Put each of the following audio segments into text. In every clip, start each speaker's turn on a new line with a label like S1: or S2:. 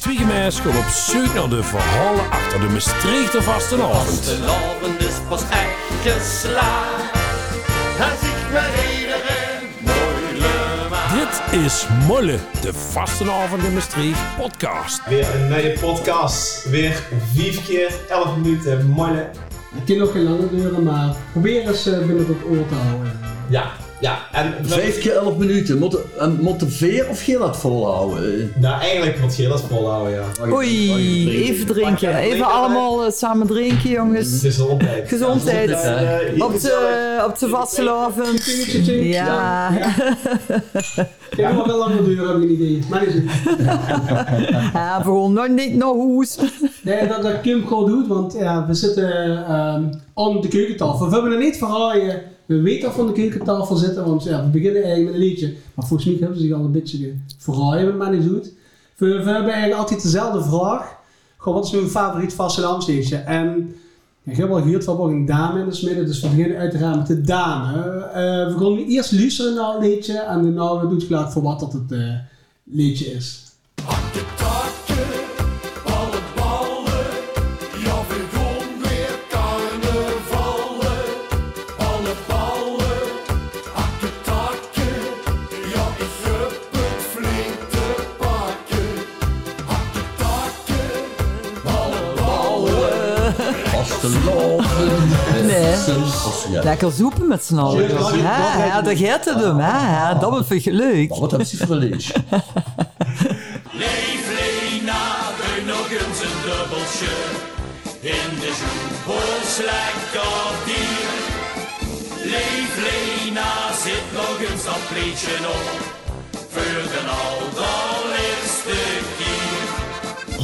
S1: Spiegelmeisje op zoek naar de verhalen achter de Maastrichter vastenavond.
S2: De avond is pas echt geslaagd. Hij ziet me iedereen moeilijk maar.
S1: Dit is Molle, de vastenavond in Maastricht podcast.
S3: Weer een nieuwe podcast. Weer vier keer elf minuten. Molle.
S4: Het kan nog geen lange duren, maar probeer eens eh, binnen het oor te houden.
S3: Ja, ja. En
S5: Vijf keer elf minuten. Moet, en moet de veer of geel dat volhouden?
S3: Nou, eigenlijk moet je dat volhouden, ja.
S6: Oei, even drinken. Even allemaal eh, samen drinken, jongens.
S3: Gezondheid.
S6: Gezondheid.
S3: Eh, hier
S6: Op
S3: gezellig.
S6: de, op de vastelavond. Ja,
S4: Het kan nog wel lange duren, heb ik een idee. Maar is het.
S6: hij begon nog niet naar hoes.
S4: Nee, dat, dat Kim gewoon doet, want ja, we zitten ehm om de keukentafel. We hebben er niet verhaaien. We weten dat we aan de keukentafel zitten, want ja, we beginnen eigenlijk met een liedje. Maar volgens mij hebben ze zich al een beetje verhaaien met Manny Zoet. We, we hebben eigenlijk altijd dezelfde vraag. Gewoon, wat is mijn favoriet vastelavondsteentje? En ja, ik heb al gehoord, we hebben ook een dame in de smidden, dus we beginnen uiteraard met de dame. Eh, we gaan nu eerst luisteren naar een liedje en daarna doet gelijk voor wat dat het eh, liedje is.
S2: De takken, alle ballen. Ja, we gaan weer carnavallen. Alle ballen, ak de takken. Ja, ik heb het flink te pakken. Ak de takken, alle ballen.
S5: Als de lopen.
S6: Nee.
S5: Ja.
S6: Lekker zoepen met z'n allen.
S3: Ja,
S6: Ja, ja, dat gaat het hem. hè. Ja, dat wordt vind je leuk.
S5: Wat hebben ze voor een lintje?
S2: Leef Lena, doe nog eens een dubbeltje. In de zoepels lekker dier. Leef Lena, zit nog eens dat pleetje op. Voor de allerlaatste keer.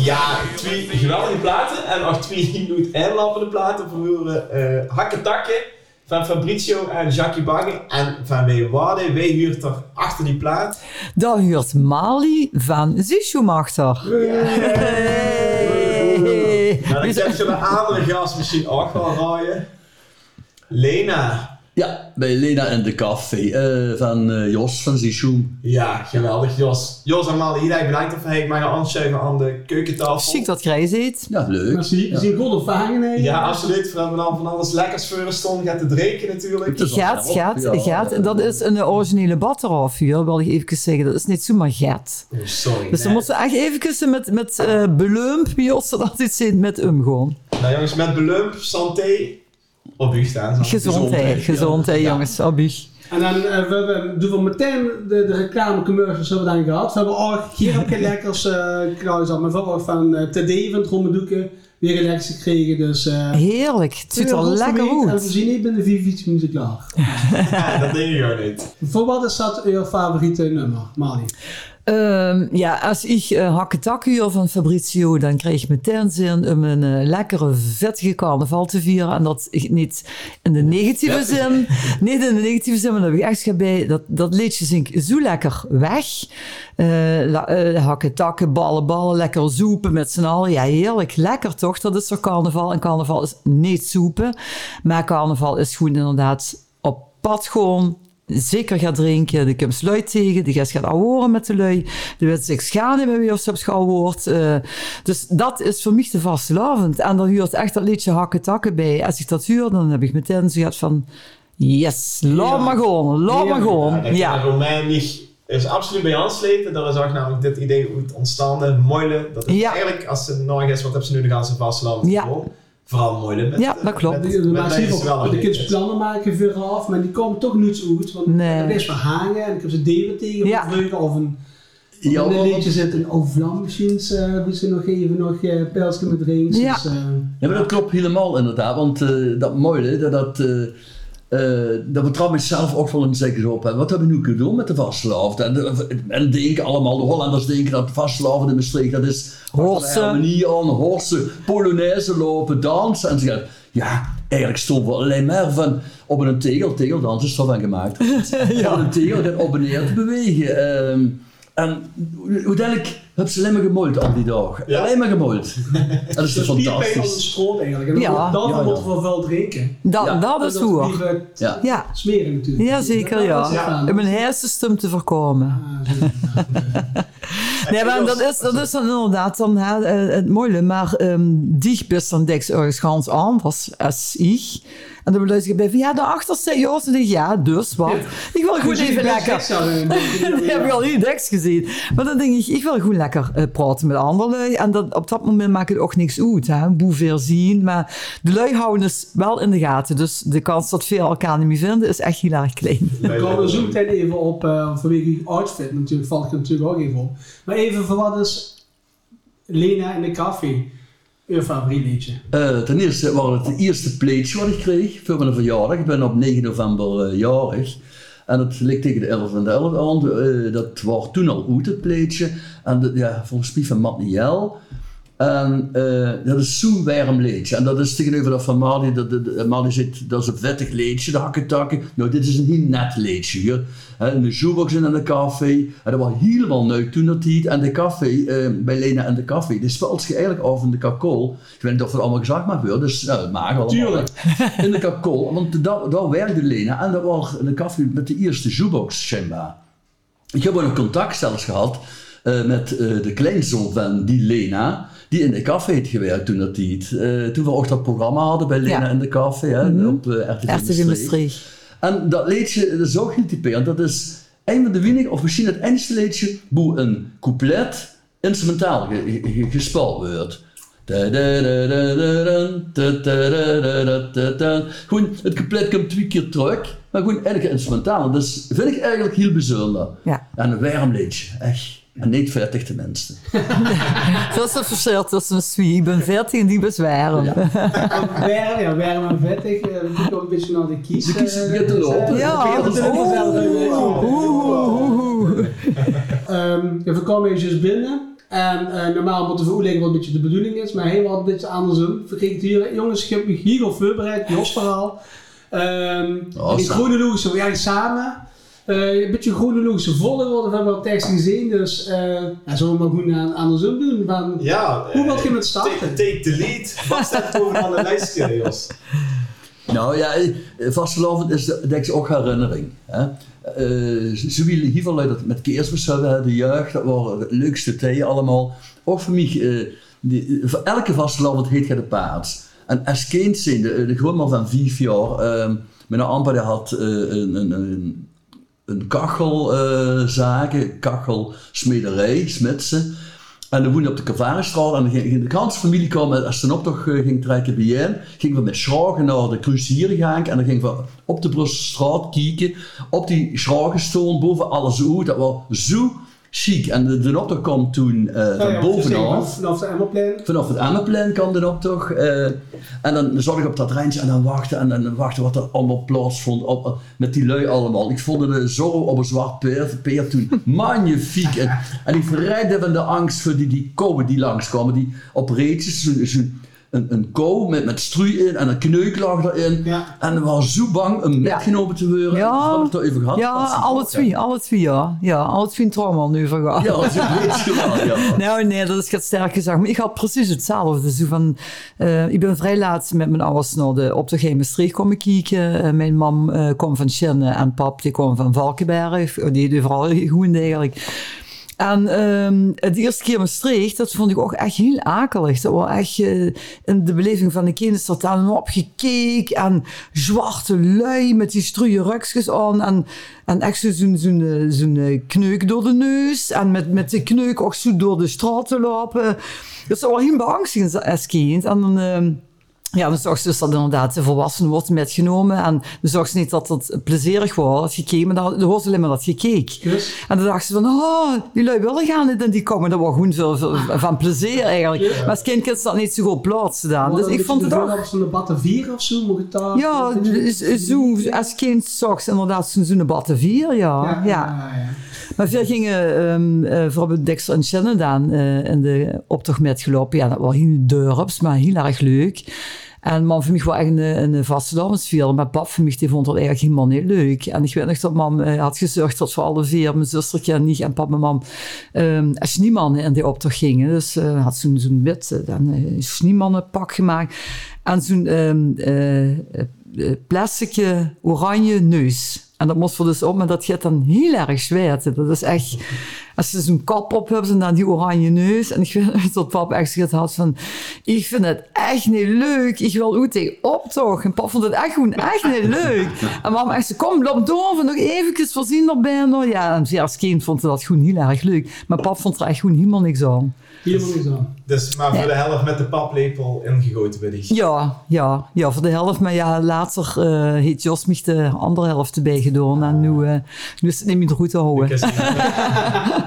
S3: Ja, twee geweldige platen. En nog twee goed inlappende platen voor eh Hakken Takken. Van Fabrizio en Jackie Bagge. En van Wij Waarde. Wij huurt er achter die plaat.
S6: Dat huurt Mali van Zischumachter. Hey. Dus,
S3: Nou, ik heb zo'n andere gast misschien ook wel raaien. Lena.
S5: Ja, bij Lena en de Café eh, van eh, Jos van Zishoem.
S3: Ja, geweldig, Jos. Jos en Mali, heel erg bedankt dat ik mij aanschuiven aan de keukentafel.
S6: Ziek dat Grijs eet.
S5: Ja, leuk.
S4: Merci. Ja. Zien goed ontvangen.
S3: Ja, absoluut. Vooral we dan van alles lekkers voor stonden gaat te drinken natuurlijk.
S5: Het is wel
S6: Gaat,
S5: erop.
S6: gaat,
S5: Ja.
S6: gaat. Dat is een originele batteraf hier, wil ik even zeggen. Dat is niet zomaar gaat.
S3: Oh, sorry.
S6: Dus dan
S3: nee.
S6: moeten ze echt even met, met eh beleump, wie ons dat altijd zit, met hem gewoon.
S3: Nou jongens, met belump, santé, op u staan. zo.
S6: Gezondheid,
S5: Ah, Gezondheid, ja.
S6: gezondheid, jongens. Abby.
S4: En dan eh, we hebben, doen we meteen de, de reclamecommercials hebben we dan gehad. We hebben ook hier ook geen lekkers eh kruis maar we hebben ook van eh TD van Trommedoeken weer een lekkers gekregen. Dus eh
S6: Heerlijk, het ziet er lekker
S4: En we
S6: uit.
S4: zien niet binnen 45 minuten klaar.
S3: Ja, dat denk ik ook niet.
S4: Voor wat is dat jouw favoriete nummer, Mali?
S6: Ehm, ja, als ik uh, hakketakuur van Fabrizio, dan krijg ik meteen zin om een eh, lekkere, vettige carnaval te vieren. En dat ik niet in de negatieve zin, niet in de negatieve zin, maar dat heb ik echt gehad bij. Dat, dat liedje zing ik zo lekker weg. Eh, la- eh, hakken, takken, ballen, ballen, lekker zoepen met z'n allen. Ja, heerlijk, lekker toch? Dat is toch carnaval? En carnaval is niet zoepen, maar carnaval is gewoon inderdaad op pad gewoon zeker gaat drinken. De komt lui tegen, de gast gaat ouwen met de lui. De wet zich schaden bij wie of zelfs geouwehoord. Eh, dus dat is voor mij te vastelavond. En daar huurt echt dat liedje hakken takken bij. Als ik dat huur, dan heb ik meteen zo gehad van... Yes, laat
S4: Ja.
S6: maar gewoon, laat
S4: Ja.
S6: maar
S3: Ja,
S6: gewoon.
S3: ja.
S6: Ja.
S3: Romein niet- is absoluut bij aansleten. Daar is ook namelijk dit idee hoe het ontstaan Moile. Dat is
S6: Ja.
S3: eigenlijk, als ze nog is, wat hebben ze nu nog aan zijn vasteland?
S6: Ja.
S3: voor? Vooral Moile. Met,
S6: Ja, dat
S3: eh,
S6: klopt.
S3: met-
S4: De
S3: met
S4: maakt
S3: deze wel
S4: heel
S3: een
S4: de
S3: beetje.
S4: kids plannen maken voor af, maar die komen toch niets uit. Want
S6: Nee.
S4: er is verhangen en ik heb ze delen tegen
S6: Ja.
S4: van vreugde of een
S5: Ja,
S4: Op een
S5: want-
S4: liedje zit een ovlam misschien, eh wie ze nog even nog eh pijlsje met rings.
S6: Ja.
S4: Dus, eh,
S5: Ja, maar dat klopt helemaal inderdaad. Want eh, dat mooie, dat, dat, eh eh, dat we trouwens zelf ook wel een zeker op hebben. Wat hebben we nu kunnen doen met de vastelavond? En, de- en denken allemaal, de Hollanders denken dat de vastelavond in Maastricht, dat is
S6: Horsen.
S5: harmonie aan, horsen, polonaise lopen, dansen. En ze gaan, ja, eigenlijk stonden we alleen maar van op een tegel, tegeldans is er van gemaakt. ja. Op een tegel gaat op en neer te bewegen. Ehm, en uiteindelijk Heb ze alleen maar gemold al die dagen.
S3: Ja.
S5: Alleen maar gemold. Dat is
S4: Het
S5: toch
S4: is fantastisch. als een
S5: fantastisch.
S4: stroot eigenlijk. En dan
S6: Ja.
S4: wordt dan
S5: Ja, ja.
S4: wordt er van wel drinken.
S6: Dat,
S5: Ja.
S6: dat is
S4: Zodat we die
S6: hoor.
S4: weer
S5: Ja.
S6: Ja.
S4: Smeren natuurlijk.
S6: ja, zeker ja.
S4: Ja.
S6: Om een hersenstum te voorkomen.
S4: Ah, zo.
S6: Nee, maar dat is, dat is dan inderdaad dan, hè, eh, het mooie. Maar ehm dich bist dan deks ergens ganz anders als ik. En dan beluister ik bij van ja, daarachter zit Joost. En dan denk ik ja, dus wat? Ik wil gewoon
S4: Dus jullie
S6: even
S4: bent
S6: lekker.
S4: seks zouden we-
S6: Dat heb ik al niet deks gezien. Maar dan denk ik, ik wil gewoon lekker eh, praten met anderen. En dat, op dat moment maakt het ook niks uit. Hè? Hoeveel zien. Maar de lui houden het wel in de gaten. Dus de kans dat veel elkaar niet meer vinden is echt heel erg klein.
S4: Ik kom er eh, zo meteen even op, eh, vanwege die outfit natuurlijk, valt ik er natuurlijk ook even op. Maar even voor wat is Lena in de café, uw favoriet liedje?
S5: Eh, ten eerste was het de eerste pleetje wat ik kreeg voor mijn verjaardag. Ik ben op 9 november eh, jarig. En dat leek tegen de 11 van de 11 aan. Eh, dat was toen al goed, het pleetje. En dat- ja, volgens mij van Matt Niel. En eh, dat is zo'n warm leedje. En dat is tegenover dat van Mali. Dat, dat, dat- Mali zit, dat is een vettig leedje, de hakketakken. Nou, dit is een heel net leedje. hier. Hè, in de shoebox en in de café. En dat was helemaal leuk toen dat tijd. En de café, eh, bij Lena en de café, die speelt je eigenlijk af in de kakol. Ik weet niet of dat allemaal gezegd mag worden, dus nou, dat mag allemaal.
S4: Tuurlijk.
S5: In de kakol, want daar, daar werkte Lena. En dat was de café met de eerste shoebox, schijnbaar. Ik heb ook nog contact zelfs gehad eh, met eh, de kleinzoon van die Lena, die in de café heeft gewerkt toen dat die het, eh, toen we ook dat programma hadden bij Lena
S6: Ja.
S5: in de café hè, op eh, RTV
S6: Echt
S5: Maastricht.
S6: Maastricht.
S5: En dat liedje dat is ook heel typerend. Dat is een van de weinige, of misschien het enige liedje, hoe een couplet instrumentaal ge, ge- ge- gespeeld wordt. Da-da-da-da-da-dan, da-da-da-da-da-da-dan. Gewoon, het couplet komt twee keer terug, maar gewoon elke instrumentaal. Dus vind ik eigenlijk heel bijzonder.
S6: Ja.
S5: En een warm liedje, echt. En niet vettig tenminste.
S6: Dat is het verschil tussen een swie. Ik ben 14 en die best warm.
S5: Ja.
S4: Werm, ja, werm en vettig, eh, dat doet ook een beetje naar de kies.
S5: De kies
S4: eh,
S5: begint te
S4: dus,
S5: lopen.
S4: eh,
S6: Ja. oh.
S4: dat is ook
S6: Oeh.
S4: gezellig,
S5: Oh.
S4: eh,
S6: Oeh.
S4: Ehm, ja, we komen eventjes binnen. En eh, normaal moeten we uitleggen wat een beetje de bedoeling is, maar helemaal een beetje andersom. Vergeet het hier, jongens, ik heb me hier op voorbereid, Jos verhaal. Ehm
S5: Oh,
S4: die
S5: zo.
S4: groene loesje, we gaan samen. Eh, een beetje groene loesje volle worden, we hebben op tekst gezien, dus eh ja, zullen we maar goed aan, andersom doen. Van,
S3: Ja.
S4: Hoe
S3: eh,
S4: wil je met starten?
S3: Take, take the lead. Wat staat bovenaan de lijst, keer, Jos?
S5: Nou ja, eh, vastelovend is de- denk ik ook herinnering. Hè? Eh, ze ze willen hiervan uit dat met kerstmis hebben, hè, de jeugd, dat waren de leukste tijden allemaal. Ook voor mij, eh, die, voor elke vastelovend heet je de paard. En als kind zijn, de, de grootman van vijf jaar, ehm mijn amper die had eh, een, een, een, een eh, kachelzaken, kachelsmederij, smidsen. En dan woonde op de Kavarenstraat en dan ging, ging de ganse familie komen. Als ze een optocht eh, ging trekken bij hen, gingen we met schragen naar de Crucierengang. En dan gingen we op de Brusselstraat kijken. Op die schragen stonden, boven alles uit. Dat was zo chic. En de, de optocht kwam toen eh,
S4: Nou
S5: van
S4: ja,
S5: bovenaf.
S4: Vanaf de Emmerplein.
S6: Ah,
S5: Vanaf het Ammerplein kwam de optocht. eh, en dan zat ik op dat rijntje en dan wachten en dan wachten wat er allemaal plaatsvond. Op, op- met die lui allemaal. Ik vond de zorro op een zwart peer, peer toen magnifiek. En, en ik verrijdde van de angst voor die, die koeien die langskwamen. Die op reetjes, zo'n- zo'n- een, een koe met, met strui in en een kneuk lag erin.
S4: Ja.
S5: En ik was zo bang om metgenomen te worden.
S6: Ja.
S5: Dat heb ik toch even gehad.
S6: Ja,
S5: Dat is een
S6: alle
S5: voorkeur.
S6: twee, alle twee, ja. Ja, alle twee een trauma nu vergaan.
S5: Ja, dat is een beetje wel, ja.
S6: Nou, nee, dat is gaat sterk gezegd. Maar ik had precies hetzelfde. Zo van, eh, ik ben vrij laat met mijn ouders naar de op de Geemestricht komen kijken. Eh, mijn mam eh kwam van Chenne en pap die kwam van Valkenberg. Eh, Die deed vooral goed eigenlijk. En ehm het eerste keer Maastricht, dat vond ik ook echt heel akelig. Dat was echt eh, in de beleving van de kinderen dat daar op gekeken. En zwarte lui met die stroeie rukjes aan. En, en echt zo- zo'n zo'n, eh, zo'n, eh, kneuk door de neus. En met, met de kneuk ook zo door de straat te lopen. Dat was wel heel beangstigend als kind. En dan... ehm, ja, dan zorgt ze dus dat inderdaad de volwassenen wordt metgenomen. En dan zorgt ze niet dat het plezierig wordt als je keek, maar dan dan hoort ze alleen maar dat je keek.
S4: Dus.
S6: En dan dacht ze van, oh, die lui willen gaan niet en die komen. Dat was gewoon veel, veel van plezier eigenlijk. Maar als kind kan ze dat niet zo goed plaatsen dan. Dus ik vond het ook...
S4: Op zo'n debatten 4 of zo, moet ik daar.
S6: Ja, dus- dus zo, als kind zag ze inderdaad zo'n zo'n batte vier, ja. ja.
S4: ja.
S6: Maar veel gingen ehm eh vooral bij Dexter en Shannon dan eh, in de optocht met gelopen. Ja, dat was heel dorps, maar heel erg leuk. En man voor mij was echt een, een vastelavondsvier. Maar pap voor mij die vond dat eigenlijk helemaal niet leuk. En ik weet nog dat mam eh, had gezorgd dat voor alle vier, mijn zustertje en niet en pap en mam, um, schneemannen in die optocht gingen. Dus eh, had zo'n zo'n wit eh, dan, eh, schneemannenpak gemaakt. En zo'n ehm eh, eh, plasticje oranje neus. En dat moest we dus op, maar dat gaat dan heel erg zweten. Dat is echt... Als je zo'n kap op hebt en dan die oranje neus. En ik weet niet dat pap echt zoiets had van... Ik vind het echt niet leuk. Ik wil hoe tegen optocht. En pap vond het echt gewoon echt niet leuk. En mam echt zo, kom, loop door. Van nog eventjes voorzien er bijna. Ja, en ze als kind vond ze dat gewoon heel erg leuk. Maar pap vond er echt gewoon helemaal niks aan.
S4: Helemaal niks aan.
S3: Dus maar voor de helft met de paplepel ingegoten ben ik.
S6: Ja, ja, ja, voor de helft. Maar ja, later eh heeft Jos mich de andere helft erbij gedaan. En nu, eh nu is het niet meer goed te houden.
S3: Dus, eh,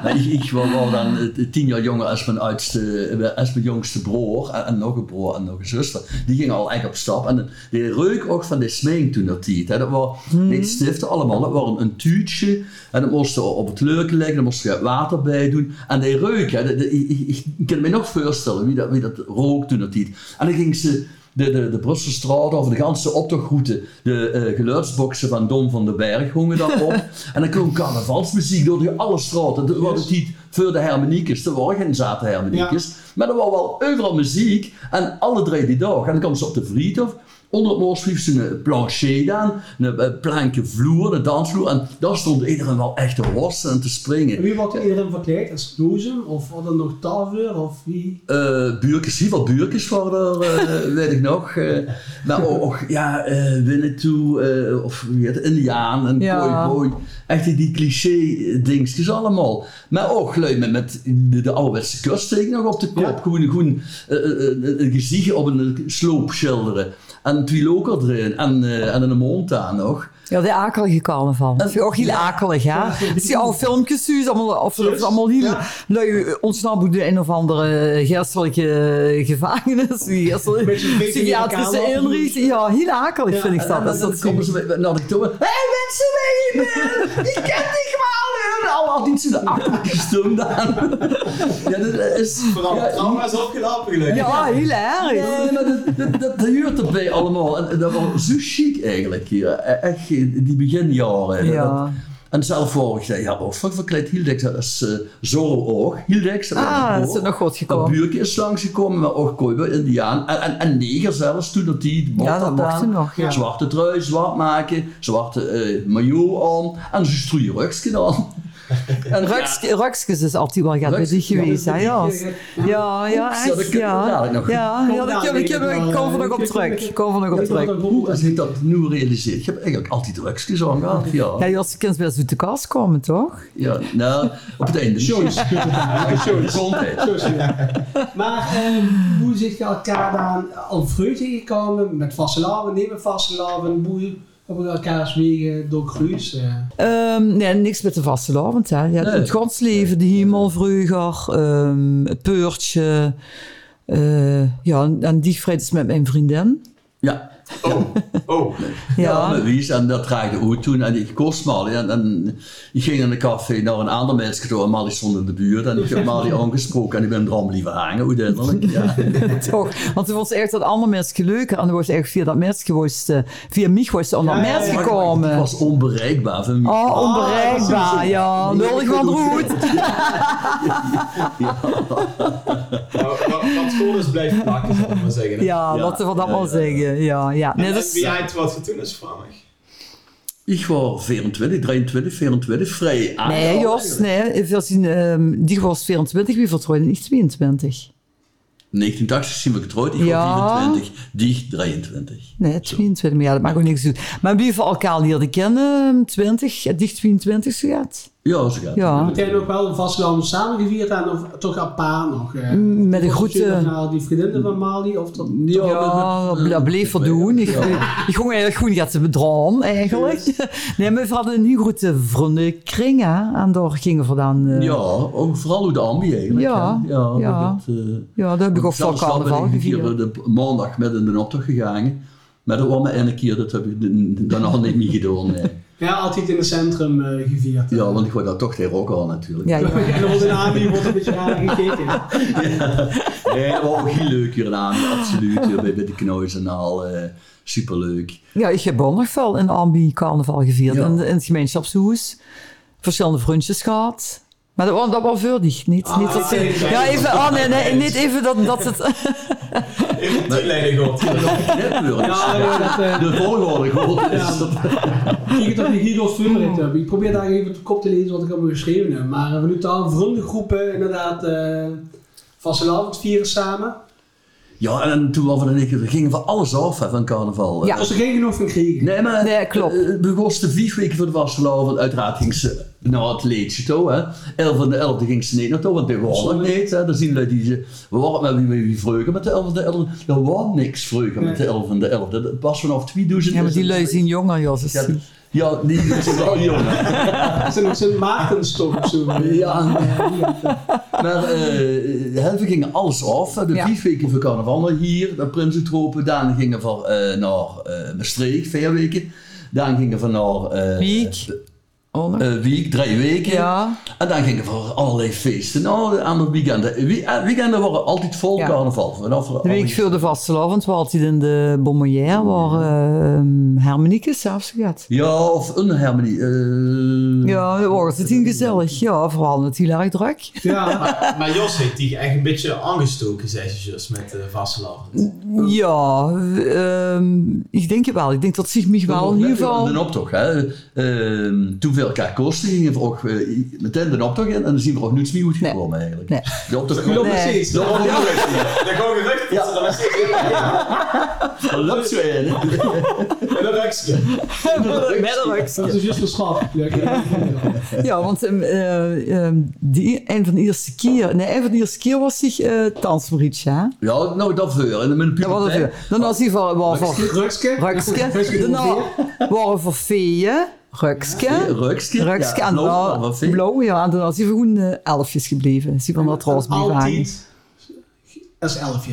S5: Maar ik, ik was wel dan eh, tien jaar jonger als mijn, oudste, eh, als mijn jongste broer. En, en nog een broer en nog een zuster. Die gingen al echt op stap. En die reuk ook van de smeek toen dat tijd. hè. Dat was niet stiften allemaal. Dat was een, een tuutje. En dat moest op het leuken leggen. Daar moest je water bij doen. En die reuk. Hè, dat- dat- ik, ik, ik kan me nog voorstellen wie dat, wie dat rook toen dat tijd. En dan ging ze de, de, de Brusselstraat over de ganse optochtroute. De eh geluidsboxen van Dom van den Berg hongen dan op. en dan kwam carnavalsmuziek door die alle straten. Dat was het niet voor de hermeniekers. Er waren geen zaten hermeniekers. Maar er was wel overal muziek. En alle drie die dag. En dan kwam ze op de Vriethof. Onder het moorsbrief ze een plancher aan, een eh, planken vloer, een dansvloer. En daar stond iedereen wel echt te horsten en te springen.
S4: En wie wordt iedereen verkleed? Als Noezem of wat dan nog Taveur of wie?
S5: eh buurkes, hier wel buurkes voor haar, eh, weet ik nog. eh maar ook, ook, ja, eh Winnetou, eh, of wie heet het, Indiaan, en
S6: Ja.
S5: boy boy. Echt die- die cliché-dingetjes allemaal. Maar ook leuk met, met de, de ouderwetse kuststeek nog op de kop. Gewoon, gewoon eh, eh, eh, een gezicht op een sloop schilderen. En twee loker erin, en, eh, en een mond aan nog.
S6: Ja, de akelige carnaval. Dat vind ik ook heel akelig, hè? Het zijn oude filmpjes, Suus, allemaal, of, of allemaal heel lui ontsnappen door een of andere geestelijke gevangenis, die geestelijke
S4: Beetje een beetje in
S6: psychiatrische
S4: elkaar lopen.
S6: inrichting. Ja, heel akelig
S4: Ja,
S6: vind ik
S5: En
S6: dat.
S5: dan,
S6: Dat,
S5: dan,
S6: dat
S5: komen ze bij- naar de toren. nou, Hé mensen, waar je bent? Je kent die gewoon. hè? Nou, al niet zo de achterlijke stem dan. Ja, dat is...
S3: Vooral
S5: ja,
S3: trauma's opgelopen gelukkig.
S6: ja, heel erg.
S5: Nee, maar dat, dat, dat, dat huurt erbij allemaal. En dat was zo chic eigenlijk hier. E- Echt eh, die beginjaren. Dat-
S6: Ja.
S5: en zelf voor, ik zei, ja, maar fuck, verkleed Hildex, dat is eh Zorro-oog. Hildex, dat
S6: Ah,
S5: is
S6: dat is het nog goed
S5: Dat
S6: gekomen.
S5: buurtje is langsgekomen, maar ook Kooibe, Indiaan. En, en, en neger zelfs, toen dat die mocht
S6: Ja, dat mocht
S5: dan.
S6: toen nog, ja.
S5: Zwarte trui, zwart maken, zwarte eh maillot aan. En ze stroeien rugskje aan. En
S6: Ruks- Rukskes is altijd wel gaat bij
S5: Rukskes,
S6: zich
S5: ja,
S6: geweest, hè, Jos? Ja, ja,
S5: Ja, dat
S6: echt,
S5: kunnen we
S6: ja.
S5: dadelijk nog.
S6: Ah, Ja, ja, dat
S4: dadelijk
S6: kunnen we-
S4: nog,
S6: kunnen we-
S4: eh,
S6: komen we nog op
S4: kunnen we-
S6: terug. Komen we nog op
S4: Weet je wat
S6: terug.
S4: dat beroep
S5: Als
S4: is?
S5: ik dat nu realiseer, ik heb eigenlijk altijd rugskjes aan gehad. Ja,
S6: Ja, Jos, je kunt wel eens uit de kast komen, toch?
S5: ja nou, op het einde.
S4: Shows.
S5: Gezondheid.
S4: Zo is het, ja. Maar eh, hoe zit je elkaar dan al vroeg tegengekomen? Met vastelavond, niet met vastelavond? Hoe hebben we elkaars wegen doorkruis? eh?
S6: Ehm, nee, niks met de vaste avond. Hè. Ja,
S5: Nee.
S6: Het godsleven, de hemel vroeger, ehm, het peurtje. eh, ja, en die vrijdag met mijn vriendin.
S5: Ja.
S3: Oh, oh.
S5: Ja,
S6: Ja,
S5: met Wies. En dat draagde ook toen. En ik kost Mali. En, en ik ging in een café naar een ander meisje toe. En Mali stond in de buurt. En ik heb Mali aangesproken. En ik ben er allemaal liever hangen, uiteindelijk. Ja.
S6: toch. Want toen was echt dat andere mensen leuk. En toen was echt via dat mens geweest, eh, via mij was ze aan dat
S4: Ja, ja,
S6: mens
S4: ja, maar-
S5: Ik
S6: gekomen.
S5: was Ah, onbereikbaar voor mij.
S6: Oh, onbereikbaar, ja. Lullig van de hoed.
S3: Nou, wat, wat school is blijft plakken, zal ik maar zeggen. hè.
S6: Ja,
S5: Ja,
S6: laten we dat
S5: ja,
S6: maar
S5: ja.
S6: zeggen. Ja, ja.
S3: En
S6: Nee, dat is-
S3: wie uit wat je toen is, vraag ik.
S5: Ik was 24, 23, 24. Vrij aan.
S6: Nee, Jos, nee. Even als in, ehm, die was 24, wie vertrouwde niet 22?
S5: 1980 zien we getrouwd. Ik was
S6: Ja.
S5: 24. Die 23.
S6: Nee, 22, maar ja, dat maakt ook niks uit. Maar wie van elkaar leerde kennen, 20, eh, dicht 22 zo gaat.
S5: Ja, zo gaat het.
S6: Ja.
S4: Meteen ook wel een vastelavond samen gevierd en of toch apart nog? eh?
S6: Met een
S4: Of
S6: grote-
S4: je nog naar die vriendinnen van Mali of dat...
S5: Ja,
S6: Mm, Ja,
S5: maar-
S6: dat bleef voldoen. Ik,
S5: Ja.
S6: ik ging eigenlijk goed gaat te bedroom, eigenlijk. Nee, maar we hadden een heel grote vriendenkring, hè. En daar gingen we dan... eh,
S5: Ja,
S6: ja.
S5: ook vooral hoe de ambi eigenlijk.
S6: Ja,
S5: hè. ja,
S6: ja.
S5: Dat, eh,
S6: daar heb ik ook voor
S5: Zelfs wel ben
S6: carnaval
S5: ik een keer
S6: gevierd.
S5: op maandag met in de optocht gegaan. Maar dat was maar één keer, dat heb ik dan al niet meer gedaan. nee.
S4: Ja, altijd in het centrum eh, gevierd.
S5: Ja, want ik word daar toch tegen ook al natuurlijk.
S6: Ja, ja.
S4: En onze naam wordt een beetje raar gekeken.
S5: Nee, maar ook heel leuk hier aan, absoluut. Hier bij, bij de Knois en al, eh, superleuk.
S6: ja, ik heb ook nog wel een ambi carnaval gevierd.
S5: Ja.
S6: In, in het gemeenschapshoes. Verschillende vriendjes gehad. Maar dat, was- dat was vurdig. Niet,
S5: Ah,
S6: niet dat
S4: ik
S6: ze,
S4: weet
S6: ja,
S4: het.
S6: even, oh nee, nee, niet even dat, dat het...
S3: Even toeleggen, God.
S4: Ja, ja, dat, eh,
S5: De volgorde gewoon. is dat-
S4: Ik het op die Guido's Funrit heb. eh. Ik probeer daar even de kop te lezen wat ik allemaal geschreven heb. Maar eh, we doen daar vriendengroepen inderdaad eh vastelavond vieren samen.
S5: Ja, en toen waren we dan een keer- we gingen van alles af hè, van carnaval.
S6: Ja.
S4: Als er geen genoeg van kregen.
S5: Nee, maar
S6: Nee, klopt.
S5: eh, eh, we kosten vier weken voor de Wassenaar, want uiteraard ging ze naar het leedje toe. Hè. 11 van de 11 ging ze niet naartoe, want die waren er niet. Hè. Dan zien we die, ze- we waren met wie, met wie vreugde met de 11 van de 11. Er was niks vreugde met de 11 van de 11. Dat was vanaf 2000.
S6: Ja, maar die lui zien jonger, Jos.
S5: Ja, die- Ja, die zijn wel jonger.
S4: Dat is een Sint Maartenstok of zo.
S5: Ja.
S4: Eh, die heb ik.
S5: Maar eh, hè, we gingen alles af. De
S6: Ja.
S5: vier weken van carnaval naar hier, naar Prinsentropen. Daarna gingen we eh, naar eh Maastricht, vier weken. Daarna gingen we naar eh,
S6: Wiek. Oh,
S5: eh, Wiek, drie weken.
S6: ja.
S5: En dan gingen we voor allerlei feesten. Nou, aan de weekenden. Wie- eh, Weekenden waren altijd vol
S6: Ja.
S5: carnaval. Vanaf
S6: De week voor de vastelavond was altijd in de Bonbonnière, waar uh, Hermanieke s'avonds gaat.
S5: Ja, of een hermanie. eh,
S6: Ja, dat wordt het in gezellig. Ja, vooral met heel erg druk.
S4: ja.
S3: Maar, maar Jos heeft die echt een beetje aangestoken, zei ze zus, met uh,
S6: Ja, ehm, ik denk het wel. Ik denk dat zich mij wel nou, in ieder geval...
S5: De optocht, hè. Ehm, toen we elkaar kosten, gingen we ook eh, meteen de optocht in. En dan zien we ook niets meer goed gekomen, eigenlijk.
S6: Nee.
S5: De optocht
S4: Ik loop nog
S6: Nee.
S4: steeds.
S5: De optocht-
S3: Dat gewoon gerucht dat ze dat was
S5: Dat loopt zo in.
S3: En dat rekstje.
S4: Dat is juist een schat. Leuk.
S6: Ja, want ehm, eh, ehm, die, een van de eerste keer... Nee, een van de eerste keer was zich eh Tansmarietje, hè?
S5: Ja, nou, dat veel. En dan met een
S6: Dat was het
S5: puberteit.
S6: weer. Dan was hij voor... waar voor
S4: Rukske.
S6: Rukske. Daarna waren voor feeën. Rukske.
S5: Rukske.
S6: Rukske
S5: Ja,
S6: en
S5: blauw,
S6: blauw,
S5: wat vind je?
S6: nou, blauw, ja. En toen was hij gewoon eh, elfjes gebleven. Is hij van dat roos blijven hangen.
S4: Altijd. Dat is elfje.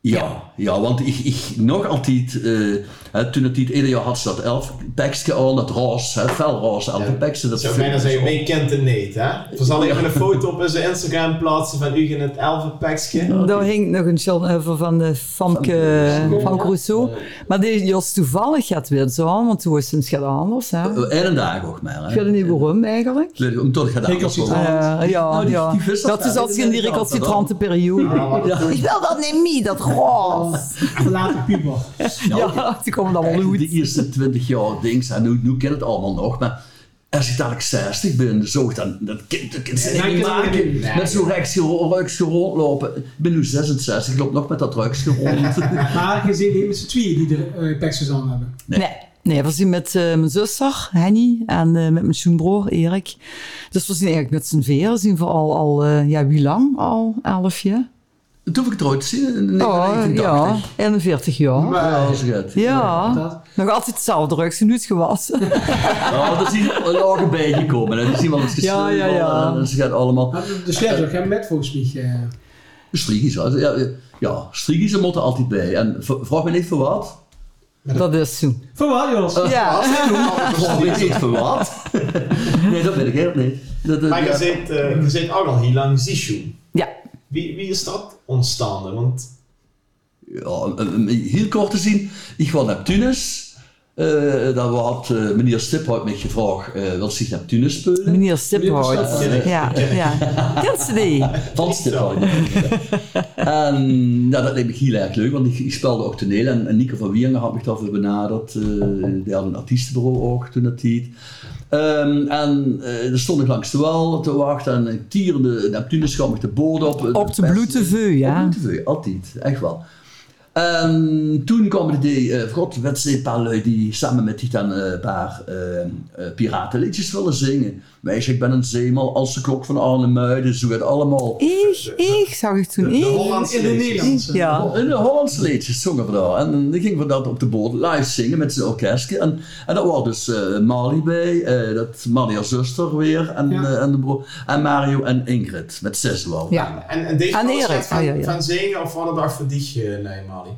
S5: Ja, ja, want ik, ik nog altijd, eh, hè, toen het niet ieder jaar had ze dat elf tekstje aan, dat roze, hè, fel roze, elf
S3: Ja.
S5: teksten. Dat
S3: Zo bijna zeggen, wie kent het niet, hè? We zal even een foto op onze Instagram plaatsen van u in het elfenpakje.
S6: Daar hing nog een shot over van de Famke, Famke Rousseau. Maar die Jos toevallig gaat weer zo, want toen was het heel anders. Hè. Ik
S5: En een dag ook maar. Hè.
S6: weet niet waarom eigenlijk.
S5: Weet je, Om tot gedaan.
S4: Ik als
S5: was
S4: iets
S5: wel-
S4: aan-
S6: Eh, ja,
S5: Nou, die-
S6: ja.
S5: die vissers
S6: dat is
S5: gaan.
S6: als in die recalcitrante periode.
S5: Ja,
S6: Ik wil dat niet mee, dat roos.
S4: Later puber.
S5: ja,
S6: Ja, die komen dan wel
S5: echt,
S6: goed.
S5: De eerste 20 jaar dings, en nu, nu ken het allemaal nog, maar als ik dadelijk 60 ben, zo, dan, dat kind, dat kind ze
S4: Nee,
S5: niet
S4: dat kan
S5: maken.
S4: niet. Nee.
S5: Met zo'n ruiksje ruiksje rondlopen. Ik ben nu 66, ik loop nog met dat ruiksje rond.
S4: Maar je ziet niet met z'n tweeën die er eh, peksters aan hebben.
S6: Nee. Nee, we zijn met eh, mijn zuster, Henny, en eh, met mijn schoonbroer, Erik. Dus we zijn eigenlijk met z'n vieren, zien we al, al eh, ja, wie lang? Al elf jaar?
S5: Toen heb ik het ooit gezien, in
S6: Oh,
S5: 1980.
S6: ja, 41 jaar.
S5: Ja, dat is goed.
S6: Ja,
S4: dat.
S6: nog altijd hetzelfde druk, ze nu het gewassen.
S5: Ja, er is hier een lager bij gekomen. Er is iemand is
S6: Ja, ja, ja.
S5: En ze gaat allemaal...
S4: Maar de- De sledge gaan met volgens mij. eh.
S5: Strigis, ja. Ja, ja strigis er moeten altijd bij. En v- vraag me niet voor wat.
S6: Dat is zo.
S4: Voor wat, Jos?
S6: Ja,
S5: Vraag me niet voor wat. nee, dat weet ik helemaal niet. Dat, dat-
S3: Maar
S5: ja.
S3: je zit, eh, je zit ook al heel lang Zishu.
S6: ja.
S3: Wie, wie is dat ontstaan? Want
S5: Ja, om- om heel kort te zien. Ik was naar Tunis. Eh daar had eh, meneer Stiphout me gevraagd, eh wil zich naar Tunis spelen?
S6: meneer Stiphout.
S3: Stiphout.
S6: Ja, ja. Kent ze die?
S5: Van Stefan. en nou, dat leek me heel erg leuk, want ik, ik speelde ook toneel. En, en Nico van Wieringen had me daarvoor benaderd. eh, die had een artiestenbureau ook toen dat heet. Ehm, en eh daar stond ik langs de wal te wachten. En ik tierde Neptunus kwam ik de boord op. eh,
S6: Op de
S5: pers-
S6: bloedteveu, ja.
S5: Op de bloedteveu, altijd. Echt wel. En toen kwamen die, eh god, wedstrijd een paar lui die samen met die dan eh, een paar eh, eh, piratenliedjes willen zingen. Meisje, ik ben een zeemal, als de klok van Arnhem-Muiden, zo het allemaal.
S6: Ik, ik, zag ik toen.
S3: de
S6: Ik.
S3: Hollandse
S4: In de
S3: liedjes.
S4: Nederlandse.
S6: Ja.
S5: In de Hollandse liedjes zongen we daar. En dan gingen we dat op de boot live zingen met zijn orkestje. En, en daar was dus eh Mali bij, eh, dat Mali haar zuster weer, en,
S4: Ja.
S5: eh, en, de broer, en Mario en Ingrid, met zes wel.
S6: Ja.
S3: En, en deze
S6: Aan
S3: was
S6: Erik.
S3: het van,
S6: Ah, ja, ja.
S3: van zingen of van de dag van die, eh, nee, Mali?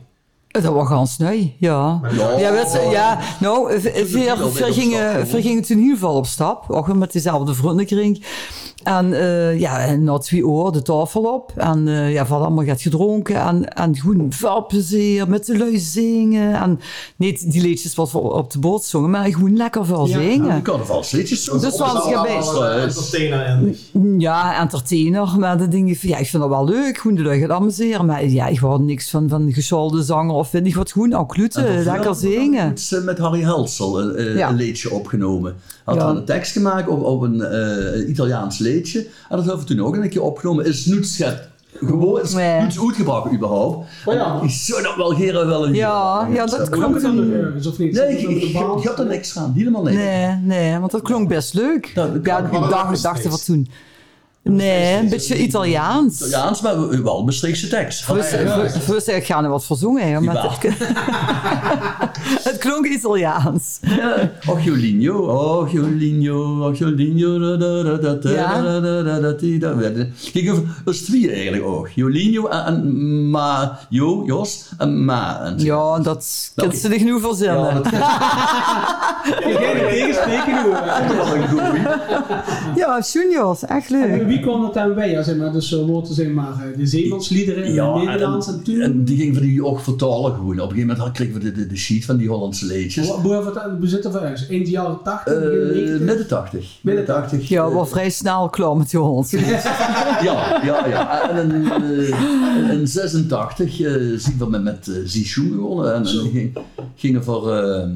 S6: Dat was gans nee, ja.
S5: Ja,
S6: Ja, wat ze- ja, nou, eh,
S5: de
S6: veer,
S5: deal
S6: veer,
S5: dit op stap,
S6: gingen,
S5: gewoon.
S6: veer gingen toen in ieder geval op stap. Ook met dezelfde vriendenkring. En eh, ja, en na twee uur de tafel op. En eh, ja, van allemaal gaat gedronken. En, en gewoon veel plezier met de lui zingen. En niet die liedjes wat we op de boot zongen, maar gewoon lekker veel
S4: Ja,
S5: Ja,
S6: zingen.
S5: die carnavalsliedjes. zo.
S6: Dus
S5: Op-
S6: zoals je bent.
S3: eh,
S5: eh,
S3: Entertainer en...
S6: Mm, Ja, entertainer, maar dat ding ja, ik vind dat wel leuk, gewoon de lui gaat amuseren. Maar ja, ik wou niks van, van gesolde zanger of vind ik wat gewoon, ook
S5: En
S6: kluten, lekker
S5: dat film hadden we
S6: Eh, zingen.
S5: iets, eh, Met Harry Helsel een, eh,
S6: Ja.
S5: een liedje opgenomen. Had
S6: Ja.
S5: dan een tekst gemaakt op, op een eh, Italiaans liedje. En dat hebben we toen ook een keer opgenomen. Is niet schet. Gewoon is
S6: Nee.
S5: niet uitgebracht überhaupt.
S4: Oh ja.
S5: Ik zou dat wel geren wel een
S6: Ja,
S5: keer-
S6: ja, dat
S5: Nee,
S4: Klonk
S6: klonk
S4: het dan nog ergens of niet?
S5: Nee,
S4: Zit
S5: ik,
S4: het op
S5: ik,
S4: de
S5: ik,
S4: baan?
S5: ik had er niks aan. Helemaal niks.
S6: Nee, nee, want dat klonk best leuk.
S5: Nou, dat
S6: ja,
S5: kan-
S6: ik dacht, dacht er wat toen. Nee, een beetje Italiaans.
S5: Italiaans, maar wel Maastrichtse tekst.
S6: Voor zeggen, ik ga er wat voor zongen. hè, maar
S5: Ja.
S6: het, het klonk Italiaans.
S5: Och Jolinho, och Jolinho, och Jolinho, da da da da da
S6: Ja.
S5: da da da da die, da da Kijk, dat is twee eigenlijk ook. Jolinho en, en Ma, Jo, Jos en Ma. En
S6: Ja, dat
S5: Nou,
S6: kent ze er genoeg voor
S5: Ja,
S6: zinnen.
S5: dat is
S4: Ik heb het tegenspreken doen.
S5: wel een goeie.
S6: Ja, juniors, echt leuk.
S4: En wie kwam dat aan bij? Ja, zeg maar, dus eh, woorden zeg maar, eh, de zeemansliederen, in
S5: Ja,
S4: het
S5: en-
S4: Nederlands en toen.
S5: En die gingen we die ook vertalen gewoon. Op een gegeven moment kregen we de, de, de sheet van die Hollandse leedjes.
S4: Hoe hoe hebben we het aan het bezitten van huis? Eind jaren 80,
S5: Eh,
S4: begin 90?
S5: midden tachtig.
S4: Midden
S5: 80.
S6: Ja, wel vrij snel klaar met die hond.
S5: Ja, ja, ja. En in, eh, in 86 eh zien we met, met eh, Zichung gewonnen. En, en ging- gingen voor eh,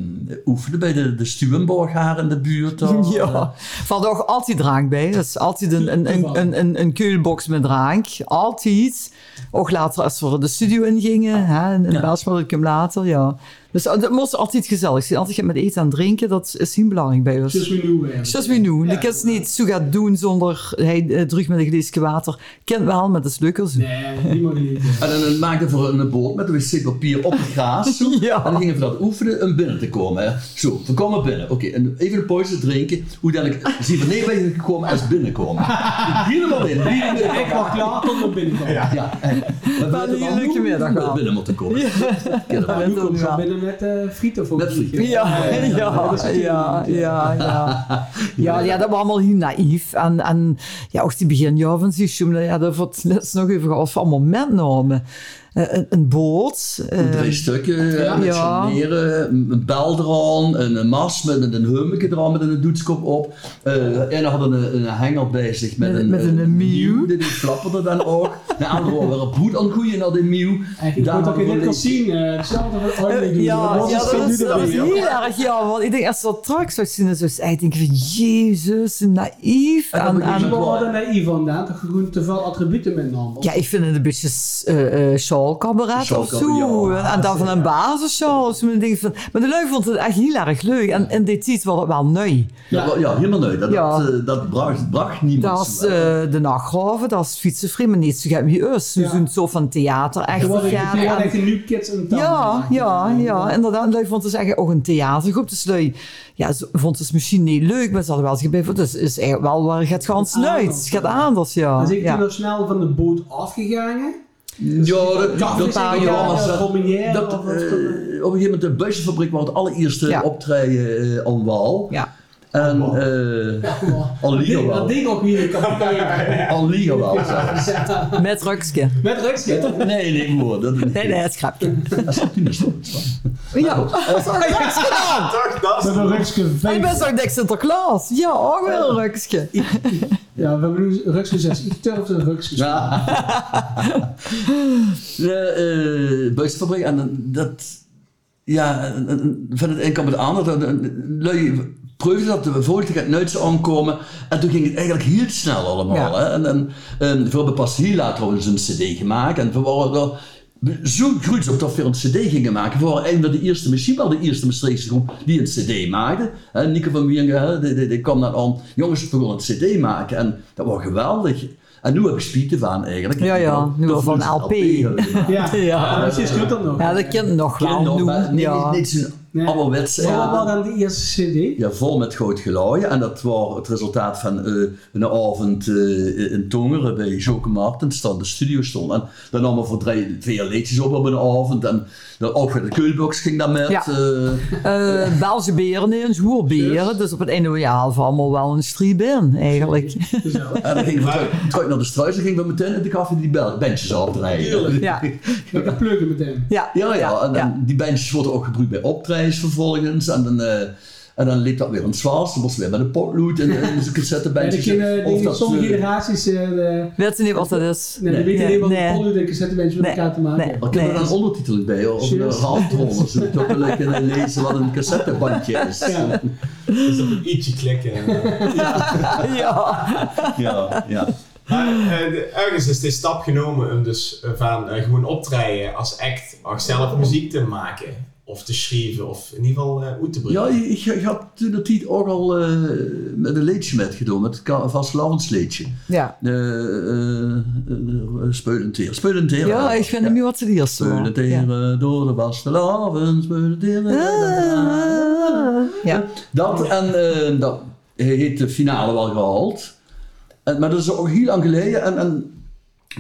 S5: oefenen bij de, de Stuwenborg haar in de buurt. daar.
S6: Ja, van toch Eh, altijd drank bij. Dat is altijd een, een, een, een, een, een keulbox met drank. Altijd. Ook later als we de studio ingingen. Hè, in
S5: Ja.
S6: ja. hem later, ja. Dus eh, dat moest altijd gezellig zijn. Altijd met eten en drinken, dat is heel belangrijk bij ons.
S4: Just we knew eigenlijk.
S6: Zoals we doen.
S4: Ja.
S6: Ik kan het niet zo gaat doen zonder hij eh, terug met een glaasje water. Kent wel, maar dat is leuker zo.
S4: Nee, niemand niet.
S5: En dan eh, maakten we een boot met wc-papier op het gras. zo.
S6: Ja.
S5: En dan gingen we dat oefenen om binnen te komen. Hè. Zo, we komen binnen. Oké, en even een pauze drinken. Hoe dat ik zie van nee, ben je gekomen als binnenkomen. Helemaal in.
S4: Ik was klaar tot we binnenkomen. Ja.
S5: Ja, en we
S6: Wat een leuke middag
S5: binnen,
S6: al.
S5: binnen moeten komen. Ja.
S6: Ja,
S4: Nu
S6: dat
S4: komt
S6: is
S4: ze
S6: wel.
S4: binnen met eh frieten voor
S5: Met frieten.
S6: Ja, ja, ja, ja, ja, ja. Ja, ja, dat was allemaal heel naïef. En, en ja, ook die beginjaar van Zichum, ja, dat wordt dat is nog even gehad van momentnamen. Eh, een, een boot. eh,
S5: Drie stukken, ja. met
S6: Ja.
S5: scharnieren, een bel eraan, een een mas met een, een hummetje eraan met een doetskop op. Eh, en dan hadden een, een hengel bij zich met,
S6: Met-
S5: een,
S6: met een mieuw.
S5: Die flapperde dan ook. Nou, De andere waren weer op hoed aan het koeien naar de mieuw.
S4: Ik moet ook in
S5: hadden we
S4: het
S5: een-
S4: casino eh, hetzelfde wat ooit mee
S6: eh,
S4: doen.
S6: ja,
S4: was
S6: ja,
S4: het Dus
S6: dat is,
S4: nu
S6: dat is
S4: dan weer?
S6: heel erg jammer. Want ik denk, als dat straks zou zien, dan zou ik echt denken van... Jezus, naïef.
S5: En dan
S6: En,
S5: moet je
S6: en-
S5: zo-
S4: Waar hadden wij hier vandaan? Dat je gewoon te veel attributen met nam.
S6: ja, ik vind het een beetje eh eh sjaalcabaret of zo.
S5: Sjaalcabaret,
S6: en dan van een basissjaal. Dus ik denk van- Maar de lui vond het echt heel erg leuk. En in dit tijd was het wel neu.
S5: Ja, wel- ja, helemaal nooit. Dat,
S6: Ja.
S5: dat, eh, dat bracht, bracht niemand
S6: Dat is
S5: zo, hè.
S6: eh, de nachtgraven, dat is fietsenvrij, maar niet zo gaat wie us. Ze
S4: Ja.
S6: doen zo van theater echt
S4: Er worden
S6: gaan.
S4: echt- er worden
S6: En-
S4: echt nu kids een taal
S6: Ja,
S4: gemaakt.
S6: ja, ja, inderdaad. Lui vond het eigenlijk ook een theatergroep. Dus lui ja, ze vond het misschien niet leuk, maar ze hadden wel eens gebleven. Dus is eigenlijk wel waar gaat gans
S4: Gaat
S6: uit.
S4: anders,
S6: Het gaat
S4: ja.
S6: anders, ja.
S4: Dus ik ben
S6: ja.
S4: nog snel van de boot afgegaan.
S6: eh,
S5: Ja, dat,
S4: Café
S5: dat-
S4: zijn
S5: ja,
S4: gegaan,
S5: maar
S4: eh,
S5: dat-
S4: Romanière,
S5: dat,
S4: of wat
S5: eh,
S4: is dat?
S5: op een gegeven moment de buisjesfabriek waar het allereerste
S6: Ja.
S5: optreden eh, aan wal.
S6: Ja.
S5: En
S3: Wal.
S5: eh al
S4: Dat
S5: liggen
S4: ding-
S5: wel.
S4: Dat ding ook weer in de café.
S5: Al liggen wel zelfs.
S6: Met Ruxke.
S4: Met rugschip.
S5: Nee, nee, broer, dat niet.
S6: Nee, nee, het grapje.
S5: Dat is natuurlijk niet zo.
S6: Ja, dat is een Ruxke gedaan.
S3: Dag, dat
S4: Met
S3: is...
S4: een rugschip.
S6: Ik ben zo dik Sinterklaas. Ja, ook wel een Ruxke.
S4: Ja, we hebben nu rugschip 6. Ik durfde een rugschip.
S5: Ja. De eh buisfabriek en dan- dat. Ja, en- en- van het een kwam het ander. Dat, een- lui proefde dat de volgende gaat nooit zo aankomen. En toen ging het eigenlijk heel snel allemaal.
S6: Ja.
S5: Hè? En, en, en voor de Pasila trouwens een CD gemaakt. En we waren er zo goed op dat we een CD gingen maken. We waren een van de eerste, misschien wel de eerste Maastrichtse groep die een CD maakte. En Nico van Wieringen, hè, die, die, die kwam dan aan. Jongens, we gaan een CD maken. En dat was geweldig. En nu heb ik spieten van eigenlijk.
S6: Ja, ja,
S5: Dat-
S6: nu
S5: dat
S6: van
S5: we een
S6: LP.
S5: hebben gemaakt.
S4: Ja,
S6: Ja.
S4: precies. Goed dan nog.
S6: Ja, dat kind nog
S5: Ken
S6: wel
S5: nog, maar
S6: noemen.
S5: niet-
S6: Ja.
S5: niet zo'n
S4: Ja.
S5: Ouderwetse
S4: Wat
S5: erven.
S4: was dan de eerste CD?
S5: Ja, vol met groot geluid. En dat was het resultaat van eh, een avond eh, in Tongeren bij Joke Martens, dat de studio stond. En dan namen we voor drie, twee liedjes op op een avond. En de, ook de Keulbox ging daar met.
S6: Ja.
S5: eh,
S6: Eh Belgische beren, Nederlands hoerberen. Dus op het einde ja, hadden we allemaal wel een striep in, eigenlijk.
S4: Gezellig.
S5: en dan gingen we terug, terug naar de struis en gingen we meteen in de café die bel- bandjes afdraaien.
S3: Tuurlijk.
S6: Ja.
S4: Lekker pleuken meteen.
S6: Ja,
S5: Ja, ja. En,
S6: ja.
S5: en die bandjes worden ook gebruikt bij optredens vervolgens. En dan, eh en dan liep dat weer een zwaars. Dan was weer met een potlood en, en zo'n
S4: Ja, die
S5: cassettebandjes.
S4: kinderen,
S5: Of
S4: die,
S5: dat,
S4: sommige
S5: eh,
S4: generaties, eh, de-
S6: Weet ze niet wat dat is?
S4: nee, die weten
S6: Nee,
S4: niet wat
S6: nee.
S4: een voldoende cassettemensen met
S6: Nee,
S4: elkaar te maken
S6: nee.
S4: hebben.
S5: Wat kunnen we dan ondertiteling bij? Of een
S4: Serieus?
S5: handroller, zodat we wel kunnen lezen wat een cassettebandje is.
S4: Ja.
S3: Dus op een i'tje klikken.
S6: Ja.
S5: ja. ja.
S3: Maar eh, de- ergens is de stap genomen om dus eh, van eh, gewoon optreden als act, ook zelf muziek te maken. Of te schrijven, of in ieder geval eh uit te brengen.
S5: Ja, ik, ik had toen de tijd ook al eh, met een leedje met gedaan, met het vastelavondsleedje.
S6: Ja.
S5: Eh eh, eh, Speulend weer, speulend weer.
S6: ja, ik vind hem niet wat ze die eerste
S5: Speulend weer eh, door de vastelavond, speulend weer.
S6: Ja.
S5: Dat en eh, dat heeft de finale wel gehaald. En, maar dat is ook heel lang geleden. En, en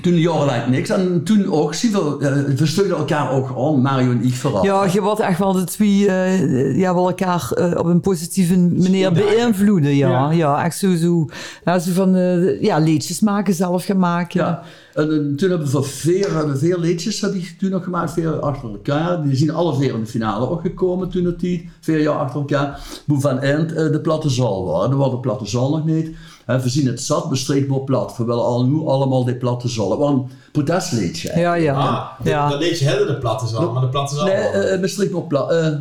S5: toen jarenlang niks. En toen ook, zie je, wel, eh, we steunen elkaar ook aan, Mario en ik vooral.
S6: ja, je wordt echt wel de twee, eh, ja, wel elkaar eh, op een positieve manier beïnvloeden. Ja, ja.
S4: Ja.
S6: echt zo, zo, nou, zo van, eh, ja, liedjes maken, zelf gaan maken.
S5: Ja. En eh, toen hebben we voor veer, hebben we veer liedjes had ik toen nog gemaakt, veer achter elkaar. Die zien alle veer in de finale ook gekomen toen het die, veer jaar achter elkaar. Boe van End, eh, de platte zal waren. Er was de platte zal nog niet. En we zien het zat, bestreek maar plat. We willen al nu allemaal die platte zal. Het was een protestliedje.
S6: ja. ja.
S3: Ah, de-
S6: Ja.
S3: dat leed je helder de platte zal, maar de platte zal
S5: Nee,
S3: wel.
S5: eh eh, bestreek maar plat. eh, eh,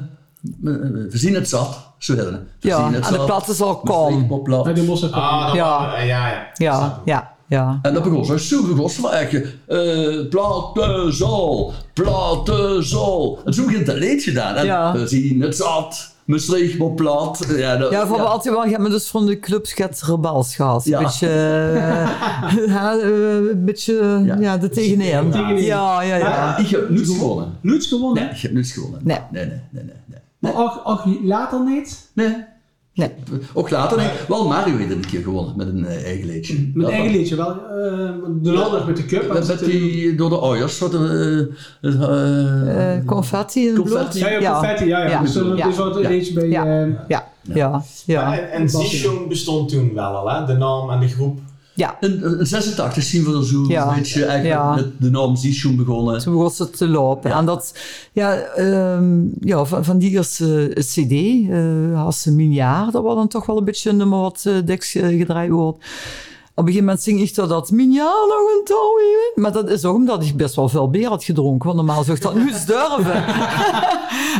S5: we zien het zat, zo heet het. We
S6: Ja,
S5: zien
S6: en
S5: het
S6: de
S5: zat,
S6: platte zal
S5: bestreek
S6: komen.
S5: maar plat.
S4: Bij de Mossad.
S3: ah, dat
S6: Ja.
S3: ja. ja, ja.
S6: Ja, ja, ja.
S5: En dat begon zo super gossen van eigenlijk. eh platezol, platezol. En zo begint dat leed gedaan. En
S6: Ja.
S5: we zien het zat, Maastricht maar plat. Ja, dat,
S6: Ja, voor
S5: ja.
S6: altijd wel. Je hebt me dus van de clubs gaat rebels gehad.
S5: Ja.
S6: Een beetje, eh, ja, eh, een beetje ja.
S5: Ja.
S6: de tegenin.
S4: tegenin.
S6: Ja, ja, ja.
S5: Ja, ik heb niets gewonnen.
S4: Lutz gewonnen.
S5: Nee, ik heb niets gewonnen.
S6: Nee.
S5: nee, nee, nee. nee, nee.
S4: Maar ook, ook later niet.
S5: Nee.
S6: Nee.
S5: Ook later, nee. Wel, Mario heeft een keer gewonnen met een eh, eigen leedje.
S4: Met
S5: Dat
S4: eigen
S5: was-
S4: liedje wel. eh, de landig met de cup.
S5: Met, met die door de ouders. Wat, eh, eh,
S6: Eh, confetti en bloed.
S5: Confetti.
S4: Ja, ja, confetti. Ja, ja.
S6: Ja.
S4: Dus dat
S6: Ja.
S4: is wat een
S5: Ja.
S4: liedje bij...
S6: Ja.
S4: eh,
S6: Ja, ja, ja.
S3: En, en Zichon bestond toen wel al, hè? de naam en de groep.
S6: ja.
S5: in, in 86 zien we er zo
S6: Ja.
S5: een beetje eigenlijk
S6: Ja.
S5: met de naam Zichon begonnen.
S6: Toen begon ze te lopen. En dat, ja, ehm, ja van, van die eerste CD, eh als ze mijn jaar, dat was dan toch wel een beetje een nummer wat eh deks eh, gedraaid wordt. Op een gegeven moment zing ik toch dat mijn jaar nog een touw in. Maar dat is ook omdat ik best wel veel bier had gedronken. Want normaal zou ik dat nu durven.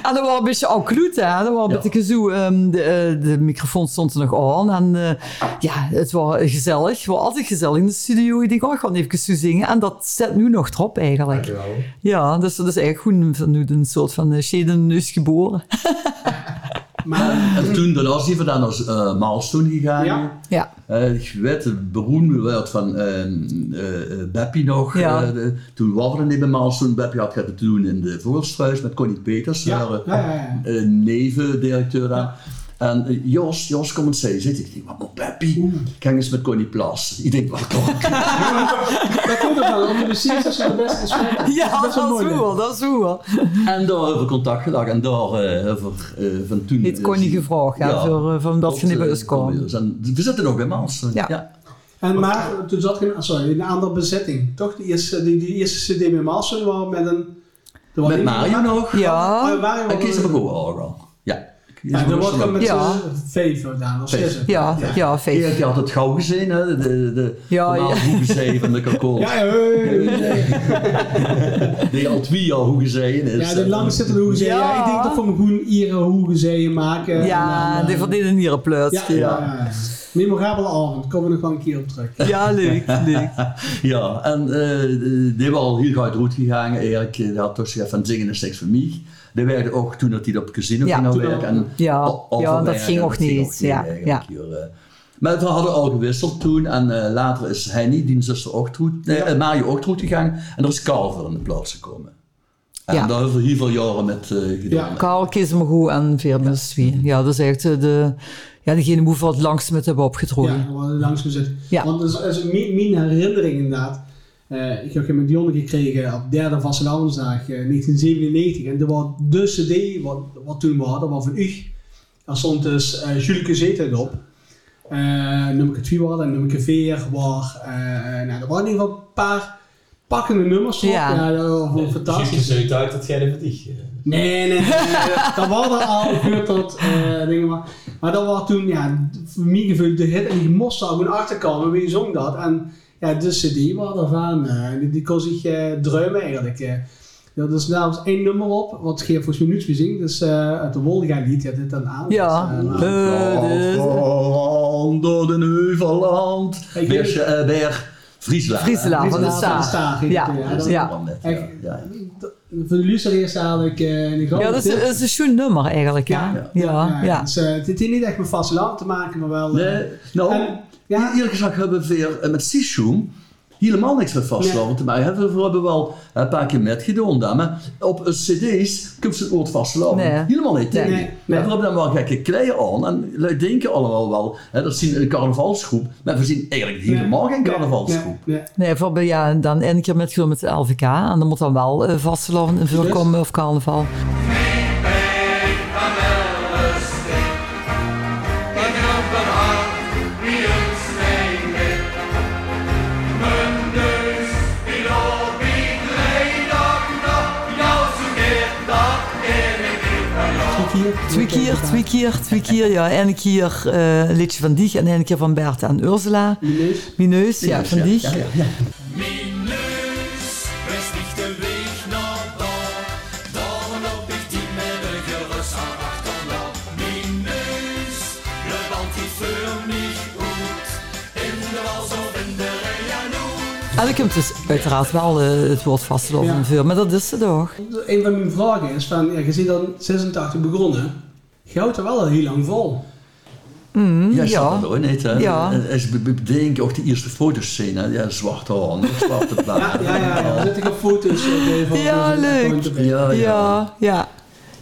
S6: en dat was een beetje al kloet, hè. Dat was een
S5: Ja.
S6: beetje zo. ehm, de, eh, de microfoon stond er nog aan. En eh, ja, het was gezellig. Het was altijd gezellig in de studio. Ik dacht, oh, ik ga even zo zingen. En dat zet nu nog erop eigenlijk.
S3: Dankjewel.
S6: Ja, dus dat is eigenlijk goed. Van nu een soort van eh, Shaden is geboren.
S4: Maar
S5: En toen daarna zijn we dan als eh milestone gegaan.
S4: Ja.
S6: Ja.
S5: Eh, ik weet, de beroemde werd van eh eh, eh, Beppie nog.
S6: Ja.
S5: eh, de- toen was er niet bij milestone. Beppie had het doen in de Voorstruis met Connie Peters.
S4: Ja,
S5: daar, eh,
S4: ja, ja, ja.
S5: eh, nevendirecteur aan. En eh, Jos, Jos komt en zei, zit ik denk, wat moet Beppie? Kijk eens met Connie Plas. Ik denk, wat toch?
S4: dat komt er wel. Onder de Sisters is het beste gesprek.
S6: Ja, dat is
S4: wel mooi,
S6: hoe
S4: hè?
S6: wel, dat is hoe wel.
S5: en daar hebben we contact gedaan. En daar eh, hebben we eh, van toen...
S6: Dit kon niet gevraagd, ja, voor, eh, van dat je niet bij ons kwam.
S5: En we zitten nog bij milestone.
S6: Ja.
S4: En maar toen zat geen, sorry, een andere bezetting. Toch? Die eerste, die, die eerste CD met Malsen was met een... er was
S5: Met
S4: iemand-
S5: Mario nog.
S4: Oh,
S6: Ja,
S4: er waren
S5: En
S4: wel-
S5: kies hem ook al. Ja.
S4: Ja, dan wordt dan met z'n
S6: Ja.
S4: eh, vijf gedaan, of
S5: Vijf.
S4: zes.
S6: ja, ja,
S5: Erik
S6: feest.
S5: had het gauw gezien, hè? De, de, de
S6: Ja,
S5: normaal
S6: ja.
S5: hoegezee van de kakao.
S4: Ja, hey.
S5: Die al twee jaar hoegezee is.
S4: ja, de langzittende hoezeeën.
S6: Ja.
S4: Ja. ik denk dat we hem gewoon Ieren hoezeeën maken. eh,
S6: Ja, die verdienen hier
S4: ja,
S6: een plaats.
S4: ja.
S6: Ja,
S4: ja. Memorabele avond, komen we nog wel een keer op terug.
S6: ja leuk, leuk.
S5: Ja, en eh die was al heel goed roet gegaan. Erik eh, die had toch gezegd van zingen is niks voor mij. Die werkte ook toen dat hij op het casino
S6: Ja.
S5: ging gaan
S4: Toen al.
S5: werken. En
S6: Ja.
S5: al-
S6: Ja,
S5: al-
S6: dat ging ook niet, ja,
S5: eigenlijk, joh, eh. Maar we hadden al gewisseld toen en eh, later is dus Henny, die zuster, ook roet, nee, eh, Mario ook roet gegaan. En er is Carl voor in de plaats gekomen. En
S6: Ja.
S5: daar hebben we heel veel jaren met eh, gedaan.
S6: Karel Kismego en Veermes Wie. Ja, dat is echt eh, de, ja, degene die we het langst met hebben opgetrokken.
S4: Ja, we hadden langs gezet.
S6: Ja.
S4: Want dat is, dat is mijn, mijn herinnering inderdaad. Eh, ik heb met Dionne gekregen op derde vaste avondsdag 1997. En dat was de cd wat, wat toen we hadden, was van u. Daar stond dus eh Julke Zeetheid op. Eh nummer 2 was en nummer 4 was. eh nou, er waren in ieder geval een paar pakkende nummers op.
S6: Ja.
S4: Ja, dat was
S3: Zieke
S4: fantastisch.
S3: zeut uit dat jij de eh, verdicht.
S4: Nee, nee, nee. nee. dat was er al gebeurd tot eh, dingen. Maar, maar dat was toen, ja, voor mij gevuld de hit. En die moest daar gewoon achterkomen. Wie zong dat? En ja, de cd was ervan. eh, die, die kon zich eh druimen eigenlijk. eh. Ja, dus daar was één nummer op, wat Geert volgens mij niets meer zingt. Dus eh uit de Wolga lied, ja, dit en aan.
S6: Ja.
S4: Dus, eh, nou,
S6: Eh, de-
S5: Land, door de Heuvelland.
S4: Ik
S5: Berg,
S4: weet-
S5: eh, Berg Friesland.
S6: Friesland,
S5: hè?
S6: van de
S4: Friesland, van de Staag,
S6: Staag. Ja,
S4: ja, dat is
S6: ja.
S5: allemaal net,
S4: echt-
S5: ja, ja.
S4: dat- voor de luisteraars eigenlijk eh een grote
S6: ja, dat is,
S4: tip.
S6: dat is een schoon nummer eigenlijk. Ja, ja. ja,
S4: Dus, eh, het heeft niet echt met vaste land te maken, maar wel... eh,
S5: Nee, nou,
S4: En-
S5: ja. eerlijk gezegd hebben we weer, eh, met Sishoem helemaal niks met vastlopen te maken. Hebben we- We hebben wel een paar keer met gedaan, daar, maar op eh, cd's kun je het woord vastlopen.
S6: Nee.
S5: Helemaal niet tegen.
S4: Nee, nee.
S5: Maar we hebben dan wel gekke klei aan en wij denken allemaal wel, hè, dat zien een carnavalsgroep, maar we zien eigenlijk helemaal geen carnavalsgroep.
S4: Nee, nee.
S6: Nee, voor, ja, en dan één keer met, gewoon met de LVK. En dan moet dan wel eh vastgelopen in voorkomen of carnaval.
S4: Twee keer.
S6: Twee keer, twee keer, twee keer. Ja, één keer eh Liedje van Dieg en één keer van Bert en Ursula.
S4: Mineus.
S6: Mineus, ja, van Dieg.
S5: Ja, ja, ja.
S7: Minus, wees nicht de weg naar daar. Daarom loop ik die met de gerust aan achterna. Minus, de band die voor mich goed. In de wals of in de nou. Rejanoe.
S6: En ik heb dus uiteraard wel eh, het woord vastgelopen
S4: Ja.
S6: in veel, maar dat is ze toch?
S4: Een van mijn vragen is van, ja, je ziet dan 86 begonnen. Je houdt er wel al heel lang vol.
S5: Ja,
S6: Mm, Ja.
S5: ja. dat ook niet. Hè. Eh,
S6: Ja.
S5: En als we bedenken ook de eerste foto's zien, hè. ja, zwarte handen, zwarte
S4: Ja,
S5: bladen.
S4: ja, ja. ja. Dan zet ik op foto's. eh, van-
S6: Ja,
S4: van-
S6: leuk.
S4: van- van-
S5: Oh, Ja,
S6: Ja, ja.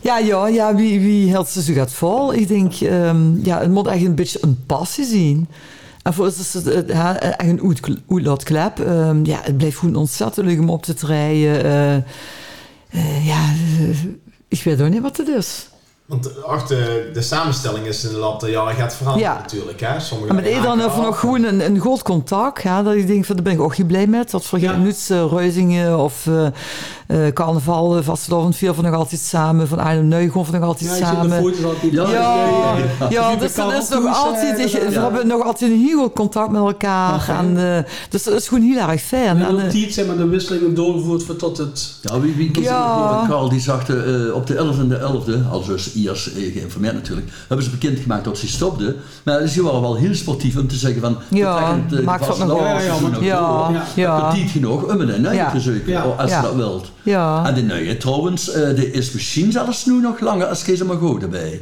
S6: Ja, ja, ja, wie, wie hield ze zo gaat vol? Ik denk, ehm, ja, het moet echt een beetje een passie zien. En voor ons is het eh, ja, echt een oet- oetlaatklep. Ehm ja, het blijft gewoon ontzettend leuk om op te treden. eh. Eh, ja, eh, ik weet ook niet wat het is.
S3: Want ach, de, de samenstelling is in de loop der jaren gaat veranderen
S6: Ja.
S3: natuurlijk. Hè? Sommige
S6: En met
S3: dingen
S6: iedereen
S3: haken
S6: hebben we
S3: af.
S6: nog gewoon een, een goed contact. Ja, dat ik denk, van, daar ben ik ook heel blij met. Dat vergeet
S4: Ja.
S6: niets, eh, Reuzingen of eh eh Carnaval, eh, Vastelovend Vier van nog altijd samen. Van Arnhem Neugon van nog altijd
S4: Ja, ik zit op
S6: samen.
S4: de foto's altijd.
S5: Ja.
S6: Ja, ja,
S4: Ja.
S6: dus
S4: Ja.
S6: dat is nog
S4: Ja.
S6: altijd, ik- we
S4: eh, Ja.
S6: hebben nog altijd een heel goed contact met elkaar.
S4: Ja.
S6: En, eh, dus dat is gewoon heel erg fijn. En,
S4: En dan
S6: eh,
S4: tiet zeg maar de wisseling doorgevoerd voor tot het...
S5: Ja, wie, wie kiest
S6: Ja.
S5: er voor? Karl die zag de, eh, op de 11e en de 11e, als dus IAS eh, geïnformeerd natuurlijk, hebben ze bekendgemaakt dat ze stopten. Maar ze waren wel heel sportief om te zeggen van...
S6: Ja,
S5: eh,
S6: maakt het nog
S4: wel. Ja, ja,
S5: Ja,
S4: maar-
S6: ja,
S4: Ja.
S6: ja,
S5: Petit genoeg om een nieuwe
S6: Ja.
S5: te zoeken,
S4: Ja.
S5: als
S6: Ja.
S5: je dat wilt.
S6: ja.
S5: En de nieuwe trouwens, eh, die is misschien zelfs nu nog langer als Kees maar goed erbij.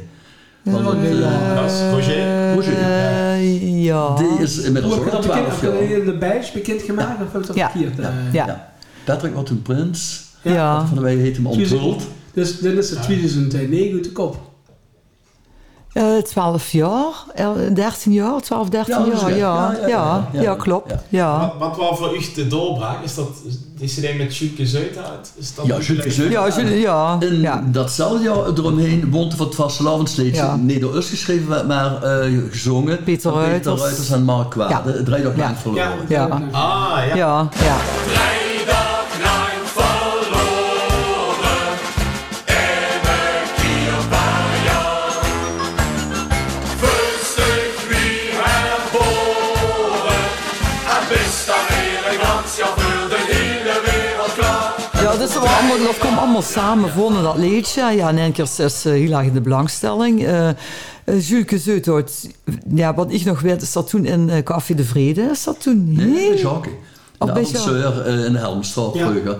S5: Want, eh,
S3: Dat is Roger.
S5: hoe zeg je?
S6: Eh, ja.
S5: Die is inmiddels
S4: Wordt
S5: ook
S4: dat
S5: al
S4: bekend,
S5: 12
S4: heb
S5: jaar.
S4: je de badge bekendgemaakt of heb je dat
S6: Ja.
S4: verkeerd? eh?
S6: Ja.
S5: Ja. Patrick wordt een prins.
S6: Ja.
S5: Van de wij heet hem onthuld.
S4: Dus dan is het 2009 uit de kop.
S6: Eh, 12 jaar, eh, 13 jaar, 12, 13
S5: Ja, dat is
S6: jaar,
S5: gek.
S6: ja. Ja,
S5: Ja, ja, ja, ja.
S6: klopt. Ja.
S5: Ja.
S6: Ja.
S3: Wat, wat wel voor u de doorbraak is dat die CD met Sjoeke Zeut uit? Is dat
S5: Ja, Jules Zeun.
S6: je- ja,
S5: In
S6: ja.
S5: datzelfde jaar eromheen woont van het vastelavond steeds.
S6: Ja.
S5: Nee, door ons geschreven, maar- maar eh, gezongen.
S6: Peter
S5: Van
S6: Ruiters.
S5: Ruiters en Mark Kwade.
S6: Ja.
S5: Het draait ook
S6: Ja.
S5: lang verloren.
S4: Ja.
S6: Ja.
S3: Ah, ja.
S6: Ja, ja.
S7: Vrijdag naam verloren. En een keer baja. Verstuk wie herboren. En best dan weer een glans, ja, voor de hele wereld klaar.
S6: Ja, dus we allemaal, dat kwam allemaal samen vonden dat liedje. Ja, in één keer is eh, heel erg in de belangstelling. Eh eh, Juleke Zeuthout, ja, wat ik nog weet, is dat toen in eh, Café de Vrede. Is dat toen
S5: Nee,
S6: heel...
S5: dat is hockey.
S6: Oh,
S5: De
S6: bij Jacques.
S5: Amsteur eh, in de Helmstraat.
S4: Ja.
S5: vroeger.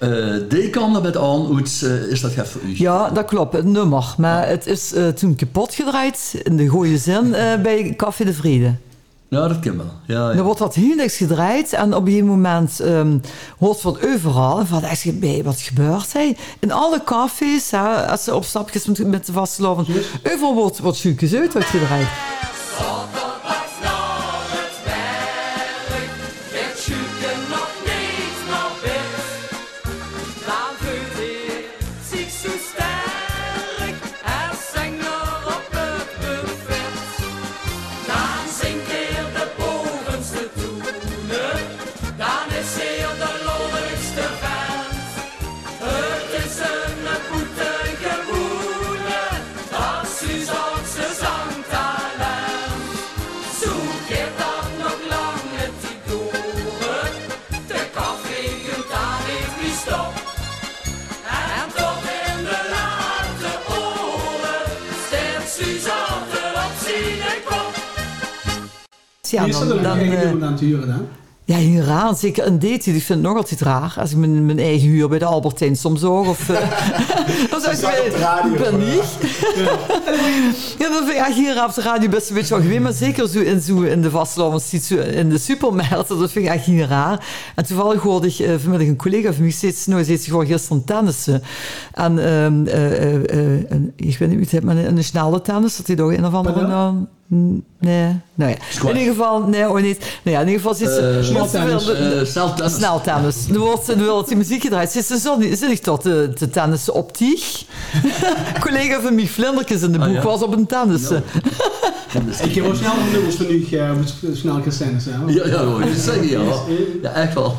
S5: Eh, die kwam er met aan, hoe het, eh, is dat gek voor u?
S6: Ja, dat klopt, het nummer. Maar het is eh, toen kapot gedraaid, in de goede zin, eh, bij Café de Vrede.
S5: Ja, dat kan wel. Ja,
S6: Dan
S5: ja.
S6: wordt dat heel niks gedraaid. En op een gegeven moment ehm, hoort van overal. En Van, ik zeg, "Bij, wat gebeurt hij? In alle cafés, hè, als ze op stapjes met, met de vastlopen. Overal wordt, wordt Sjoeke Zeut wordt gedraaid. Ja,
S4: Is dat
S6: dan,
S4: een
S6: dan,
S4: eigen
S6: eh,
S4: nummer aan het huren dan?
S6: ja, hier raar. Zeker een date. Ik vind het nog altijd raar. Als ik mijn, mijn eigen huur bij de Albertijn soms hoor. Of, eh, of als
S3: zag op de radio,
S6: ben
S3: eh,
S6: ik. Ja, dat vind ik echt hier op de radio best een beetje ongeweer. Maar zeker zo in, zo in de vastlanders, ziet zo in de supermarkten. Dat vind ik echt heel raar. En toevallig hoorde ik eh, vanmiddag een collega van mij steeds nooit steeds gewoon gisteren tennissen. En ehm, eh, eh, eh, een- ik weet niet hoe het heet, maar een nationale tennis. Dat hij toch een of andere
S4: Padel?
S6: naam... N- Nee, nou ja.
S5: Squash.
S6: In ieder geval, nee, oh niet. Nou ja, in ieder geval zit ze...
S5: Eh,
S4: sneltennis.
S6: ze-
S5: Eh, snel tennis.
S6: Snel tennis. Er wordt, er wordt die muziek gedraaid. Zit ze zo- zit ik tot de, de tennissen op Tieg. collega van mij, Vlinderkens in de
S5: Ah,
S6: boek,
S5: ja.
S6: was op een tennissen.
S4: Ik heb wel snel de nummers van u eh, moet snel gaan stemmen. hè, want-
S5: Ja, ja, hoor, dat zeg je ja. Ja, echt wel.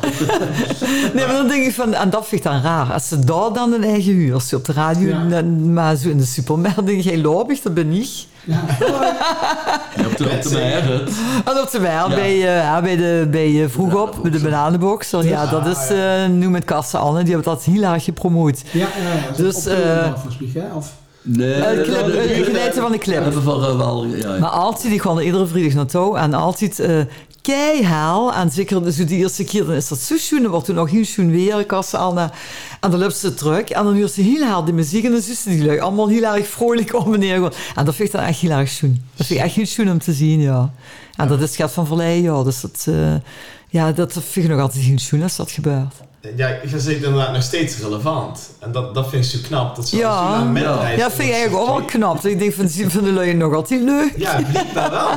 S6: Nee, maar dan denk ik van, en dat vind ik dan raar. Als ze daar dan een eigen huur als ze op de radio,
S4: Ja.
S6: dan- maar zo in de supermarkt, denk ik, lobig, dat ben ik.
S4: Ja.
S5: Ja, op de, op de meijer, hè.
S6: En op de wel,
S5: Ja.
S6: bij, eh, ja, bij de bij eh, vroeg op, bij de bananenboxer. Ja, dat is eh nu met Kassa Anne, die hebben dat heel erg gepromoot.
S4: Ja, ja, ja.
S6: Dus,
S4: Op de
S6: eh,
S4: dag, volgens mij, hè? Of,
S5: Nee,
S6: Eh,
S5: dat-
S6: clip,
S5: dat-
S6: eh,
S5: dat-
S6: geleidte van de clip.
S5: Hebben van eh, wel, ja.
S6: Maar altijd, ik kwam er iedere vrijdag naartoe en altijd eh keihaal. En zeker dus de eerste keer, dan is dat zo schoen. Dan wordt toen nog heel schoen weer, Kassa Anne. En dan loopt ze terug en dan huurt ze heel hard de muziek. En dan zitten die lui allemaal heel erg vrolijk om en neer. gewoon. En dat vind ik dan echt heel erg schoen. Dat vind ik echt heel schoen om te zien, ja. En dat is Gert van Verleij, ja. Dus dat, eh, ja, dat vind ik nog altijd heel schoen als dat gebeurt.
S3: Ja, je zit inderdaad nog steeds relevant. En dat, dat vind ik zo knap. Dat ze
S6: Ja.
S3: als je naar een middenreis-
S6: Ja, dat vind ik eigenlijk ook wel knap. Ik denk van, die vinden de lui nog altijd leuk.
S3: Ja, blijkbaar wel.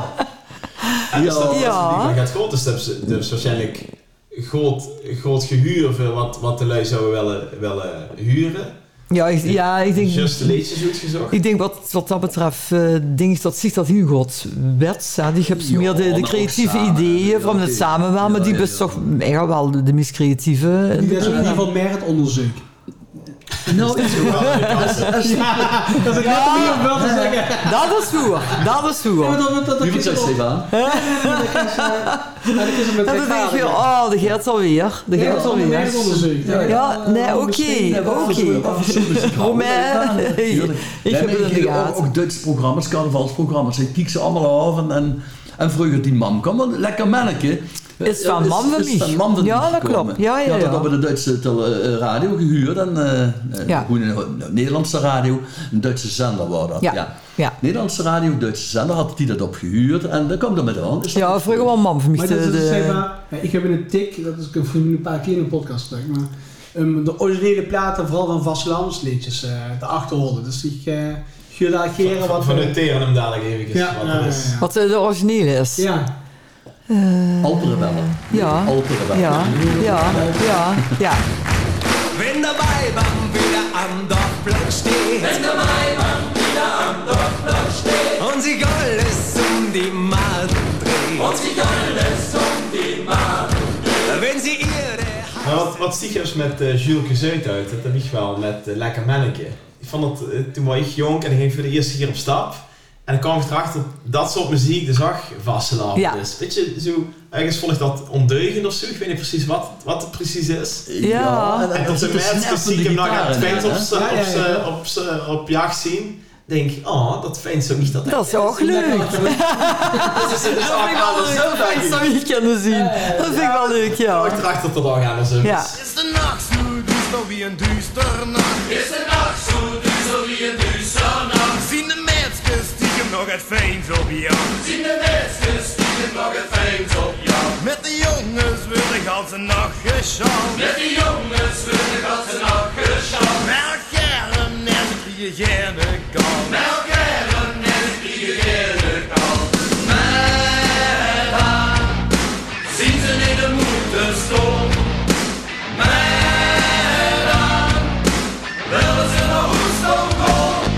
S3: En dus dat, als het
S6: Ja.
S3: blijkbaar gaat groot, is dat dus waarschijnlijk groot, groot gehuur voor wat, wat de lui zouden willen, willen huren.
S6: Ja, ik, ja, ik denk...
S3: Just de leedjes goed gezocht.
S6: Ik denk wat, wat dat betreft, eh denk ik dat zich dat heel goed wet. hè. Die hebt
S5: Ja,
S6: meer de, de
S5: maar ook
S6: creatieve
S5: samen,
S6: ideeën
S5: ja,
S6: van het
S5: oké.
S6: samen wel, maar
S5: Ja,
S6: die
S5: ja,
S6: best
S5: ja.
S6: toch eigenlijk wel de, de meest creatieve.
S4: die is ook niet van meer het onderzoek.
S5: Nou,
S4: Dat is ik net om hier wel te zeggen.
S6: Dat is hoe, dat is hoe.
S4: Ja, maar dat- dat- dat-
S5: je moet
S4: dat-
S5: zeggen, Stefan.
S4: Ja, dat is het met
S6: En dan denk je, oh, de Geert alweer, de Geert alweer.
S4: onderzoek. Ja,
S6: Ja,
S5: Oh,
S6: nee, oké, oké. Romain, ik heb het in de gaten.
S5: Ook Duitse programma's, carnavalsprogramma's. Ik kijk ze allemaal af en, en, en vroeger die man kwam wel lekker manneke.
S6: Is van man van
S5: is
S6: mij.
S5: van man van
S6: Ja,
S5: mij
S6: dat
S5: gekomen.
S6: klopt. Ja, ja,
S5: Die had
S6: ja.
S5: dat op de Duitse tele- eh, radio gehuurd. En, eh, eh,
S6: Ja.
S5: Hoe een, een Nederlandse radio, een Duitse zender was dat.
S6: Ja,
S5: ja.
S6: ja.
S5: Nederlandse radio, Duitse zender, had die dat op gehuurd. En dan kwam dat met aan. Is dat-
S6: Ja, vroeger wel man van mij.
S4: Maar dat
S6: de-
S4: is dus zeg
S6: de-
S4: maar, ja, ik heb in een tik, dat is ik heb voor een paar keer in een podcast terug, maar ehm, de originele platen, vooral van vastelandsliedjes, eh de achterholen. Dus ik eh gulageren wat...
S3: Van noteren hem dadelijk even
S4: ja,
S3: wat
S4: ja,
S3: dat
S4: ja,
S3: is.
S4: ja.
S6: Wat eh, de originele is.
S4: Ja,
S5: Alperen wel.
S6: Ja.
S5: Alperen wel.
S6: ja, ja, ja. ja.
S7: Wenn der Maibaum wieder am Dorfplatz steht. Wenn der Maibaum wieder am Dorfplatz steht. Und sich alles um die Maden dreht. Und sich alles um die Maden dreht. Wenn sie ihre
S3: Maar wat, wat stiek is met eh Jules Gezeut uit, dat heb ik wel met eh, Lekker Manneke. Ik vond het, eh, toen was ik jong en ik ging voor de eerste keer op stap. En dan kwam ik erachter dat soort muziek de zag vastelaan
S6: Ja.
S3: is. Weet je, zo, ergens vond ik dat ondeugend of zo. Ik weet niet precies wat, wat het precies is.
S6: Ja.
S5: en dan
S3: En dat de
S5: zitten
S3: mensen
S5: snappende
S3: stiekem nog aan
S5: gitaren
S3: het feit
S5: in,
S3: nou op
S5: hè.
S3: ze-
S4: Ja, ja,
S3: op ze-
S4: ja.
S3: op ze- op jacht zien. Denk ik, oh, dat fijn zo niet dat
S6: Dat is ook leuk.
S3: Dat is het is
S6: Dat vind ik wel
S3: allemaal
S6: leuk.
S3: zo
S6: Dat
S3: fijn.
S6: vind ik zo niet kunnen zien. Dat vind ik wel leuk,
S3: Ik kwam
S6: ja.
S3: ik erachter dat dat aan zo
S6: Ja.
S3: is.
S7: Is de nacht zo duister wie een duister nacht? Is de nacht zo duister wie een duister nacht? Zien de mensen stiekem nog het fijn zo bejaan? Zien de mensen stiekem ik nog het eens op jou.
S8: Met de jongens wil ik als een nacht geschaald.
S7: Met die jongens wil ik als een afgeschaft.
S8: Elk jaar een nest die je gerne kan.
S7: Met elkaar een mens die je leren kan. Met haar zien ze in de moederstorm. Met haar willen ze naar Hoestoom komen.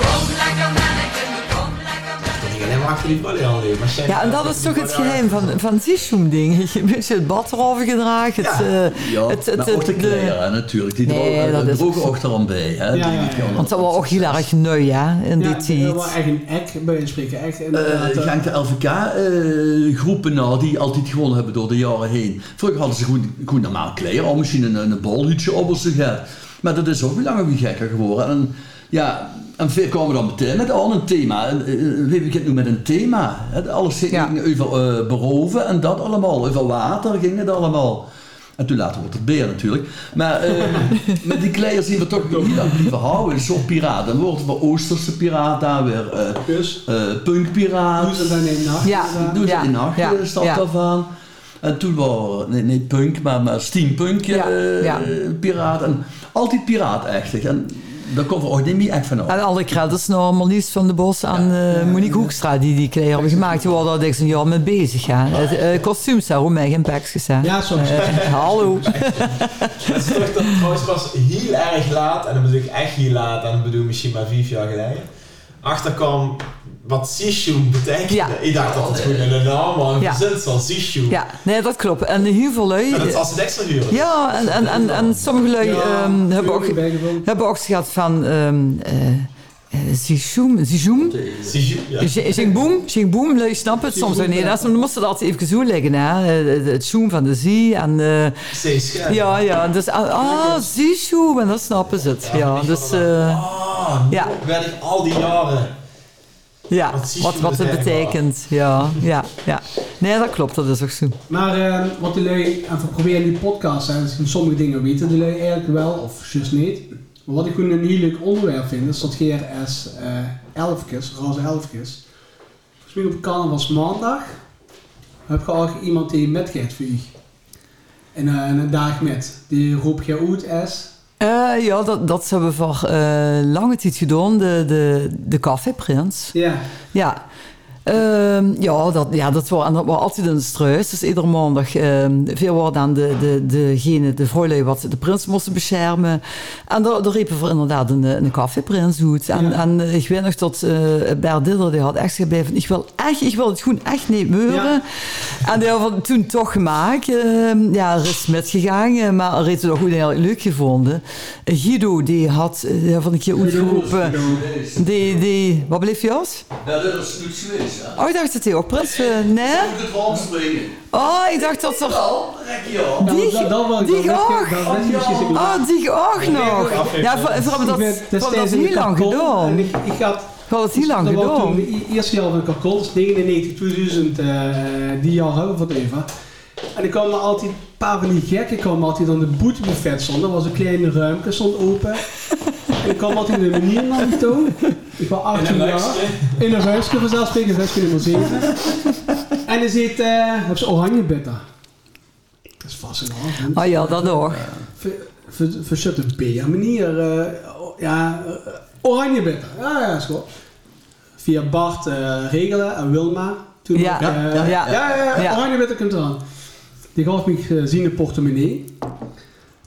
S7: Kom lekker manneke, kom lekker manneke.
S3: Ik alleen maar achter die body aan liggen, maar Sam-
S6: Ja, en dat was toch het geheim van, van Zishoem-ding. Je moet je het bad erover gedragen. Het, eh,
S5: Ja,
S6: het, het,
S5: maar ook de
S6: de-
S5: kleren natuurlijk. Die
S6: Nee,
S5: drogen,
S6: dat
S5: dat
S6: is
S5: droegen
S6: ook zo.
S5: ook eraan bij. Hè?
S4: Ja,
S5: Die-
S4: ja,
S5: die
S4: ja.
S5: kan-
S6: Want dat was ook heel erg neu, ja, in die
S4: Ja,
S6: tijd.
S4: dat was echt een ek bij een spreken. Echt inderdaad.
S5: Eh,
S4: eh,
S5: gang de LVK-groepen nou, die altijd gewonnen hebben door de jaren heen. Vroeger hadden ze goed, goed normaal kleren, al misschien een, een bolhutje op of zo gehad. Maar dat is ook weer langer weer gekker geworden. En, ja, en veel komen dan meteen met al een thema. Eh, eh, We begint nu met een thema. hè. Alles ging
S6: Ja.
S5: over eh, beroven en dat allemaal. Over water ging het allemaal. En toen later wordt het beer natuurlijk. Maar eh, met die kleren zien we toch nog niet aan blijven houden. Zo'n piraat. Dan worden we Oosterse piraat daar weer. eh,
S4: Dus,
S5: eh, punkpiraat.
S4: hoe ze dan in de nacht.
S6: Ja.
S4: inderdaad.
S5: Doe ze
S6: Ja,
S5: in de nacht,
S6: ja,
S5: eh, stapt
S6: ja.
S5: daarvan. En toen waren, nee, niet punk, maar, maar steampunk eh,
S6: Ja, ja.
S5: piraat. En altijd piraat echt. En daar komen we ook niet meer echt van af.
S6: En alle credits nou maar liefst van de Bos aan eh, Monique Hoekstra die die kleren hebben gemaakt. Die waren daar echt een jaar mee bezig. Ja. Het, eh, kostuums daar, hoe mij geen pakjes. hè.
S4: Ja, soms.
S6: Eh, hallo.
S3: Dat is dus toch dat trouwens pas heel erg laat, en dan bedoel ik echt heel laat, en dan bedoel ik misschien maar vijf jaar geleden, achterkwam wat Sishu betekende.
S6: Ja.
S3: Ik dacht dat het gewoon een naam was, een
S6: Ja.
S3: verzinsel, Sishu.
S6: Ja, nee, dat klopt. En heel veel lui...
S3: En dat was het extra duur.
S6: Ja, en, en, en, en sommige lui
S4: Ja,
S6: ehm, hebben, ook,
S4: bijgevonden.
S6: hebben ook gehad van... ehm eh eh, Zizoom, Zizoom,
S3: Sishu, ja.
S6: Zing- Zing boom, zing boom, lui snapt het soms. Nee, dat is- dan moesten dat altijd even zo leggen. Hè. Eh, Het- Het zoom van de zee en... eh,
S3: Steeds scherp.
S6: Ja, ja, dus, ah, ah Zishoe, en dan snappen ze het. Ja, dus, eh,
S3: Ah, nu
S6: ja.
S3: werd ik al die jaren.
S6: eh, ja,
S3: wat Zishoe
S6: wat, wat het betekent. Ja, ja, ja. Nee, dat klopt, dat is ook zo.
S4: Maar eh, wat de lui, en we proberen in die podcast, hè, dus sommige dingen weten de lui eigenlijk wel, of juist niet. Maar wat ik gewoon een heel leuk onderwerp vind, is dat GRS eh elfjes, ras elfjes. Volgens mij op carnavals maandag heb je al iemand die metgeeft voor je. En eh, een dag met. Die roept je uit S.
S6: Eh, ja, dat, dat hebben we voor eh, lange tijd gedaan, de, de, de caféprins.
S4: Ja.
S6: Ja. Ehm, ja, dat, ja, dat was, en dat was altijd een struis. Dus iedere maandag ehm, veel worden aan de, de, degene, de vrouwlui, wat de prins moesten beschermen. En daar, daar riepen we inderdaad een, eh, een koffieprins uit. En, en eh, ik weet nog dat eh Bert Diller, die had echt gezegd van, ik wil, echt, ik wil het groen echt niet meuren. En die hebben we toen toch gemaakt. Ehm, ja, er is metgegaan, eh, maar er heeft het ook goed heel leuk gevonden. Eh, Guido, die had, eh, die had van een eh, keer uitgeroepen.
S5: dus-
S6: Die, die, wat bleef je uit?
S5: Ja, dat is niet geweest.
S6: Oh, ik dacht dat hij ook prins was. Nee?
S5: het warm springen.
S6: Oh, ik dacht dat er...
S5: Al, rek je op.
S6: Die,
S4: dat, dat wel.
S6: die
S4: dat
S6: ook?
S4: Dat is precies een
S6: Oh, die ook nog. Ja, voor, voor hebben dat,
S4: Ik ben
S6: voor hebben dat
S4: destijds in de
S6: heel lang
S4: kapel en
S6: gedaan.
S4: Ik, ik had
S6: Voor dat heel lang
S4: Dus Dat was toen
S6: gedaan.
S4: de i- eerste jaar van Kakol, dus 99, 2000, eh, die jaar hebben we van Eva. E En er kwamen altijd, een paar van die gekken kwamen altijd aan de boetebuffet stonden. Er was een kleine ruimte, stond open. en ik kwam altijd een manier naar me toe. Ik was 18 jaar. In een ruisje vanzelfsprekend, ruisje nummer 7. en er zit, eh heb ze oranje bitter. Dat is vast een hand.
S6: Oh ja, dat ook.
S4: Verschutte B. Meneer, eh, o- ja, eh, oranje bitter. Ja, ja, is goed. Via Bart eh, Regelen en Wilma. Toen
S6: Ja,
S4: ook, eh,
S6: ja, ja.
S4: ja, ja,
S6: Ja.
S4: oranje bitter komt eraan. Die gaf me gezien de portemonnee.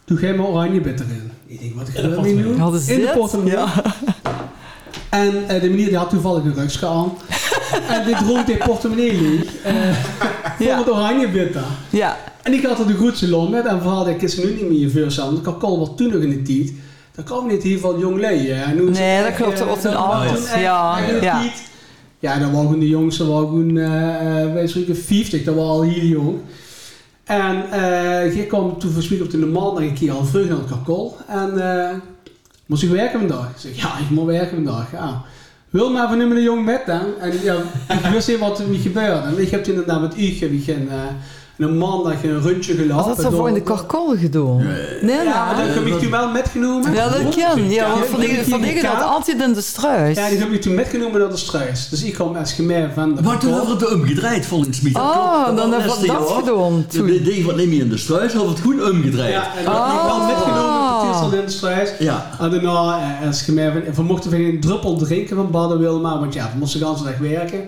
S4: Doe jij maar oranje bitter in. Ik denk, wat ga ik daarmee doen?
S6: Hadden ze
S4: in de
S6: dit?
S4: portemonnee. En eh, de meneer die had toevallig een rugske aan. en die droeg die portemonnee leeg. eh, voor
S6: Ja.
S4: het oranje bitter.
S6: Ja,
S4: En ik had er de goed salon met en verhaalde ik is nu niet meer veel want Ik had al wat toen nog in de tijd. Dat kwam niet hier van jong leien.
S6: Nee, dat klopt,
S4: eh,
S6: dat was een anders. Ja, ja.
S4: Ja, ja dat was gewoon de jongste, dat was gewoon, eh eh, wij spreken 50, dat was al heel jong. En eh ik kwam toen voor spreken op de normaal dan een keer al vroeg naar het kakol. En eh, moest ik werken vandaag? Ik zeg, ja, ik moet werken vandaag. Ja. Wil maar van nummer een jong met dan. En ja, ik wist niet wat er me gebeurde. En ik heb toen inderdaad met u begin. eh, En op maandag een rondje
S6: Was
S4: gelopen.
S6: dat zo voor in de
S4: door-
S6: karkolle gedaan? Nee,
S4: Ja, maar
S6: nou.
S4: dat heb ik toen wel metgenomen.
S6: Ja, dat kan. Ja, want
S4: Ja,
S6: van die-
S4: die-
S6: van
S4: die
S6: die dat
S4: kaart.
S6: altijd in de struis.
S4: Ja, die heb ik toen metgenomen naar de struis. Dus ik kwam als gemeer van de
S5: Maar Eh, toen
S4: karkolle.
S5: hebben we het omgedraaid volgens mij.
S6: Oh, dan hebben we dat gedaan toen.
S5: De deed wat neem je in de struis, hadden we het goed omgedraaid.
S4: Ja,
S5: Ja.
S4: en dat heb ik wel
S6: Oh.
S4: metgenomen op de Tiersel in de struis.
S5: Ja.
S4: En daarna, eh, als je mij, van- we mochten we geen druppel drinken van Baden Wilma, want ja, we moesten de hele dag werken.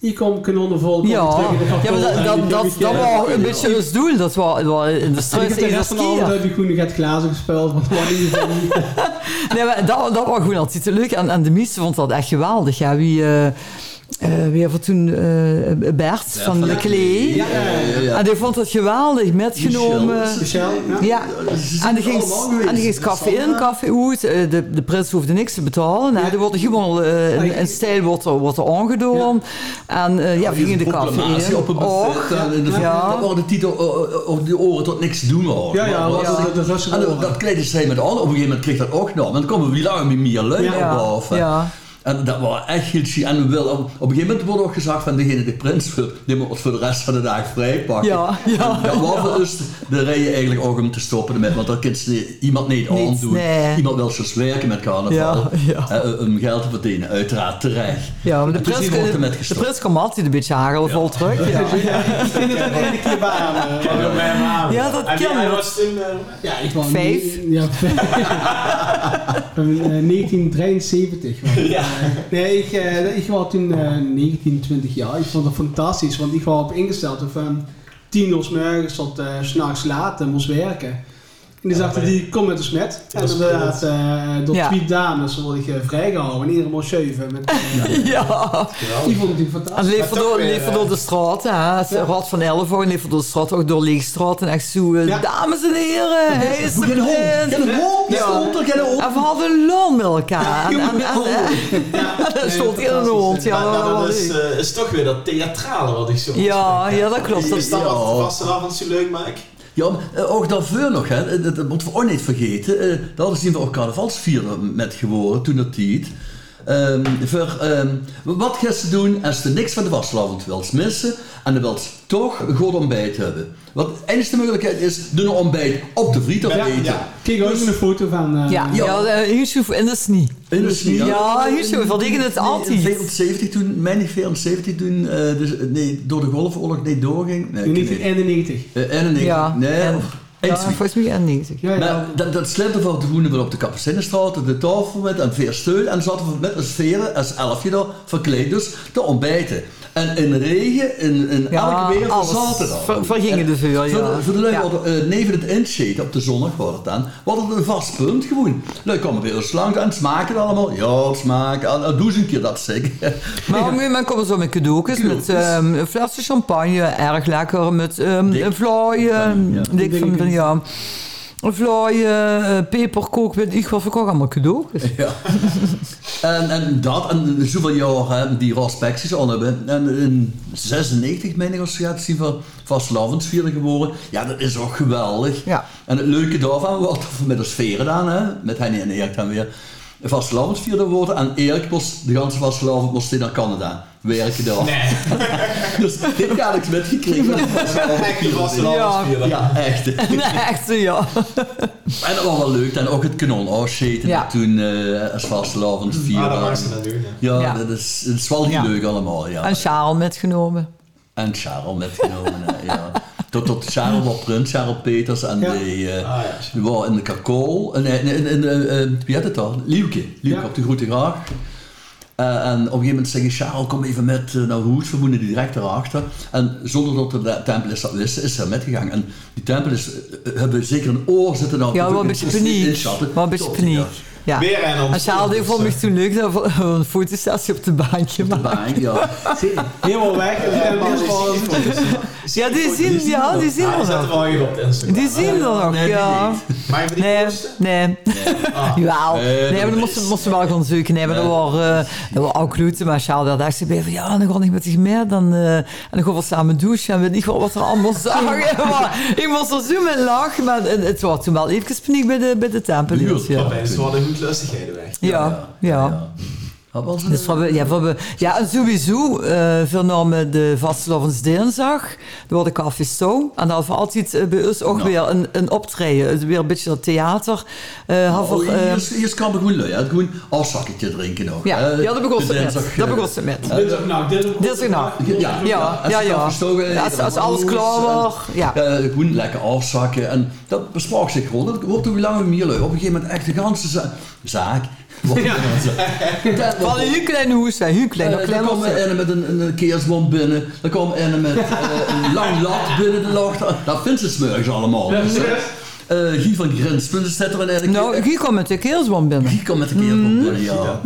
S4: Ik kwam kanonnen vol, kwam
S6: Ja,
S4: terug in de
S6: ja maar dat,
S4: kapel en
S6: dat,
S4: ik heb
S6: dat,
S4: ik,
S6: dat
S4: eh,
S6: was een beetje ons doel. Dat was in de
S4: en ik
S6: struis
S4: heb de
S6: in de
S4: rest van de avond
S6: skier.
S4: uit die groene gaat glazen gespeeld, want we hadden in ieder geval niet-
S6: Nee, maar dat, dat was gewoon altijd leuk. En, en de meeste vond dat echt geweldig. Ja, wie, eh eh, wie hebben we toen? eh, Bert van de Klee.
S4: Ja, ja, ja.
S5: ja.
S6: En die vond dat geweldig, metgenomen.
S4: Michel, ja.
S6: Ja, en die ging,
S5: allemaal geweest.
S6: en die ging café in, café uit. Eh, De, de prins hoefde niks te betalen. Nou, er wordt gewoon eh, een, een stijl wordt er, wordt er aangedaan. En eh, ja, we gingen de café in.
S5: Proclamatie op een
S6: Och,
S5: buffet. en de
S6: Ja.
S5: Dat waren de titel eh, over de oren tot niks doen hoor.
S4: Ja, ja,
S5: Maar-
S4: wat
S5: maar-
S4: de- de Russen
S5: En
S4: oren.
S5: dat kleedde zij met allen. Op een gegeven moment kreeg dat ook nog. En dan komen we weer lang met Mia Leun
S4: Ja.
S5: op boven.
S6: ja.
S5: En dat was echt heel chic. En we wilden, op een gegeven moment wordt ook gezegd van degene die prins wil, die moet ons voor de rest van de dag vrij pakken.
S6: Ja, ja.
S5: Dat was wel eens de reden eigenlijk ook om te stoppen met, want dat kan ze niet- iemand niet
S6: Niet,
S5: aandoen.
S6: nee.
S5: Iemand wil zelfs werken met carnaval.
S6: Ja, ja.
S5: Eh, om geld te verdienen, uiteraard terecht.
S6: Ja, maar de
S5: En toen
S6: prins,
S5: zijn we ook ermee
S6: de
S5: gestopt.
S6: prins kwam altijd een beetje hagelvol terug. Ja.
S4: Ik vind het een ene keer baan.
S3: Ja, dat bij hem aan.
S6: Ja, dat
S3: En die-
S6: kan.
S3: Hij was toen... eh,
S4: Ja, ik was
S6: Vijf.
S4: Ja, vijf. Van, eh, 1973. was het.
S3: ja.
S4: Nee, ik, eh, ik was toen eh 19, 20 jaar. Ik vond het fantastisch, want ik was op ingesteld of van 10 uur 's morgens tot eh, 's s'nachts laat en moest werken. En die dachten,
S3: maar-
S4: die kom met de smet. En
S3: is
S4: inderdaad, eh, door
S6: Ja.
S4: twee dames word ik eh, vrijgehouden. En iedereen moest zeven. Met, eh,
S6: ja.
S4: Die vond ik natuurlijk
S6: En
S4: fantastisch.
S6: leven
S3: Maar toch
S6: door,
S3: weer,
S6: leven
S3: eh,
S6: door de straten, hè. Het Rad van Elvo, leven door de straat, ook door Leegstraat en echt zo. eh,
S4: Ja.
S6: Dames en heren, hij is de
S5: Geen hond,
S6: prins.
S5: geen hond, geen
S6: Ja.
S5: hond, geen hond.
S6: En we hadden lol met elkaar. En, en, en, er stond in een hond, ja.
S3: Maar, maar
S6: wel
S3: dat
S6: leuk.
S3: is, eh, is toch weer dat theatrale wat ik zo...
S6: ja, ja, dat klopt. Dat
S3: Is dat
S5: Ja.
S3: wat de vaste avond zo leuk maakt?
S5: Ja, maar, eh, ook daarvoor nog, hè, eh, dat, dat moeten we ook niet vergeten. eh, dat hadden we ook carnavalsvierder met geworden toen dat tijd. Ehm, voor, ehm, wat gaan ze doen als ze niks van de waslavond wilt missen en dan wilt ze toch een goed ontbijt hebben? Want de enige mogelijkheid is, doen een ontbijt op de friet
S4: Ja,
S5: eten.
S3: ja.
S4: Kijk ook een foto van... eh,
S6: ja,
S5: ja.
S6: ja. eh, hier zo in de snie.
S5: In de sneeuw.
S6: Ja, hier zo, van dingen het
S5: Nee,
S6: altijd.
S5: In 74 toen, mijn 74 toen, eh, dus, eh, nee, door de golfoorlog niet doorging. Nee,
S4: in
S5: nee.
S4: 1991.
S5: Eh, en een
S6: Ja.
S5: nee,
S6: en,
S5: of-
S6: ja,
S5: en zoiets.
S6: volgens mij en 90.
S4: Ja, ja.
S5: Maar dat, dat slipte van de groene weer op de Kapucijnenstraat, de tafel met en veel steun. En zaten we met een sfeer, als elfje daar, verkleed dus, te ontbijten. En in regen, in, in
S6: Ja,
S5: elke weer,
S6: alles.
S5: zaten we
S6: Ver- vergingen
S5: En
S6: de vuur, ja.
S5: Voor de, voor de lui
S6: Ja.
S5: hadden, eh, neven het inshade op de zondag wordt het dan, wat het een vast punt gewoon. Lui komen bij ons langs en smaken allemaal. Ja, het smaken. En, en doe eens een keer dat zeg.
S6: Maar op een gegeven moment komen ze met cadeautjes, met ehm, een flesje champagne, erg lekker, met ehm
S5: Dik.
S6: een vlooi, ehm,
S5: Ja.
S6: dik van, van ja, een vlooi, eh, eh, peperkoek, weet ik wat, ik ook allemaal cadeautjes.
S5: Ja. en, en dat, en zoveel jaar hè, die respecties al hebben. En in 96, mijn associatie van vastlavensvieren geworden. Ja, dat is ook geweldig.
S6: Ja.
S5: En het leuke daarvan wordt dat we met de sfeer gedaan, hè, met Henny en Erik dan weer. Vastlavensvierder worden en Erik moest de ganse vastelavond moest hij naar Canada werken daar.
S3: Nee.
S5: Dus dit ga ik met gekregen.
S3: Echt die vaste
S6: Ja.
S3: avond spelen.
S5: Ja, echt.
S6: Nee, echt, ja.
S5: En dat was wel leuk. En ook het kanon afscheten
S6: Ja.
S5: toen eh als vastelavondvierder.
S3: Maar Ah, dat mag ze dan doen, hè.
S5: Ja,
S6: Ja.
S5: Dat, is, dat is wel heel
S6: Ja.
S5: leuk allemaal, ja.
S6: En Charles metgenomen.
S5: En Charles metgenomen, hè, ja. Tot, tot Charles wat prins, Charles Peters en
S4: Ja.
S5: die, eh
S3: Ah, ja.
S5: die waren in de Kakol. Nee, nee, in, in, eh, eh, wie had het dan? Lieuwke. Lieuwke
S4: Ja.
S5: op de Grote Graag. Eh, en op een gegeven moment zeggen Charles, kom even met eh, naar Hoes, we moeten direct erachter. En zonder dat de da- tempel is dat wist, is hij metgegaan. En die tempel is, eh, hebben zeker een oor zitten aan.
S6: Ja, wel een beetje paniek. Wel een beetje paniek. Ja.
S3: Weer en ons.
S6: En Charles die vond me toen leuk dat we een fotosessie op de bankje maken.
S5: Bang, ja.
S4: Helemaal weg. En
S3: Ja,
S4: dan
S3: maar
S4: is
S3: die
S4: het al-
S3: zie je voor-
S6: Ja, die zien, ja, die zien
S3: Ja,
S6: er
S3: die zetten
S6: nog.
S3: we al hier op de Instagram.
S6: Die zien er nog,
S5: Nee, die
S6: ja.
S5: niet.
S3: Maar even die
S6: Nee,
S3: posten?
S6: nee. Jawel.
S5: Nee,
S6: Nee,
S5: dat
S6: maar dan moesten we moesten we wel gaan zoeken. Nee, maar dat waren, eh, dat waren ook kloten. Maar Charles daar dacht ze bij van, ja, dan ga ik met die meer. Dan, eh, en dan gaan we samen douchen. En weet ik wat, wat er allemaal zagen. Maar ik moest er zo mee lachen. Maar het, het was toen wel even paniek bij de, bij de tempel.
S5: Duur,
S6: Ja,
S5: ja.
S6: ja,
S3: Opeens worden goed lustigheden weg.
S6: ja.
S5: ja. Had wel zo'n-
S6: Dus we, hebben- ja, we, hebben- ja, en sowieso eh vernomen de Vastelovens Dinsdag door de Café Stoom. En dan voor altijd eh, bij ons ook weer een, een optreden. Het is Weer een beetje dat theater. eh had voor,
S5: Oh,
S6: eh,
S5: eerst, eerst kan ik gewoon lui, hè. gewoon afzakketje Oh, drinken nog.
S6: ja,
S5: hè.
S6: ja, dat begon ze
S5: Eh, De
S6: met.
S5: dinsdag,
S6: Dat
S5: eh,
S6: begon ze met.
S4: Dinsdagnacht.
S6: Dinsdagnacht.
S5: Ja,
S6: Ja,
S5: Als
S6: ja,
S5: het
S6: ja.
S5: al verstoken is,
S6: Ja, als-
S5: dan
S6: als alles
S5: wordt-
S6: klaar was, ja.
S5: eh, gewoon lekker afzakken. En dat bespaart zich gewoon. Dat wordt hoe lang meer leuk. Op een gegeven moment echt de ganse za- zaak. Ja. Dat
S6: Van
S5: wordt-
S6: een heel klein hoes, hè, heel klein,
S5: eh,
S6: nog klein
S5: dan
S6: hoes.
S5: kwam er met een, een keersbom binnen. Dan kwam er met eh, een lang lat binnen de locht. Dat vindt ze smurgs allemaal. Dus, eh, eh, Guy van Grins, zet er een
S6: Nou, hier komt met de keelswam binnen.
S5: Guy kwam met de keersbom binnen, ja.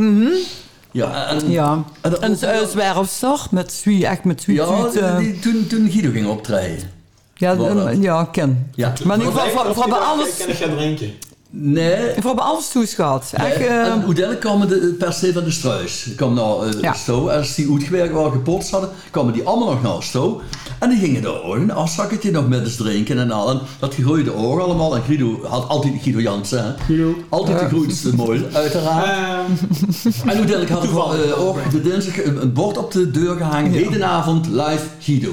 S5: Ja, en,
S6: Ja.
S5: en dat-
S6: Eh, En ze zwerfster met zwie, echt met zwie.
S5: ja,
S6: zwiet, eh,
S5: die- toen, toen Guido ging optreden.
S6: ja,
S5: was
S6: eh,
S5: dat.
S6: ja, ken.
S5: Ja.
S6: Maar in ieder geval, we hebben alles,
S3: Ik kan gaan drinken.
S5: Nee,
S6: we hebben alles toeschat. Echt, eh,
S5: en uiteindelijk kwamen de, per se van de struis. Die kwam nou eh
S6: Ja.
S5: Sto. Als die uitgewerkt waren gepotst hadden, kwamen die allemaal nog naar Sto. En die gingen daar ook een afzakketje nog met eens drinken en al. En dat groeide oor allemaal. En Guido had altijd Guido Jansen. hè. Altijd de grootste mooi, uiteraard. En uiteindelijk had ik wel, eh, ook de dinsdag een, een bord op de deur gehangen. Hedenavond live Guido.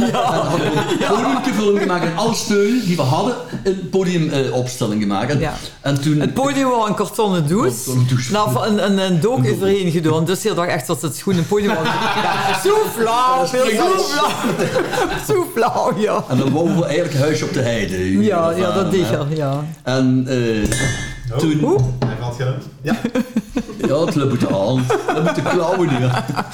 S5: En dan hadden we een podiumgevulling gemaakt en alle steun die we hadden, een podiumopstelling gemaakt. En,
S6: Ja.
S5: en toen...
S6: Het podium was een kartonnen douche.
S5: Kartonnen douche.
S6: Nou, van een, een, een dook is erheen gedaan. Dus heel dacht echt dat het schoenen podium was. Ja, zo flauw, zo flauw. Zo flauw, ja.
S5: En dan wonen we eigenlijk huis op de heide.
S6: Ja, ja, dat deed je, ja.
S5: En eh,
S3: Oh.
S5: toen...
S3: Hij valt gedaan. Ja.
S5: Ja, het loopt de hand. Dat moet de klauwen nu.
S4: We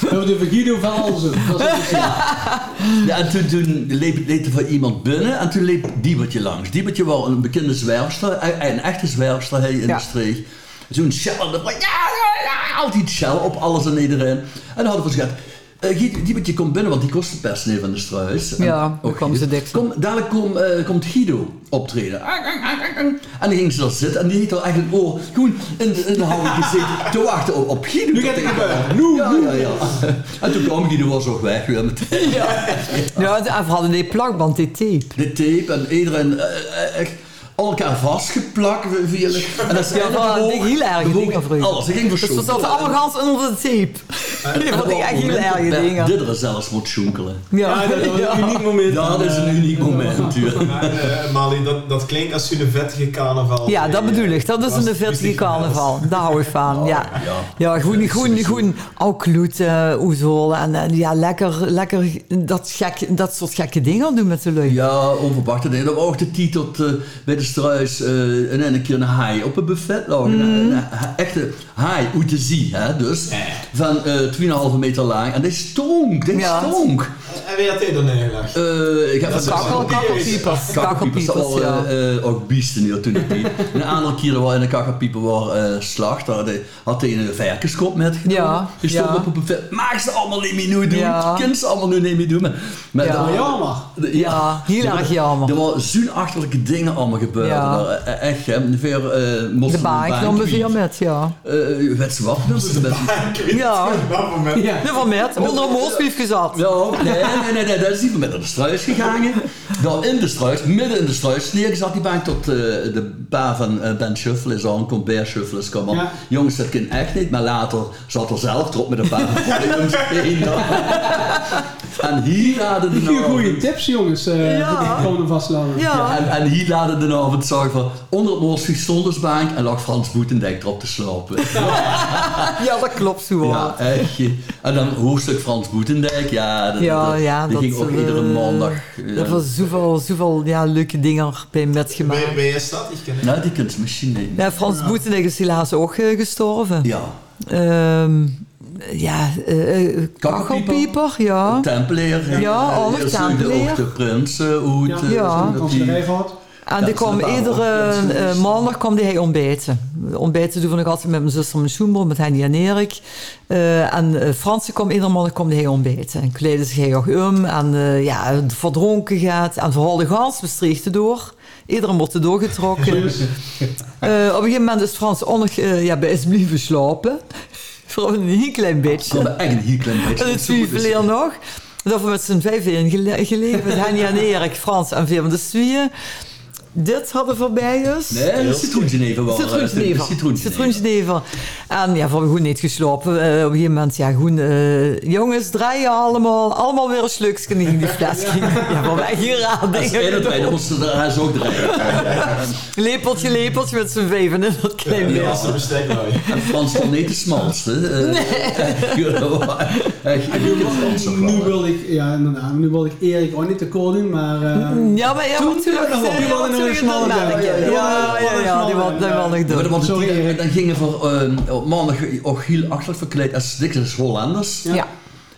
S4: hebben de Vergido van Alzen. Dat is het.
S5: Ja, en toen, toen leep, leed er van iemand binnen en toen leep Diebertje langs. Diebertje was een bekende zwerfster, e- een echte zwerfster hey, in
S6: Ja.
S5: de streek. Zo'n shell, en dat was- ja, ja, ja, altijd shell op alles en iedereen. En dan hadden we gezegd, eh, Giet- Diebertje komt binnen, want die kost de pers niet van de struis. En
S6: Ja,
S5: ook
S6: dan kwam
S5: Guido.
S6: ze dik.
S5: Kom, dadelijk kom, eh, komt Guido optreden. En dan ging ze daar zitten en die heeft al eigenlijk oh, gewoon in de, in de houding gezeten te wachten op, op Guido. Nu
S3: gaat het gebeuren.
S5: Nu, ja, ja, ja. En toen kwam Guido was ook weg weer meteen.
S6: Ja, en we hadden die plakband, die tape.
S5: de tape en iedereen eh, eh, echt al elkaar vastgeplakt. we- we- En dat is
S6: Ja,
S5: eigenlijk
S6: dat
S5: bewogen-
S6: ging heel erg
S5: bewogen-
S6: dingen vroeger.
S5: Alles, ik ging
S6: Dus we
S5: verschonkelen.
S6: zaten allemaal gans onder de tape. Dat vond ik echt heel erg dingen.
S5: Dit er zelfs moet sjonkelen.
S6: Ja, ja.
S3: uniek moment.
S5: Dat is een uniek moment. ja.
S3: eh, Mali, dat, dat klinkt als een vettige carnaval.
S6: Ja, dat bedoel ik. Dat is
S3: Was-
S6: een vettige carnaval. Daar hou ik van. Ja,
S5: Oh, ja.
S6: ja
S5: Ja,
S6: gewoon, gewoon,
S5: sowieso.
S6: gewoon ook kloeten, oezel. En, en ja, lekker, lekker dat, gek, dat soort gekke dingen doen met de lui.
S5: Ja, onverwachte dingen. Dat we ook de titel eh, bij de struis eh, en een keer een haai op een buffet lagen.
S6: Mhm.
S5: Een, een echte haai, hoe te zien, hè, dus. Van eh 2,5 meter lang. En dit stonk, dit
S6: Ja.
S5: stonk.
S3: En wie had hij dan ingelegd?
S5: Eh, ik heb het
S6: Kakkel, kakkelpiepers.
S5: Kakkelpiepers, dat
S6: Kakkelpiepers,
S5: was
S6: ja.
S5: eh, eh, ook biesten heel toen ik deed. Een aantal keren waar in een kakkelpieper waar eh, slacht, daar had hij- had hij een varkenskop met genomen.
S6: Ja,
S5: Die stond
S6: ja.
S5: op een buffet. Maak ze allemaal niet meer nu doen.
S6: Ja.
S5: Kind ze allemaal nu niet meer doen. Maar, maar
S6: Ja.
S5: er-
S4: Jammer.
S5: de-
S6: Ja, heel
S5: er-
S6: erg jammer.
S5: Er waren zo'n achterlijke dingen allemaal gebeurd.
S6: Ja.
S5: Er waren, eh, Echt, hè. Ongeveer, eh, moesten
S6: De
S5: we
S6: baai
S5: een
S6: nam er
S5: kwijt.
S6: veel met, ja.
S5: Eh, weet ze wat? Moesten we een baan
S6: Ja,
S4: Ja.
S6: er van met. Onder een moordbrief gezet.
S5: ja, nee, nee, nee, nee, dat is niet meer naar de struis gegaan. Dan in de struis, midden in de struis, neergezet die bank tot eh, de pa van eh, Ben Shuffle is aan, komt Bear Shuffle is komen.
S4: Ja.
S5: Jongens, dat kan echt niet, maar later zat er zelf erop met een paar van de jongens heen. En hier hadden de
S4: Vier
S5: nou-
S4: goede tips, jongens. eh
S6: Ja.
S4: Voor de komende vastlagen.
S5: Ja,
S6: Ja.
S5: en, en hier laden de avond zorgen van onder het Moorsvliet Zondersbank en lag Frans Boetendijk erop te slapen.
S6: ja, dat klopt zo wel.
S5: Ja, echt. eh. En dan hoofdstuk Frans Boetendijk, ja, dat,
S6: Ja,
S5: dat-
S6: ja,
S5: die
S6: dat,
S5: ging ook
S6: eh,
S5: iedere maandag. eh,
S6: Er was zoveel, zoveel ja, leuke dingen bij met
S3: Bij,
S6: gemaakt.
S3: bij je stad, ik ken het.
S5: Nou, die kunt ze misschien nemen. Ja.
S6: Ja, Frans Boetenegg is helaas ook eh, gestorven. Ehm, ja, eh, eh, kakkelpieper, ja.
S5: Tempelier.
S6: Ja,
S5: eh,
S6: alle
S5: eerst
S6: Tempelier.
S5: Ook de prins eh, uit.
S4: Ja.
S5: eh,
S6: Ja.
S5: zo dat
S4: Als
S5: die-
S4: je er even had.
S6: En die
S5: is
S6: kwam
S5: een baan,
S6: iedere
S5: hoor. Dat is
S6: eh,
S5: een-
S6: maandag kwam die hij ontbijten. Ontbijten doen we nog altijd met mijn zuster mijn schoenbroer, met Henny en Erik. Eh, en eh, Fransen kwam iedere maandag kwam die hij ontbijten. En kleedde zich hij ook om en eh, ja, verdronken gaat. En vooral de gans, we streegden door. Iedereen wordt er doorgetrokken. Eh, op een gegeven moment is Frans onnig, eh, ja, bij is blijven slapen. Voor een heel klein beetje.
S5: Ze hadden echt een heel klein beetje. dus-
S6: En het
S5: Zo goed is
S6: zwieverleer nog. Dat we met z'n vijf in gele- gelegen. Met Henny en Erik, Frans en Veer van de Zwieën. dit hadden voorbij is.
S5: Nee, dat is citroengenever wel. eh,
S6: Citroensnevel. Citroensnevel. En ja, voor goed niet geslopen. Eh, op een gegeven moment, ja, goed. eh, jongens, draaien allemaal. Allemaal weer een slukje in die fles. Ja, voor mij hier aan.
S5: Dat is
S6: dingen
S5: het bij
S6: doen.
S5: ons de huis ook draaien.
S6: Lepeltje, lepeltje met z'n vijven in dat klein
S5: Ja.
S3: Die
S6: beeld.
S3: was de besteklooi.
S5: En Frans van niet de smalste. eh?
S4: Nu
S5: Nee.
S4: wilde ik, ja inderdaad, nu wilde ik Erik ook niet te kool doen, maar... eh,
S6: Ja, maar ja, moet je
S4: nog wel. Die wilde nog een smalle
S6: Ja,
S4: bel. Ja, ja,
S6: ja,
S4: ja,
S6: ja, ja, die
S4: ja.
S6: wil die wil ik
S5: Maar
S6: doen.
S5: want
S4: Sorry,
S5: die,
S4: Erik.
S5: dan gingen voor eh, op maandag ook heel achterlijk verkleed als dikkers Hollanders.
S6: Ja.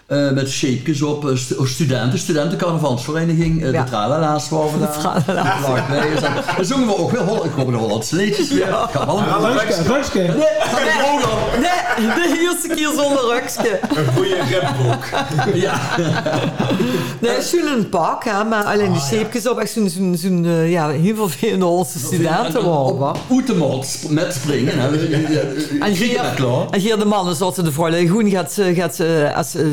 S5: Eh, met shapejes op, eh, stu- studenten, studentencarnavalsvereniging, eh,
S6: Ja.
S5: de tralala's waren we daar.
S6: De tralala's.
S5: Dat lag bij. Dan zongen we ook weer Holland, ik hoop de Hollandse liedjes weer. Ja. Ga wel een
S4: Rutske, Rutske.
S6: Nee, nee, de eerste keer zonder rukske.
S3: Een goede rapboek.
S5: Ja.
S6: Nee, het is een pak, hè, maar alleen
S3: Ah,
S6: die zeepjes op. Echt zo'n, zo'n, zo'n eh, ja, heel vervelende Hollandse studenten waren. hoor.
S5: Oetemot sp- met springen. hè.
S6: En
S5: Grieken
S6: hier,
S5: daar klaar.
S6: en hier de mannen zaten de vrouwen. Groen gaat, eh, gaat eh, als eh,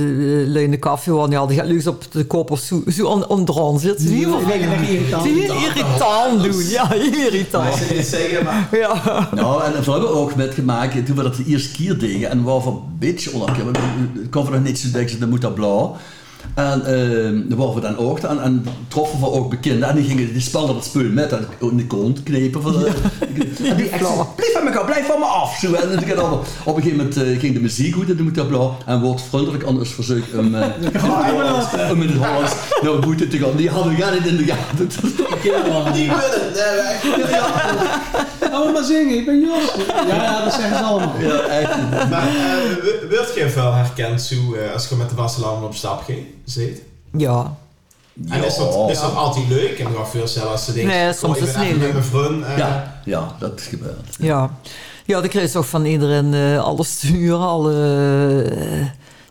S6: lui in de koffie wonen, ja, die gaat leuk op de kop of zo, zo on, onderaan zitten. Die heel,
S4: Ik denk dat ik irritant
S6: die heel irritant doen. Ja, heel
S3: Maar ik
S6: irritant.
S3: zou niet zeggen, maar...
S6: Ja.
S5: Nou, en we hebben we ook met gemaakt, toen we dat de eerste keer deden, en waarvan een beetje onafhankelijk, want ik kon van nog niets denken, dan moet dat blauw. En ehm dan waren we dan ook, en, en troffen we ook bekenden, en die gingen, die spelden dat spul met, en in de kont knepen. Van, eh, en die echt zo, blijf van me, blijf van me af. Zo, en, ik had al- op een gegeven moment eh, ging de muziek goed, en dan moet dat blauw, en wordt vriendelijk, anders verzoek hem, eh, om in het Hollands naar boete te gaan. Die hadden we gar niet in de gaten.
S3: Die willen, nee, wij-
S4: Laten we Oh, maar zingen, ik ben Jos. Ja, ja, dat zeggen ze allemaal.
S5: Ja, echt.
S3: Maar eh, werd je wel herkend, Sue, eh, als je met de Wasselam op stap ging, zit?
S6: ja.
S3: En is dat, is dat altijd leuk? En nog veel zelfs als ze denken,
S6: Nee,
S3: oh,
S6: soms
S3: ik
S6: is
S3: ben
S6: het
S3: echt met
S6: niet
S3: mijn vriend. eh,
S5: Ja, ja, dat is gebeurd.
S6: Ja, ja dan kreeg je toch van iedereen eh, alle sturen, alle... eh,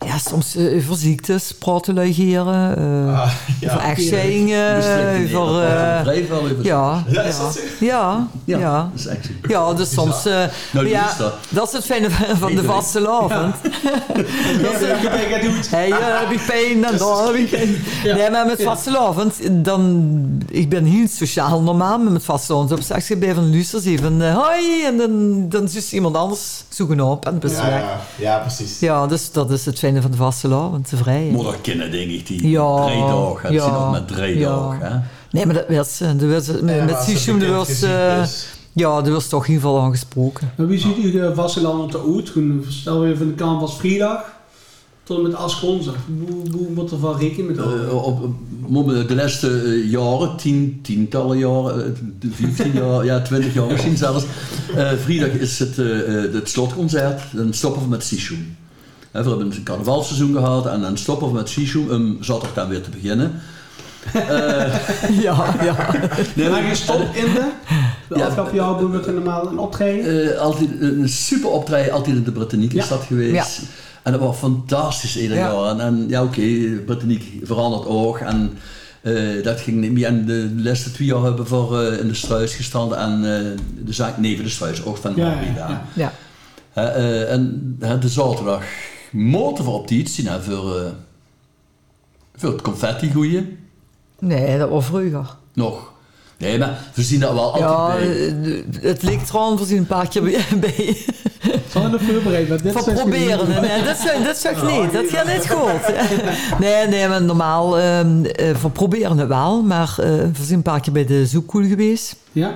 S6: ja, soms eh, over ziektes, praten, legeren, eh
S3: ah, ja.
S6: over echtscheidingen,
S5: Beslist in
S6: over...
S5: ieder geval.
S6: eh,
S5: Dat bleef wel even.
S6: ja,
S3: Ja,
S6: ja,
S3: is dat
S6: ja,
S3: zo?
S6: ja,
S5: Ja,
S6: ja.
S5: dat is echt zo.
S6: dus soms... eh,
S5: Nou, die
S6: ja,
S5: is dat.
S6: dat is het fijne van van de
S5: Iedereen.
S6: vaste avond.
S4: Dat is een beetje doet.
S6: Hey, eh, wie pijn en daar heb ik pijn. Nee, maar met vastelavond, dan, ik ben heel sociaal normaal, maar met vastelavond op straks bij van Lucers even eh, hoi, en dan, dan is iemand anders zoeken op en best
S3: Ja,
S6: weg.
S3: ja, ja, precies.
S6: Ja, dus dat is het fijne van de vastelavond, te vrij.
S5: Moet dat kennen, denk ik, die
S6: Ja,
S5: drie dagen. Dat
S6: ja,
S5: zit nog met drie
S6: ja.
S5: dagen. Hè?
S6: Nee, maar dat werd ze, dat werd ze-
S3: Ja, maar
S6: met
S3: als dat
S6: Sissoum, dat
S3: bekend
S6: was,
S3: gezien
S6: eh,
S3: is.
S6: ja, dat was toch in ieder geval aangesproken.
S4: Maar wie ziet u eh, de Vasteland op de oud? Toen Stel weer van de kant was vrijdag tot en met asgronzig. Hoe, hoe moet er van rekenen met dat?
S5: Eh, op, op- momen- de laatste eh, jaren, tien, tientallen jaren, eh, de 15 jaar, ja, 20 jaar misschien zelfs. eh, vrijdag is het, eh, eh, het slotconcert. Dan stoppen we met Sishoen. Hè, we hebben een carnavalseizoen gehad en dan stoppen we met Sishoen om zaterdag dan weer te beginnen.
S6: Ja, ja.
S5: Nee,
S4: Maar je stopt in de, de
S5: Ja.
S4: afgelopen jaar doen we het normaal een optreden.
S5: eh, altijd een super optreden, altijd in de Britanniek
S4: Ja.
S5: is dat geweest.
S6: Ja.
S5: En dat was fantastisch ieder
S6: Ja.
S5: jaar. En, en ja, oké, Britanniek verandert ook. En eh, dat ging niet meer. En de laatste twee jaar hebben we voor, eh, in de struis gestaan. En eh, de zaak neven de struis, ook van
S4: Ja, ja,
S5: Harry daar.
S4: ja.
S6: ja.
S5: Hè, eh, en hè, de zaterdag motor voor op die iets zien, hè, voor, eh, voor het confetti goeien.
S6: Nee, dat was vroeger.
S5: Nog. Nee, maar we zien dat wel altijd
S6: Ja,
S5: bij.
S6: eh, het leek trouwens voorzien een paar keer bij- bij.
S4: Zal je nog voorbereiden? want dit
S6: Van
S4: zijn
S6: proberen.
S4: jullie-
S6: hè. Nee, dat, zou- dat zou ik niet. Dat gaat niet goed. Nee, nee, maar normaal ehm eh, van proberen het wel. Maar eh, we zijn een paar keer bij de zoekkoel geweest.
S4: Ja.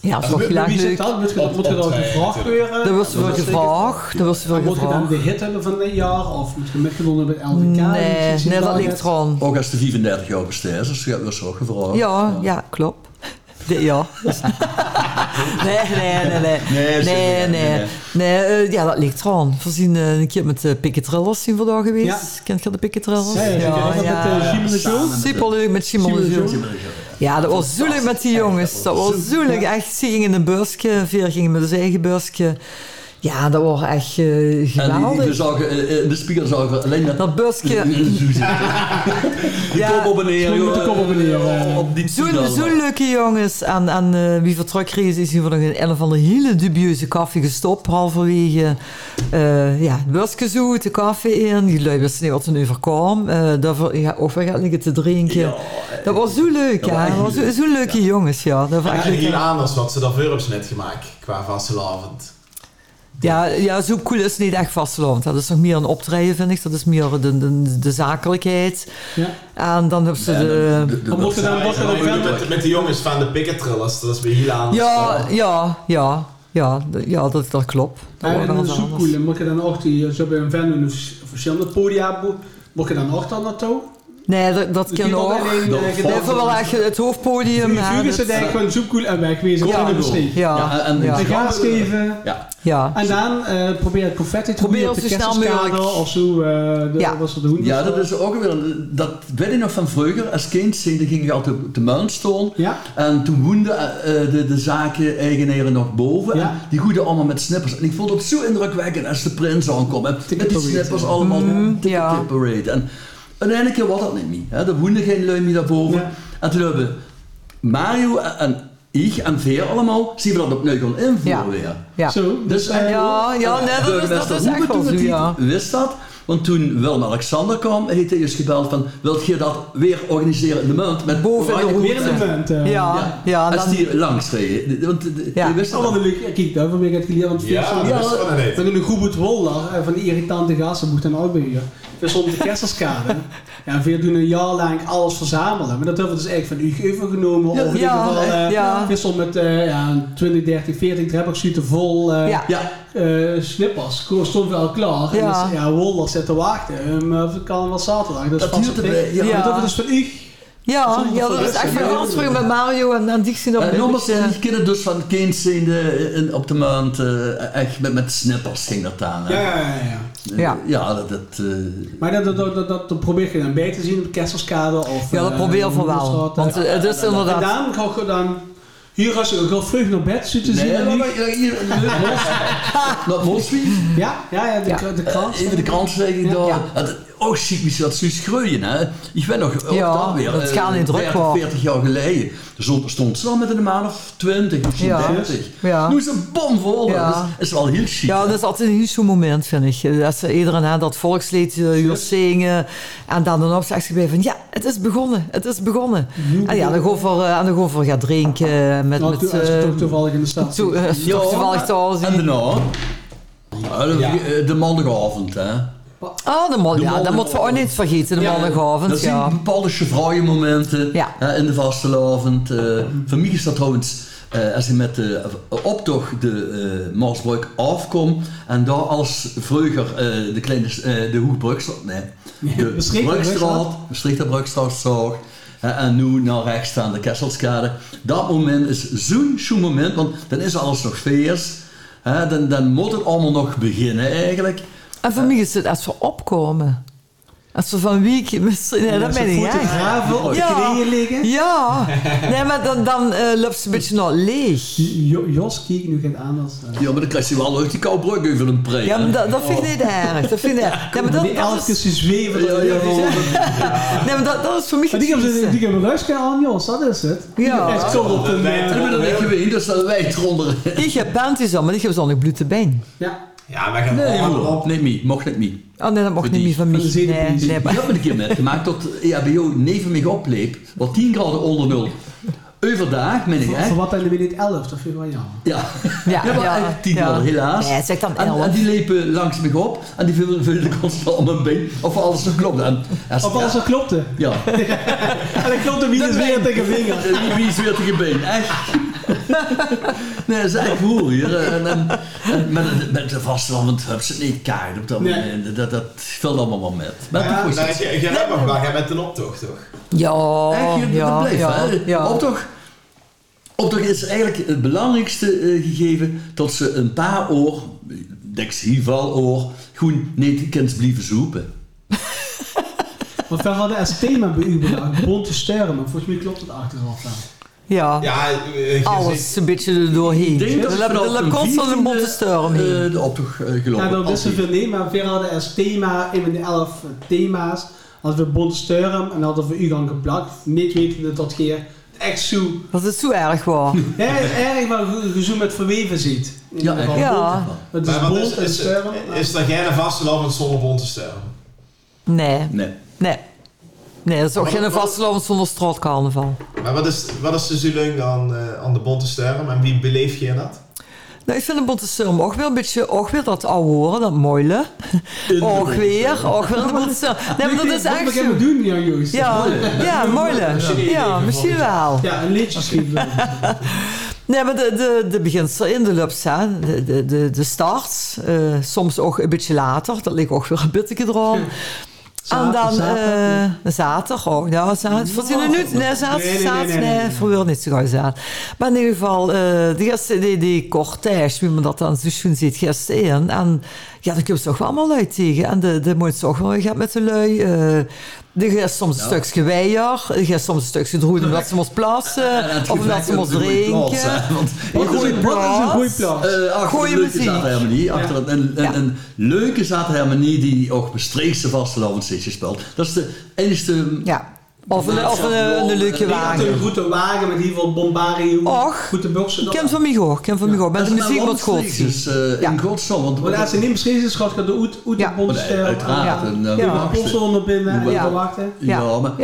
S6: Ja, dat was
S4: Maar
S6: heel
S4: Ah, Wie
S6: erg
S4: zit
S6: leuk.
S4: dat? Moet je dat moet je dat gevraagd eh, worden?
S6: Dat was voor gevraagd. Dat was voor
S4: Moet je dan
S6: gevraagd.
S4: de hit hebben van het jaar? Of moet je meegenomen bij LVK?
S6: Nee,
S4: Iets in
S6: nee, dat
S4: daar
S6: ligt
S4: net?
S6: eraan.
S5: Ook als de 35 jaar dus besteed is, dat was ook gevraagd.
S4: Oh.
S6: Ja, ja, klopt. De- ja. nee, nee, nee, nee.
S5: Nee,
S6: nee.
S5: zeker niet. Nee,
S6: nee.
S5: nee.
S6: Nee, eh, ja, dat ligt eraan. Voorzien eh, een keer met de pikketrillers zijn we daar geweest.
S4: Ja.
S6: Kent je de pikketrillers?
S4: Ja, ja, ja. Ik heb dat met eh, Jim de Jong.
S6: Superleuk met Simon
S4: Simon
S6: de
S4: de
S6: Jong. Ja, dat was zoelig met die jongens. Dat was zoelig. Echt, ze gingen in een busje. Veer gingen met zijn eigen busje. Ja, dat wordt echt eh,
S5: En die, die
S6: geweldig.
S5: verzorgen, eh, eh, de spiegelzorger, alleen dat... Eh,
S6: Dat busje.
S5: Zo zit het. Die
S6: Ja.
S5: kop op en neer,
S4: Met de
S5: joh. Eh,
S4: kop op en neer, eh, ja.
S5: Op die
S6: Zo'n
S5: toenaal.
S6: zo'n leuke jongens. En, en eh, wie vertrok reeds is hier nog in een van de hele dubieuze koffie gestopt. Halverwege eh ja, het busje zoet, de koffie in. Die lui wisten niet wat er nu voorkwam. Eh daarvoor ja, of we gaan liggen te drinken. dat was zo leuk,
S5: dat was
S6: ja.
S5: echt
S6: Dat was zo-
S5: leuk.
S6: Zo'n leuke jongens, ja. Dat was echt
S3: Eigenlijk
S6: leuk.
S3: heel anders wat ze daar Wurps net gemaakt qua vastelavond.
S6: Ja, ja, zo cool is niet echt vasteland. Dat is nog meer een optreden, vind ik. Dat is meer de, de, de zakelijkheid.
S4: Ja.
S6: En dan hebben ze
S5: En
S6: de...
S5: dan- eh, de- de-
S4: Dan wordt er dan, wordt er dan
S3: Ik bedoel,
S4: verder-
S3: met, met de jongens van de pikketrillers, dat is weer heel anders.
S6: Ja, ja, ja. Ja, d- ja dat, dat klopt. Dat
S4: Ja,
S6: wordt wel
S4: en Ah, dat
S6: wat
S4: is ook
S6: anders.
S4: cool. En moet je dan ook die, eh, zo bij een venue, dus verschillende podia, bo- moet je dan ook dan naartoe?
S6: Nee, dat, dat
S4: Dus die
S6: kan
S4: wordt
S6: ook.
S4: alleen, eh,
S5: Dat
S4: gedaan.
S6: We hebben wel echt het hoofdpodium. hè,
S4: Vuur is
S6: dat-
S4: het eigenlijk gewoon zo cool en wegwezen.
S6: Ja,
S4: Ja,
S5: Kom in de
S4: ja.
S6: Ja,
S5: Ja, en- en-
S6: ja,
S4: En gaas geven.
S5: Ja,
S6: ja.
S4: En dan eh, probeer het confetti te
S6: Probeer
S4: gooien op
S6: het
S4: de
S6: zo snel
S4: kersenskade
S6: mogelijk.
S4: of zo. eh de,
S6: Ja.
S4: ja. Was er de hoenders-
S5: ja, dat is ook weer... een- Dat weet ik nog van vroeger. Als kind zijnde ging ik altijd op de Muilstone.
S4: Ja.
S5: En toen woonden eh, de, de zaken-eigenaren nog boven.
S4: Ja.
S5: En Die goeden allemaal met snippers. En ik vond het zo indrukwekkend als de prins aankwam. En met die
S4: Parade,
S5: snippers
S4: ja.
S5: allemaal.
S6: Mhm, ja.
S5: Ticket Parade. En uiteindelijk was dat niet meer. hè. Er woonden geen lui meer daarboven.
S4: Ja.
S5: En toen hebben Mario en- en ik en Veer allemaal, zien we dat opnieuw gaan
S6: Ja.
S5: invoeren weer.
S6: Ja.
S4: Zo, dus
S6: Ja,
S4: eh,
S6: ja, nee, dat is, dat
S5: Burgemeester
S6: is echt
S5: Hoebe
S6: wel
S5: toen
S6: zo,
S5: het hier
S6: ja.
S5: wist dat. Want toen Willem-Alexander kwam, heeft hij dus gebeld van... Wilt je dat weer organiseren in de munt met
S6: Boven in de
S5: oranje
S6: hoek.
S4: weer een moment. eh.
S6: Ja, ja,
S5: als
S6: dan,
S5: die langs reden. Want de- de-
S6: Ja.
S5: je wist
S4: Dat is
S5: al
S4: allemaal leuk. Kijk, daarvoor ben ik het geleerd. Want
S3: Ja,
S4: ja.
S3: dat is wel net.
S4: Dan in een goed roller eh, van die irritante gasten moet dan ook bij je. We stonden op de kersenskade. ja, we doen een jaar lang alles verzamelen. Maar dat hebben we dus echt van u even genomen. Of in ieder
S6: ja,
S4: geval, eh,
S6: ja.
S4: we stonden met eh, ja, 20, 30, 40 drepboxschieten vol eh,
S6: ja.
S5: Ja,
S4: eh, snippers. Ko- Stond wel klaar.
S6: Ja.
S4: En dus, ja, Wolder zit te wachten. Ehm, eh, het kan wel zaterdag. Dus
S5: dat
S4: vast
S5: hield
S4: op
S5: erbij.
S4: tegen.
S5: Ja.
S6: Ja.
S4: Maar dat we dus van u.
S6: Ja,
S4: Dat is
S6: ja, dat
S4: wel
S6: is echt
S4: leuk,
S6: weer
S4: hè?
S6: ons terug met Mario en, en Dixie nog
S5: En
S6: een
S5: nogmaals,
S6: beetje-
S5: Eh, die kinderen dus van kind zijn de, in, op de maand eh, echt met, met snippers ging dat aan. hè.
S4: Ja, ja, ja, ja. Dus
S5: Eh,
S6: Ja.
S5: ja, dat... dat eh,
S4: Maar dat, dat, dat, dat, dat probeer je dan bij te zien op de kerselskade of...
S6: Ja, dat
S4: eh,
S6: probeer van wel.
S4: Hoenderstraat.
S6: Want eh, het is
S4: En
S6: inderdaad...
S4: dan ga je dan... Hier als je gaat vroeg naar bed, zo te zien.
S5: nee, maar,
S4: en
S5: maar
S4: die-
S5: hier... Wat Mosby?
S4: Ja, ja, ja, de,
S6: Ja. Eh,
S4: kra- de krant.
S5: Even de krant zeggen daar.
S6: Ja.
S5: Dat, ook ziek wie dat zo schreeuwen, hè. Ik ben nog ook
S6: Ja,
S5: daar weer.
S6: dat
S5: eh,
S6: gaat niet druk
S5: 30,
S6: worden.
S5: 40 jaar geleden. Dus stond- stond ze al met een maand of 20, misschien
S6: Ja.
S5: 30.
S6: Ja.
S5: Nu is het bomvol.
S6: Ja.
S5: Dat is, is wel heel chic.
S6: Ja,
S5: hè.
S6: dat is altijd een heel zo'n moment, vind ik. Dat ze iedereen hè, dat volkslied eh, hier zingen. En dan een opzicht bij van, ja, het is begonnen, het is begonnen. En ja, dan gaan we, eh, en dan gaan we gaan drinken met...
S4: Nou,
S6: met
S4: toen- als je
S6: eh,
S4: toch toevallig in de stad
S6: toe-
S4: zit.
S6: eh,
S5: Ja,
S6: toevallig thuis.
S5: En daarna? Ja, de, eh, de maandagavond, hè.
S6: Oh, de man,
S5: De
S6: ja, dat
S5: mannen-
S6: moeten we ook niet vergeten, de
S5: Dat
S6: maandagavond.
S5: zijn
S6: Ja.
S5: bepaalde chevraaie momenten
S6: Ja.
S5: hè, in de vastelavond. eh voor mij is dat trouwens, eh, als je met de optocht de eh Marsbrug afkomt en daar als vroeger eh, de kleine eh, de Hoekbrugstraat, nee, de
S4: Maastricht-
S5: Brugstraat, Maastrichter Brugstraat zag. hè, En nu naar rechts aan de Kesselskade. Dat moment is zo'n zo'n moment, want dan is alles nog feest. hè, Dan, dan moet het allemaal nog beginnen eigenlijk.
S6: En voor mij is het als we opkomen. Als we van week... Misschien, nee, dat ben ik, hè.
S4: Graven op de
S6: Ja.
S4: knieën liggen.
S6: Ja, nee, maar dan, dan eh, loopt ze een beetje naar leeg.
S4: Jo- Jos kijkt nu geen aan als... eh,
S5: Ja, maar dan krijg je wel uit die koude over een preek.
S6: Ja,
S5: hè.
S6: maar dat, dat vind ik niet erg. Dat vind ik niet erg. Nee, maar dat,
S4: die
S6: dat
S4: elke
S6: is-
S4: ze zweven.
S5: Ja, ja, ja.
S6: Nee, maar dat, dat is voor mij
S4: Maar die hebben ze-
S6: kiezen.
S4: die hebben ruisken aan, Jos, dat is het. Die
S6: Ja.
S4: hebben Echt zo op een...
S3: Nee,
S5: En
S4: eh,
S5: we dan liggen we in, dus dan wij het eronder.
S6: Ik heb panties aan, maar ik heb zo'n blote been.
S4: Ja.
S3: Ja, maar gaan
S5: Nee,
S3: allemaal
S5: joh.
S3: op.
S5: Nee, mee. Mocht Oh, niet mee.
S6: Oh nee, dat mag niet
S5: die-
S6: meer van mij.
S4: van de zenuwen.
S6: Nee, nee,
S5: Ik
S6: maar-
S5: heb een keer metgemaakt dat E EHBO neven mij opleep. Wat 10 graden onder nul. Overdag, ben ik
S4: Voor,
S5: echt.
S4: voor wat dan weer niet 11, dat vind ik wel jammer.
S5: Ja.
S6: Ja,
S5: Ja, maar
S6: ja,
S5: echt 10
S6: ja.
S5: graden, helaas.
S6: Nee, zeg dan
S5: En, en
S6: elf.
S5: die lepen langs me op en die vulden, vulden constant om mijn been of alles nog klopt. En, en-
S4: Of alles dat klopte.
S5: Ja.
S4: En dan klopte wie dus weer tegen vinger.
S5: Wie, wie is weer te gebeen? Echt? Nee, dat is echt hoer hier. eh, En, en, en met, met de vasteland, want hebben ze niet kaart op dat
S4: Nee.
S5: moment. Dat, dat vult allemaal wel met. Maar
S3: Ja,
S5: toen
S3: nou,
S5: was het.
S3: jij- jij hebt nog wel, jij met een optocht toch?
S6: Ja,
S5: Echt, dat
S6: Oh, ja,
S5: blijft.
S6: ja,
S5: hè.
S6: ja.
S5: Optocht, optocht is eigenlijk het belangrijkste eh, gegeven dat ze een paar oor, deks hierval oor, gewoon niet kunt blijven zoepen.
S4: Want we hadden als thema bij u bedacht, bonte sterren, maar volgens mij klopt het achteraf wel.
S6: Ja.
S3: Ja, eh,
S6: Alles een beetje er doorheen.
S5: Ik denk dat
S6: De
S5: ze
S6: la-
S5: vanaf
S6: de lakons van de
S5: 14e,
S6: Montestorm heen.
S5: eh, de optocht eh, gelopen.
S6: Oh,
S4: Ja, dat
S5: Altijd.
S4: wisten we niet, maar we hadden als thema, een van de elf eh, thema's, hadden we Bondsturm en hadden we Ugan geplakt. Niet wetende dat keer echt zo
S5: eh,
S6: Dat is zo erg waar.
S4: Ja, het is erg waar je je zo met verweven ziet. In
S5: Ja,
S4: ieder
S5: echt.
S4: geval.
S6: Ja.
S4: Het is
S3: maar wat
S4: bont en
S3: is, is,
S4: sterren.
S3: is er geen vaste land zonder bond te stellen?
S6: Nee,
S5: Nee.
S6: nee. Nee, dat is ook geen vasteland zonder straatcarnaval.
S3: Maar wat is, wat is de zuling aan, eh, aan de bonte sterren en wie beleef je dat?
S6: Nou, ik vind de Bontestorm ook weer een beetje, ook weer dat oude horen, dat moile. Ook weer, ook weer de Bontestorm. Nee, maar dat is
S4: Wat
S6: echt
S4: gaan we
S6: zo.
S4: doen, ja, Joost?
S6: Ja, ja, moile. Ja, misschien wel.
S4: Ja, een liedje schrijven.
S6: Nee, maar de, de, de beginsel in de lups, hè. De, de, de, de starts, eh, soms ook een beetje later. Dat ligt ook weer een bittertje eraan. En dan eh, zaterdag ook. Ja, zaterdag. Voorzien er nu? Nee, zaterdag.
S4: Nee, nee, nee,
S6: zaterdag,
S4: nee,
S6: nee,
S4: nee.
S6: vroeger niet zo gauw zaterdag. Maar in ieder geval, eh, die, gasten, die, die cortège, wie men dat dan zo schoon ziet, gisteren in. En ja, daar komen ze toch wel allemaal lui tegen. En de, de moet ze ook wel gaat met de lui. eh de gast soms een stukje weier. De gast soms een stukje droed omdat ze moest plassen.
S5: En het
S6: of omdat
S5: gevecht
S6: ze moest
S5: op de goede plaats,
S6: drinken.
S5: hè, want
S6: Een
S5: hier
S6: goede
S5: zit-
S4: Wat is een goeie
S6: plaats.
S4: plan?
S5: Eh, achter
S6: Goeie
S5: een leuke
S6: muziek.
S5: zaterharmonie. Achter een, een, een,
S6: Ja.
S5: een leuke zaterharmonie die ook bestreekse vastelavond zitje speelt. Dat is de enigste...
S6: Ja. Of een, of een, een leuke
S4: Laten een
S6: wagen.
S4: goede wagen met in ieder geval bombarie.
S6: Och.
S4: Goede boksen.
S6: Ik ken van mij hoor. Ik ken van mij hoor. Met
S5: Dat
S6: de
S5: is
S6: muziek
S5: maar
S6: wat goed.
S5: landstreeks, Dus, eh,
S6: Ja.
S5: In godsnaam. Want,
S4: Maar laat ze niet misschien is, schat, gaat de oet oet de
S6: Ja.
S5: Oh, Nee,
S4: bondsster.
S5: uiteraard.
S6: Ja.
S5: En, eh,
S6: Ja.
S4: De
S5: wacht,
S4: posten onder binnen en
S5: Ja.
S4: dan wachten.
S5: Ja, maar,
S6: ja.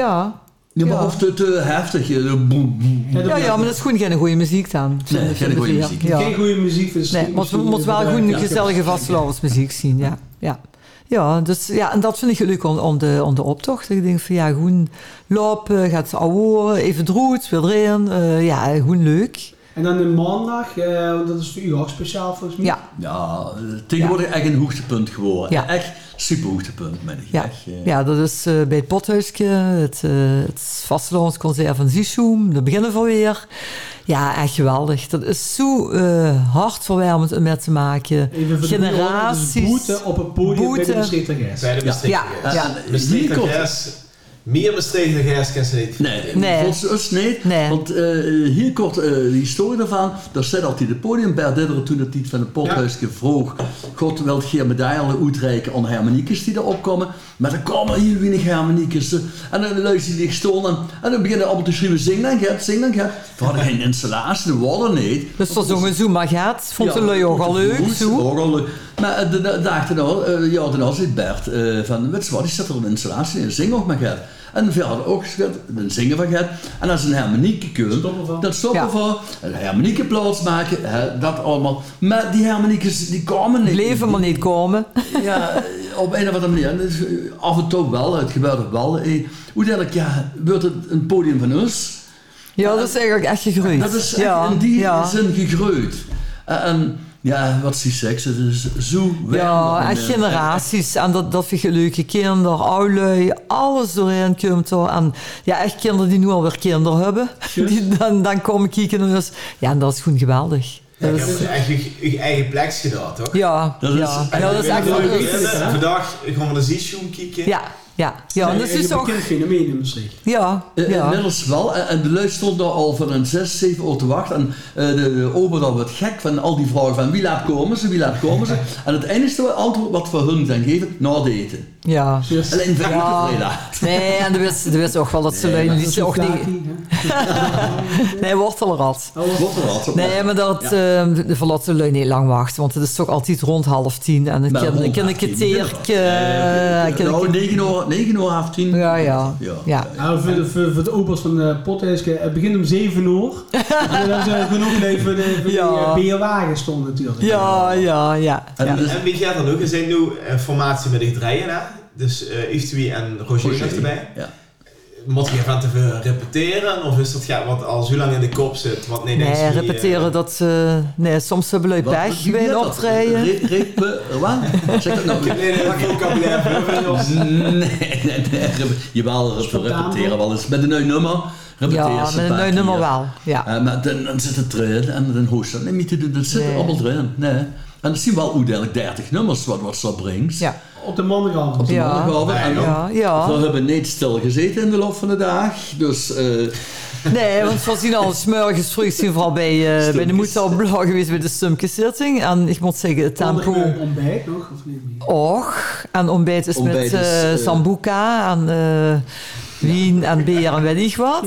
S5: ja, maar
S6: Ja.
S5: of te, te heftig. eh, boem, boem, boem.
S6: Ja, ja, maar dat is gewoon geen goede muziek dan.
S5: Nee, geen
S6: Vind ik
S5: goede
S6: ja.
S5: muziek.
S6: Ja.
S4: Geen goede muziek. dus
S6: Nee,
S4: die-
S6: moet,
S4: misschien-
S6: moet wel
S4: Ja.
S6: gewoon gezellige vastlovensmuziek zien, ja. ja. Ja, dus, ja, en dat vind ik leuk om, om, de, om de optocht. Ik denk van ja, gewoon lopen, gaat ze ouwe horen, even droet, weer erin. eh, ja, gewoon leuk.
S4: En dan de maandag, eh, want dat is voor u ook speciaal volgens mij.
S6: Ja,
S5: Ja, eh, tegenwoordig echt een hoogtepunt geworden.
S6: Ja.
S5: Echt super hoogtepunt, meen ik.
S6: ja.
S5: Echt, eh,
S6: ja dat is eh, bij het Pothuisje, het, eh het vastelovensconcert van Zishoem. Daar beginnen we weer. Ja, echt geweldig. Dat is zo eh hartverwarmend om mee te maken.
S4: Even voor de goede orde,
S6: Generaties.
S4: Dus boete op het podium bij de
S6: Boete.
S4: beschikbaarheid.
S3: Bij de
S6: Ja,
S3: bestrikte
S5: Ja,
S3: gijs.
S6: ja.
S5: en hier
S3: Bestrikte
S5: komt-
S3: gijs. Meer bestrikte gijs kan ze niet.
S5: Nee,
S6: Nee.
S5: volgens ons niet.
S6: Nee.
S5: Want eh, hier kort eh, de historie daarvan. Daar zit altijd de podiumberg Didderen toen het niet van het pothuis vroeg. God wil geen medaille uitreiken aan harmoniekers die erop komen. Maar er komen hier weinig harmoniekers. eh, En dan luisteren die gestolen. En dan beginnen allemaal te schreeuwen, zing dan gaat, zing dan gaat. We hadden geen installatie, de wallen niet.
S6: Dus dat zongen zo maar gaat. Vond de
S5: Ja,
S6: lui ook al leuk,
S5: goed,
S6: zo.
S5: ook al leuk. Maar eh, de de dag erna, eh, ja, daarna zit Bert eh, van, weet je wat, is dat er een installatie in, zing nog maar gaat. En we hadden ook gezegd, een zingen van gaat. En als een harmonieke kunt,
S4: Stoppen van.
S5: dat stoppen
S6: Ja.
S5: voor. Een harmonieke plaats maken, hè, dat allemaal. Maar die harmoniekers, die komen niet.
S6: Leven maar niet komen.
S5: Ja, eh, op een of andere manier. En dus, eh, af en toe wel, het gebeurt ook wel. Eh, Uiteindelijk, ja, wordt het een podium van ons.
S6: Ja, dat is eigenlijk echt gegroeid.
S5: Dat is echt
S6: ja,
S5: in die
S6: ja.
S5: zin gegroeid. En, en ehm, ja, wat is die seks? Het is zo
S6: Ja, en
S5: weinig. eh,
S6: generaties. En dat, dat vind je leuke kinderen, oudlui, alles doorheen komt er. En ja, echt kinderen die nu alweer kinderen hebben. Die dan, dan komen kijken. en Dus, ja, en dat is gewoon geweldig.
S3: Ja,
S6: Dat
S3: je
S6: is-
S3: hebt echt je, je eigen plek gedaan, toch?
S6: ja,
S5: Dat is-
S6: ja. ja, dat is
S3: Ik
S6: echt
S3: wil
S6: wel
S3: jullie
S6: leuk.
S3: willen. Vandaag gaan we de Zishoen kijken.
S6: Ja, ja. Ja, en dat
S4: een
S6: is ook...
S4: bekend fenomeen misschien.
S6: Ja,
S5: Eh,
S6: ja.
S5: Inmiddels wel. Eh, En, en de lui stond daar al van een 6, 7 uur te wachten. En eh, de, de ober dan werd gek van al die vragen van wie laat komen ze, wie laat komen ze. En het enige antwoord wat we hun dan geven, na het eten.
S6: ja.
S5: Alleen van
S6: Ja.
S5: ja. laat.
S6: Nee, en er wist, er wist ook wel dat ze lui
S4: Dat
S6: niet
S4: is
S6: zo...
S4: ook
S6: Nee, wortelrad.
S5: Wordt er altijd.
S6: Nee, maar dat ehm, de verlaten lui niet lang wachten. Want het is toch altijd rond half tien. En een
S5: Maar
S6: kind- een
S5: rond half
S6: kindertje
S5: tien,
S6: teertje.
S5: ja.
S6: eh,
S5: Eh, Nou,
S6: kindertje-
S5: 9 uur, 9 uur, half 10.
S6: Ja, ja. ja.
S4: Nou, voor de, voor, voor de obers van de pothuisje, het begint om 7 uur. en dan zijn genoeg leven voor de, voor die
S6: Ja.
S4: eh, beerwagen stond natuurlijk.
S6: Ja, ja, ja.
S5: En
S6: ja.
S5: dus-
S3: En wie gaat dan ook? Er zijn nu een formatie met de drieën, hè? Dus eh Iftwi en Roger nog erbij.
S5: Ja.
S3: Moet je van tevoren repeteren? Of is dat ja, wat al zo lang in de kop zit? Wat nee,
S6: Nee,
S5: eh,
S6: repeteren dat ze... Nee, soms hebben lui pech bij een optreden.
S5: Re- repe- Wat? Zeg dat nou weer.
S3: eh, Nee, nee, dat vocabulaire hebben we ons.
S5: Nee, nee, nee. Re- Jawel, re-
S4: Spontaan
S5: repeteren
S4: doen.
S5: wel eens. Met een nieuw nummer repeteren
S6: Ja,
S5: ze
S6: met een
S5: paar
S6: nieuw nummer
S5: keer.
S6: wel. Ja.
S5: Eh, maar dan, dan zit het erin en dan hoest dat niet te doen. Dat zit er
S6: Nee.
S5: allemaal erin. Nee. En dan zien we wel uiteindelijk 30 nummers wat wat ze brengt.
S6: Ja.
S4: Op de maandagavond.
S5: Op de
S6: Ja.
S5: maandagavond. En dan-
S6: Ja, ja.
S5: We hebben niet stil gezeten in de loop van de dag. Dus eh,
S6: Nee, want we zien al smorgens vroeg zien we vooral bij, eh bij de moeder op blauw geweest bij de Sumkesitting. En ik moet zeggen, het tempo...
S4: Onder, eh, ontbijt nog, of niet?
S6: Och, en ontbijt is
S5: Ontbijt
S6: met
S5: is,
S6: eh
S5: eh,
S6: Sambuca en eh, wien en beer en weet ik wat.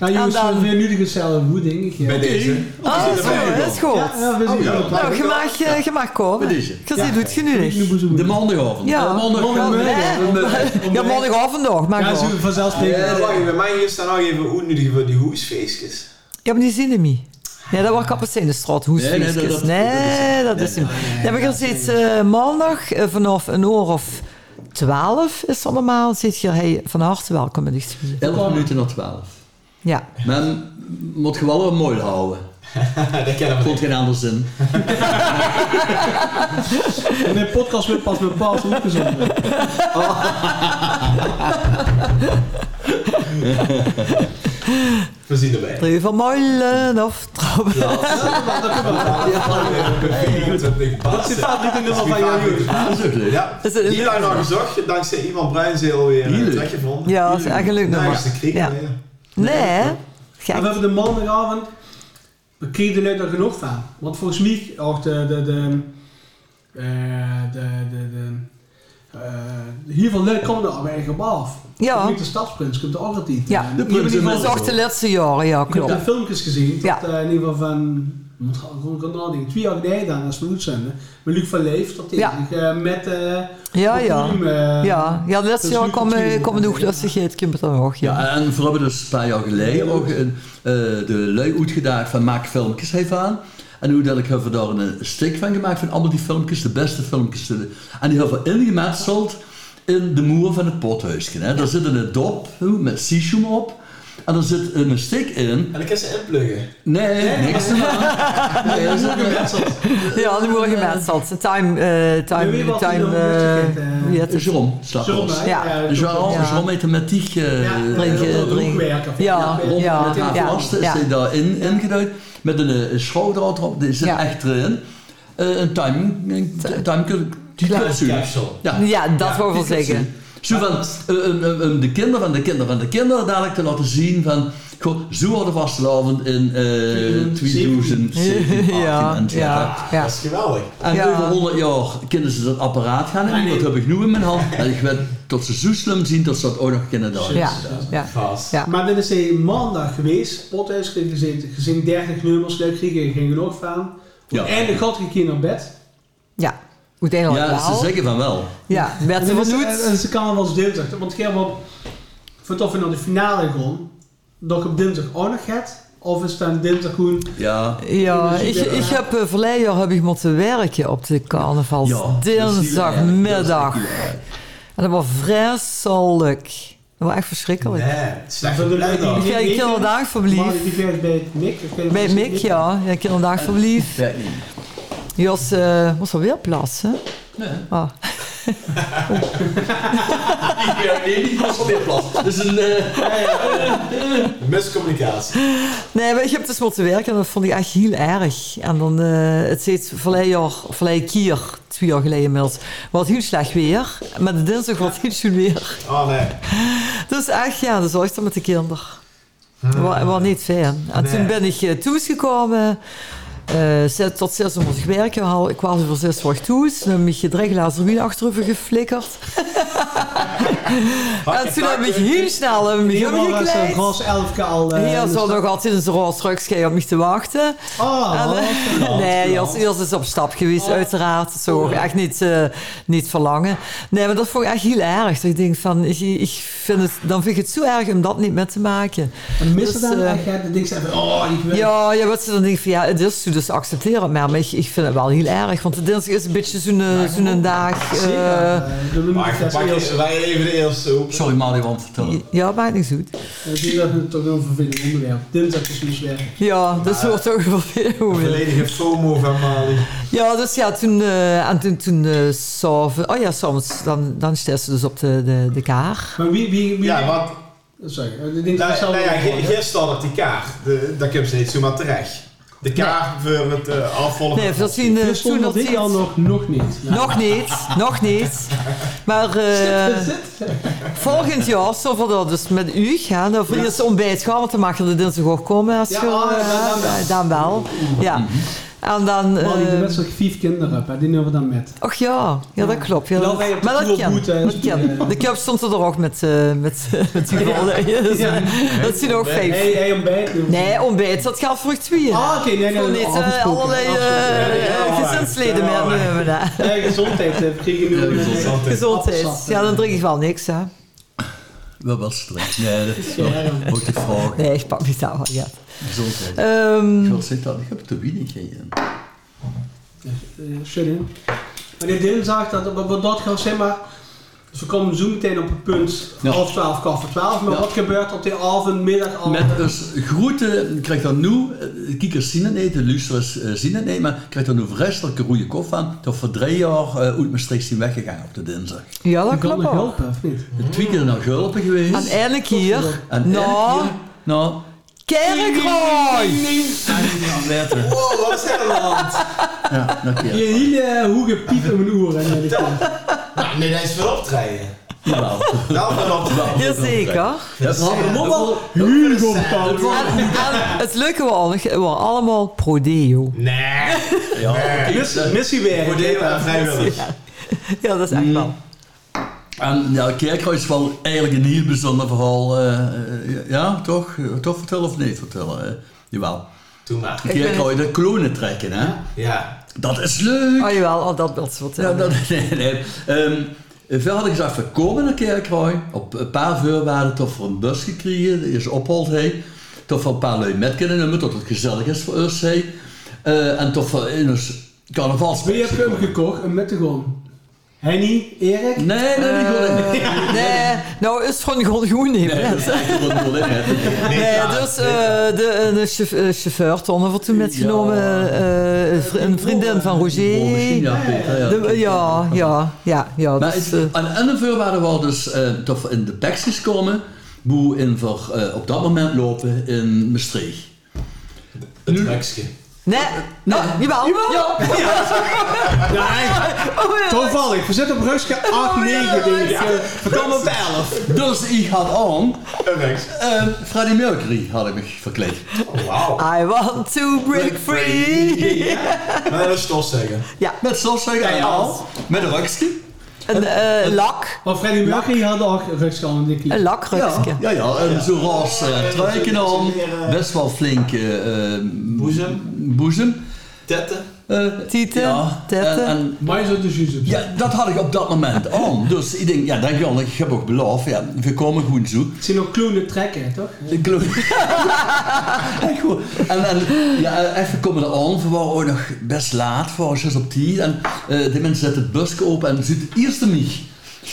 S4: Nou jongens,
S6: En dan-
S4: we nu de gezellige hoe denk ik. Ja.
S3: Bij deze.
S6: Ah, dat is goed, dat is goed.
S4: Ja, ja, we zien
S3: ja.
S4: het wel.
S6: Nou, je mag, eh, je mag komen.
S5: Wat is
S6: Je
S5: het?
S6: ziet hoe het
S4: Nu
S6: genoeg.
S4: boezemoe.
S5: De maandagavond.
S6: Ja,
S5: de maandag-
S4: maandagmorgen.
S6: hè? Ja, morgenavond nog, maar
S4: Ja,
S6: gewoon.
S4: zo vanzelfsprekend.
S3: Eh, wacht even, bij mij is dan nog even hoe nu die, die hoesfeestjes.
S6: Ja, maar die zien hem niet. Nee, dat wordt Kapucijnenstraat, hoesvliesjes.
S5: Nee,
S6: Nee,
S5: nee,
S6: dat,
S5: dat-
S6: is hem. Ja, we gaan steeds eh, maandag eh, vanaf een uur of twaalf is dat normaal. Zit je hey, van harte welkom in de studie.
S5: 11 minuten na 12.
S6: Ja.
S5: Men moet gewoon wel mooi houden.
S3: dat kennen we
S5: Komt geen anders in.
S4: En de podcast wordt pas met Paas opgezonden.
S3: We zien erbij.
S6: Drie van Moilen of Traub.
S3: Dat zit vaak niet in de van
S5: Dat is ook leuk.
S3: Ja,
S6: Is het een
S3: heel lang nog gezocht. Dankzij iemand Bruinzeel weer eh,
S5: Heerlijk.
S3: een trekje vond.
S6: Ja, dat is echt een leuk
S3: Nou,
S6: nummer.
S3: is de kriek.
S6: Ja.
S3: hè.
S6: Nee, hè?
S4: En we
S6: Gek.
S4: hebben de maandagavond. We kregen de er genoeg van. Want volgens mij, ook de. de, de, eh, de, de, de eh, hier van Leuk komt er al eigenlijk op af.
S6: Ja.
S4: Ook Niet de stadsprins komt er ook altijd niet.
S6: Ja.
S4: Eh,
S6: De
S4: die hebben
S5: prins
S4: in ieder
S6: Dat
S5: en
S6: is
S4: geval-
S6: ook de laatste jaren, ja,
S4: Ik heb de
S6: klopt.
S4: filmpjes gezien.
S6: Ja.
S4: Dat, eh, in ieder geval van. moet gewoon- Gewoon kan nou ding. Twee jaar geleden dan, als we het zenden. Maar Luc van Leef, dat
S6: Ja.
S4: tegen. eh, met. eh,
S6: Ja,
S4: op
S6: ja.
S4: podium, eh,
S6: Ja, ja, de laatste
S4: Dat is
S6: jaar
S4: nu
S6: kwam
S4: natuurlijk-
S6: komen nog lustigheid, komt er nog, ja.
S5: Ja, en we hebben dus een paar jaar geleden ook een, eh, de lui uitgedaagd van maak filmpjes even aan. En hoe dat ik heb er daar een stick van gemaakt van allemaal die filmpjes, de beste filmpjes. En die hebben we ingemetseld in de muur van het pothuisje. Hè. Daar zit een dop hoe, met sishoem op. En er zit een stick in.
S3: En ik kan ze inpluggen.
S5: Nee, niks te maken. Nee, dat is ook
S6: Ja, die worden gemetseld. Een Time, eh
S4: Ja, wie
S6: time,
S4: was die
S6: time,
S4: dan lustigheid, eh?
S6: eh wie had
S5: een
S6: het?
S5: Jérôme
S4: Zullen
S5: Slaphorst.
S4: wij,
S6: Ja.
S4: eh,
S5: Dus wel
S6: Ja.
S5: ja. met de matiek eh,
S4: Ja,
S6: Drink, eh,
S4: dat
S6: drink.
S4: hoekwerken van-
S6: Ja,
S5: rond
S6: ja,
S5: met haar
S6: ja,
S5: vasten is
S6: ja.
S5: hij daarin ingeduid. Met een, eh, een schouwdraad erop, die zit
S6: Ja.
S5: echt erin. Eh, een time, een time die
S3: capsule.
S5: Ja,
S6: Ja, dat wou ik wel
S5: die
S6: zeggen.
S5: capsule. Zo van, eh, eh, eh, eh, de kinderen van de kinderen van de kinderen dadelijk te laten zien van... Goh, zo hadden we vastelavond in eh 2017,
S6: Ja,
S5: 18
S6: ja, ja.
S3: Dat is geweldig.
S5: en
S6: Ja.
S5: over 100 jaar kunnen ze dat apparaat gaan en dat heb ik nu in mijn hand. En ik weet tot ze zo slim zien dat ze dat ook nog kunnen doen.
S6: Ja, ja.
S3: Vast.
S6: Ja.
S4: Maar dit is hij maandag geweest, pothuis kreeg gezeten, gezien 30 nummers, leuk kregen, geen genoeg van.
S5: Ja.
S4: Uiteindelijk gaat ik keer naar bed.
S6: Ja, uiteindelijk
S5: Ja, ze
S6: wel.
S5: zeggen van wel.
S6: Ja, werd
S4: En,
S6: ze
S4: dan is- en, en
S6: vernoet.
S4: ze kan wel eens dinsdag, want Gerbo, vanaf we naar de finale gaan, dat ik op dinsdag ook nog gaat, of is het dan dinsdag gewoon...
S5: Ja.
S6: Ja, ik, ik heb eh, verleden jaar heb ik moeten werken op de carnavals.
S5: ja
S6: dinsdagmiddag.
S5: eh, Dat is eh, heel erg.
S6: En dat was vreselijk. Dat was echt verschrikkelijk.
S3: Nee, slecht
S4: Van de
S3: geluid
S4: leiding.
S3: dan.
S6: Ik kreeg een
S4: Maar
S6: kinderdagverblijf.
S4: die kreeg bij het Mick. ik weet niet
S6: Bij
S4: of
S6: het
S4: ze-
S6: Mick, ja. ja kinderdagverblijf.
S5: Werkt niet.
S6: Jos eh moest alweer plassen.
S5: Nee.
S6: Ah.
S5: Nee, die was alweer plat. Dat is een... eh,
S3: Miscommunicatie.
S6: Nee, maar ik heb dus moeten werken en dat vond ik echt heel erg. En dan, eh, het steeds verleden jaar, verleden keer, twee jaar geleden inmiddels, was heel slecht weer. Maar de dinsdag was heel goed weer.
S3: Oh nee.
S6: Dus echt, ja, dat was dan met de kinderen. Wat was niet fijn. En
S3: Nee.
S6: toen ben ik eh, thuis gekomen. Eh, zes- tot zes uur moest ik werken. Hal- Ik kwam voor zes uur thuis. Dan heb ik je drie glazen wien achterover geflikkerd. en toen heb ik heel snel een
S4: Helemaal was een
S6: gekleed.
S4: gras elfke al... eh,
S6: Hier
S4: dus
S6: zat
S4: dat-
S6: nog altijd een roze rugschij op mij te wachten.
S4: Ah,
S6: En, eh, nee, Jos, Jos is op stap geweest, uiteraard. Dat zou ik echt niet, eh, niet verlangen. Nee, maar dat vond ik echt heel erg. Dat ik denk van, ik, ik vind het, dan vind ik het zo erg om dat niet mee te maken.
S4: en missen
S6: dus,
S4: dan
S6: eh,
S4: echt, hè, dan denk ze even, oh, ik wil...
S6: Ja, ja, wat ze dan denken van, ja, het is zo, dus accepteer het maar. Maar ik, ik vind het wel heel erg, want de dinsdag is een beetje zo'n eh, zo'n dag. eh,
S3: Maar pak eens, wij even de eerste op.
S5: Sorry, Mali, want... eh, te-
S6: ja, maakt niet goed.
S4: Dat is dat toch een vervelend onderwerp. Dinsdag is niet werk.
S6: Ja, dat wordt toch wel veel.
S3: Volledige FOMO van Mali.
S6: Ja, dus ja, toen, eh, en toen, toen eh, s'avonds- oh ja, soms, dan, dan staan ze dus op de, de, de kaar.
S4: Maar wie, wie, wie
S3: Ja, want
S4: Sorry, ik denk dat
S3: nou,
S4: ik zelf
S3: nou ja,
S4: ook wel,
S3: ge-
S4: hè.
S3: gisteren had ik die kaart. De- Dat komt ze niet zomaar terecht. de kaart voor het eh, afvolgen.
S6: Nee, dat zien
S4: Dus
S6: Eh, toen
S4: stond
S6: nog
S4: dit
S6: niet.
S4: jaar nog, nog niet. Nou,
S6: Nog niet, nog niet. Maar eh,
S4: is het?
S6: volgend jaar zullen we dat dus met u gaan. Dan voor eerst ontbijt gaan, want dan mag je de dinsdag ook komen. Als
S3: Ja,
S6: je,
S3: ah,
S6: eh,
S3: dan wel.
S6: dan wel. Ja. En dan...
S4: Man, ik
S6: eh,
S4: ben best wel vijf kinderen heb, hè. die nemen we dan met.
S6: Ach ja, ja dat klopt. Ja.
S4: Nou, wij hebben
S6: maar
S4: het
S6: dat
S4: goed ontmoet, hè,
S6: dat
S4: dus,
S6: kan.
S4: eh.
S6: De cup stond er toch ook met, eh met, met die gevallen. Dus, eh, Dat zien ook vijf.
S4: Hey, hey, ontbijt. joh.
S6: Nee, ontbijt, dat gaat voor twee.
S4: Ah, oké, nee, nee.
S6: Voor
S4: nee,
S6: niet eh,
S4: afgesproken,
S6: allerlei
S4: afgesproken.
S6: eh, eh, gezinsleden meer
S3: Ja,
S6: nemen. hè.
S4: Nee,
S3: eh,
S4: gezondheid heb ik nu.
S6: Gezondheid.
S4: Appelsap,
S6: Ja,
S4: eh.
S6: dan drink ik wel niks, hè.
S5: Wel wel streng. Nee, dat is wel
S4: Ja, ja.
S5: wordt de vraag.
S6: Nee, ik pak niet aan. Ja.
S5: Gezondheid.
S6: Ehm,
S5: Wat zit dat? Ik heb te weinig in.
S4: Eh, Shut in. Meneer Dinsdag, dat, wat, wat dat gaat zeg maar. Dus we komen zo meteen op het punt
S5: Ja.
S4: half twaalf, kwart voor twaalf. Maar
S5: Ja.
S4: wat gebeurt op die avond, middagavond?
S5: Met dus groeten, ik krijg dan nu, eh, kiekers zien het niet, de luisteraars eh, zien het niet, maar ik krijg dan nu vreselijk een goede kop van, dat voor drie jaar eh, uit Maastricht zijn weggegaan op de dinsdag.
S6: ja, dat
S4: Ik kan
S6: klopt
S4: nog
S6: ook.
S4: helpen, of niet?
S5: Twee keer naar Gulpen geweest.
S6: En eindelijk hier.
S5: En elk
S6: Nou,
S5: keer- nou,
S6: kerkrooi.
S5: en later.
S3: Oh, wat is dat land?
S5: Ja, nog een
S4: Je
S5: keer.
S4: hele hoge piep in mijn oren. hè, die komt.
S3: Nou, nee, dat is veel optreden.
S5: Jawel.
S3: Nou, veel optreden.
S6: Jazeker.
S5: Ja, we hadden nog wel-
S4: Hier komt dat.
S6: En, en het leuke was, we waren allemaal pro-deo.
S3: Nee.
S5: Ja,
S3: Nee.
S4: Missie- Missie weer.
S3: Voordeel
S5: eh,
S3: aan vrijwilligers.
S6: Ja, dat is echt wel.
S5: En ja, Kerkhuis is wel eigenlijk een heel bijzonder verhaal. eh, eh, ja, toch? Toch vertellen of niet vertellen? eh? jawel.
S3: Doe maar.
S5: Kerkhuis, de klonen trekken, hè?
S3: Ja.
S5: Dat is leuk!
S6: Oh jawel, al dat beeld wat.
S5: Ja, Nou, dat, nee, nee. Ehm, we hadden gezegd, we komen naar Kerkrooi. Op een paar uur waren we toch voor een bus gekregen. Die is opgehaald, hé. Toch voor een paar lui met kunnen nemen, tot het gezellig is voor ons, hé. Eh, en toch voor in ons
S4: Wie
S5: carnavalsfeest
S4: heb je hem
S5: gekomen.
S4: gekocht? Een mettegon. Henny, Erik?
S5: Nee, nee, die kon ik niet.
S6: Eh, Nee, nou is het gewoon gewoon goed niet
S5: Nee, dat is eigenlijk wat ik wil zeggen.
S6: Nee, dus eh, de, de chauff- eh, chauffeur, Ton, wordt toen metgenomen.
S5: Ja.
S6: eh, een vri- een vriendin van Roger.
S5: Oh, misschien ja, Peter, ja.
S6: De- ja, ja, ja, ja.
S5: Maar
S6: dus,
S5: het,
S6: eh,
S5: aan de andere vuur waren we dus eh, toch in de packs komen, Hoe in voor, eh, op dat moment lopen in Maastricht.
S3: Het Meksje.
S6: nee,
S5: Nee.
S6: Oh, jawel. Ja. Oh, ja.
S4: Toevallig, we zitten op Ruske 8,
S5: Oh,
S4: 9 denk ik. Vertel me op de 11.
S5: Dus ik had aan,
S3: Een Meks.
S5: ehm Freddie Mercury had ik me verkleed.
S3: Wauw.
S6: I want to break free.
S3: Maar dat is toch zeggen.
S5: Met stofzuiger en al, met een rukje.
S6: Een eh, lak.
S4: Maar Freddy Mercury had ook Ruske al een dikke
S6: Een
S4: lied.
S5: Ja,
S6: lakrukje.
S5: ja, ja, en zo'n roze eh, truikje aan, best wel flink eh, eh,
S3: Boezem.
S5: boezem.
S3: Tetten.
S5: Eh,
S6: Tieten,
S5: ja,
S6: tetten.
S5: en- en
S4: Maar je zult de juice op.
S5: Ja, dat had ik op dat moment aan. Dus ik denk, ja, dan kan ik, ik heb ook beloofd, ja, we komen goed zo.
S4: Het zijn ook kloenen trekken, toch?
S5: Ik geloof- en, goed, en, en ja, even komen er aan, we waren ook nog best laat, voor was zes op tien. En eh, de mensen zetten het busje open en ziet het eerste mich.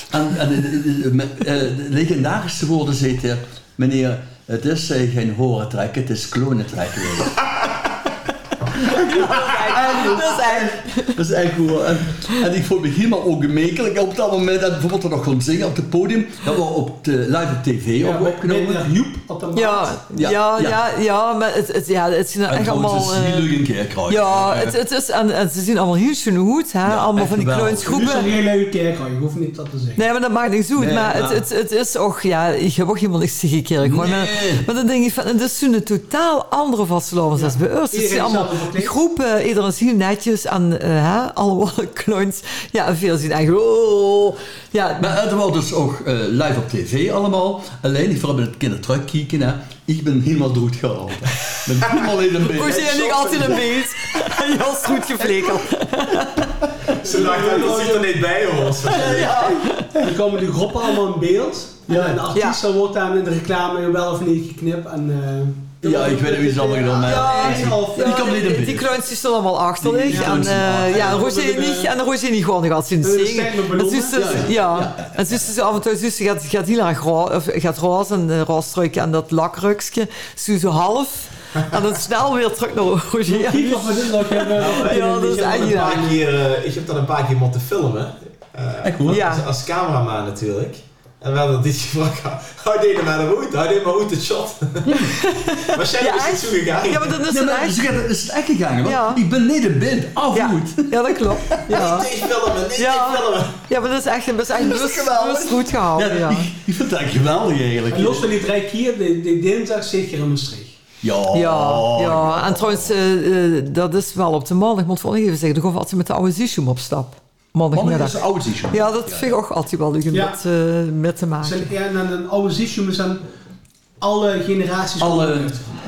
S5: En, en eh, eh, eh, me- eh, de legendarische woorden zitten, meneer, het is eh, geen horen trekken, het is klonen trekken.
S6: Dat is echt.
S5: Dat is echt goed. En, en ik vond me helemaal ongemakelijk op dat moment. En bijvoorbeeld er nog gewoon zingen op het podium. Dat we op de live op tv ook opgenomen.
S4: Met een Joep op de maat.
S6: Ja, ja, ja, ja, maar het, het, ja, het zijn
S5: en
S6: echt
S5: gewoon
S6: allemaal...
S5: ze
S6: eh,
S5: zielig een keer krijgen.
S6: ja, het, het is, en, en ze zien allemaal heel schoon goed, hè? allemaal
S5: echt
S6: van die
S5: geweldig.
S4: Nu is een
S6: kleunsgroepen.
S4: hele leuke kerk, hoor. je hoeft niet dat te zeggen.
S6: Nee, maar dat maakt niet goed.
S5: Nee,
S6: maar
S5: maar-
S6: het, het, het is ook, ja, ik heb ook helemaal niks tegen kerk. Gewoon,
S5: Nee.
S6: maar, maar dan denk ik van, het is een totaal andere vastelovens als bij ons. Het
S4: Iedereen
S6: zijn
S4: is
S6: allemaal
S4: zelf verkleed.
S6: groepen, iedereen is heel netjes aan, eh hè, allemaal clowns. Ja, en veel zien eigenlijk, oh, ja,
S5: Maar het was dus ook eh, live op tv allemaal. Alleen, ik vooral met het kindertruck kijken. Hè. Ik ben helemaal dood gehaald. Ik ben helemaal in een
S6: Hoe
S5: beetje.
S6: zie je niet altijd een beeld? En je was goed geflikkerd.
S3: Ze dachten dat het er niet bij hoort.
S4: Dan komen die groepen allemaal in beeld. En een artiest dan wordt dan in de reclame wel of niet geknipt. En, eh,
S5: Ja, ik weet niet wie ze allemaal gedaan hebben.
S6: Ja,
S4: Ja, of-
S5: Die kan niet in
S6: die,
S5: beeld.
S6: die clowns die stonden allemaal achterlijk.
S5: Die
S6: en
S5: clowns
S6: eh
S5: allemaal.
S6: ja,
S4: Ja,
S6: Roger
S4: dat
S6: niet,
S4: bedoel ik,
S6: en Roger niet gewoon gaat zien
S4: dat is
S6: zingen.
S4: sterk met
S6: En
S4: ballonnen.
S6: zuster, ja, en zuster, ze af en toe zuster gaat, gaat heel erg ro- of gaat roze en uh, roze en dat lakrukje. Zo zo half. En dan snel weer terug naar Roger.
S4: Kijk of we dit nog hebben.
S6: Ja, dat
S3: Ik
S6: is
S3: heb dat een
S6: eigenlijk...
S3: paar keer, eh, ik heb dat een paar keer moeten filmen. eh,
S5: Echt goed.
S6: Ja.
S3: als, als cameraman natuurlijk. En we hadden dit gevraagd. Hij deed maar de hoed, hij deed maar hoed het shot. Waarschijnlijk
S6: Ja,
S3: is het
S6: echt?
S3: zo gegaan.
S6: Ja, maar dat is
S5: Ja,
S6: het
S5: maar
S6: echt.
S5: ze gaat- is het echt gegaan, want
S6: Ja.
S5: ik ben niet een band,
S6: Ja.
S5: afgoed.
S6: ja, dat klopt. Ja.
S3: Niet tegenfilmen, niet
S6: Ja.
S3: tegenfilmen.
S6: ja, maar dat is echt, dat is echt bewust-
S5: geweldig.
S6: bewust goed gehouden.
S5: Ja,
S6: Ja.
S5: ik, ik vind het echt geweldig eigenlijk.
S4: En los van die drie keer, de, de dinsdag zit je in Maastricht.
S5: Ja,
S4: Oh,
S6: Ja, ja, en trouwens, eh, eh, dat is wel op de maandag, moet ik wel even zeggen. Dan gaan we altijd met de oude Zishoem op stap.
S5: Mannen is
S6: Maandagmiddag.
S5: oud, is
S6: Ja, dat vind ik ook altijd wel leuk om
S4: Ja.
S6: met, eh, met te maken.
S4: Zijn, ja, en dan een oude zisjoem is dan alle generaties.
S5: Alle-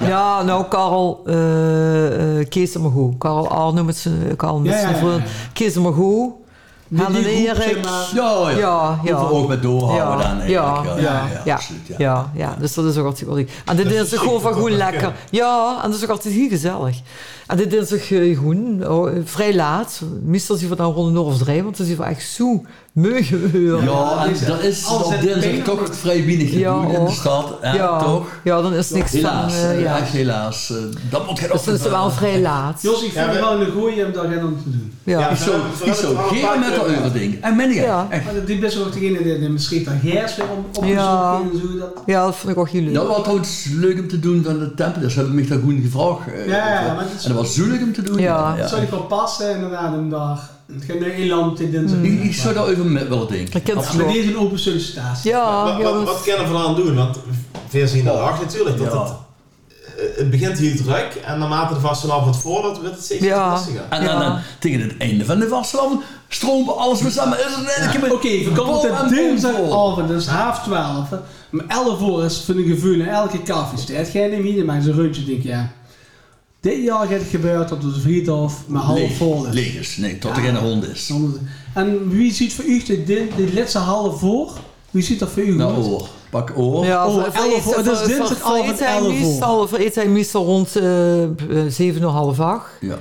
S6: Ja, nou, Karel, eh eh Kees de Mago. Karel Arno met zijn Karel met
S4: Ja, ja,
S6: zijn
S4: ja,
S6: vriend.
S4: ja.
S6: Kees de Mago.
S4: die
S6: Helen
S4: groep, zeg
S6: Erik.
S4: maar.
S5: Ja, ja.
S6: Ja, ja.
S5: Hoeven we ook met doorhouden
S6: Ja,
S5: dan eigenlijk.
S6: ja,
S5: ja,
S6: Ja,
S5: absoluut,
S6: ja. Ja, dus dat is ook altijd wel leuk. En dit is ook gewoon van goed lekker. Ja, en dat is ook altijd heel gezellig. En dit is ook eh, gewoon oh, eh, vrij laat. Meestal zien we dan rond een uur of drie, want dan zien we echt zo meugeuren.
S5: Ja, en dat is
S4: Alles
S5: op
S4: uit
S5: dinsdag
S4: benen.
S5: toch vrij weinig
S6: Ja,
S5: gedoe in
S6: hoor.
S5: de stad. hè,
S6: ja,
S5: toch?
S6: ja, dan is niks
S5: Helaas,
S6: van... eh, ja.
S5: echt helaas. eh, Dat moet je
S6: Dus dat is wel vrij laat.
S4: Jos, ik vond
S3: Ja,
S4: het
S3: we-
S4: wel een goeie om daar geen aan te doen.
S6: Ja.
S5: Ik zo, ik zo, geen met dat euroding. En men
S6: Ja.
S5: ja. echt.
S4: Maar dat- die best wel ook degene die, die misschien daar gers weer op, opgezocht
S6: Ja.
S4: en zo. Dat,
S6: ja, dat vond ik ook heel leuk.
S5: Dat was trouwens leuk om te doen van de tempel. Dus hebben we mij daar goed gevraagd. eh,
S4: Ja, ja,
S5: voor.
S4: maar dat is-
S5: En dat was zo leuk om te doen.
S6: Ja.
S4: dat zou ik wel passen inderdaad om daar. Het gaat nu eland in
S6: Mm.
S4: dinsdag.
S5: Ik, ik zou daar even met willen denken.
S6: Dat kent ze
S4: Met
S6: nog.
S4: deze een open sollicitatie.
S6: Ja,
S3: Wat,
S6: ja,
S3: wat,
S6: dat
S3: wat
S6: is-
S3: kunnen we eraan doen? Want veel zien dat acht natuurlijk. Dat
S5: Ja.
S3: het, eh, het begint heel druk en naarmate de vastenavond voordat wordt het steeds
S6: Ja.
S3: lastiger.
S5: En dan,
S6: Ja.
S5: dan tegen het einde van de vastelavond stromen alles weer samen. Dus Is het elke keer
S4: Oké, we komen
S5: bom en
S4: tot
S5: bom vol.
S4: dinsdagavond, dat is half twaalf. hè. Om elf uur is van de gevoel en elke koffiestijd. Geen niet meer, maar zo'n rondje denk je, ja. Dit jaar gaat het gebeuren tot ons vriendhof maar half
S5: Leeg,
S4: vol is.
S5: leeg is. Nee, tot er geen hond is.
S4: Zonder- En wie ziet voor u de, de, de laatste half voor? Wie ziet dat voor u?
S5: Nou,
S4: goed?
S5: oor. Pak oor.
S6: Ja,
S4: Oh,
S6: voor- voor
S4: 11
S6: eten-
S4: uur. Het is
S6: voor- voor-
S4: dinsdag
S6: voor
S4: avond
S6: eten hij
S4: 11 uur.
S6: meestal- Voor eten hij meestal rond eh, eh, 7 uur, half 8.
S5: Ja.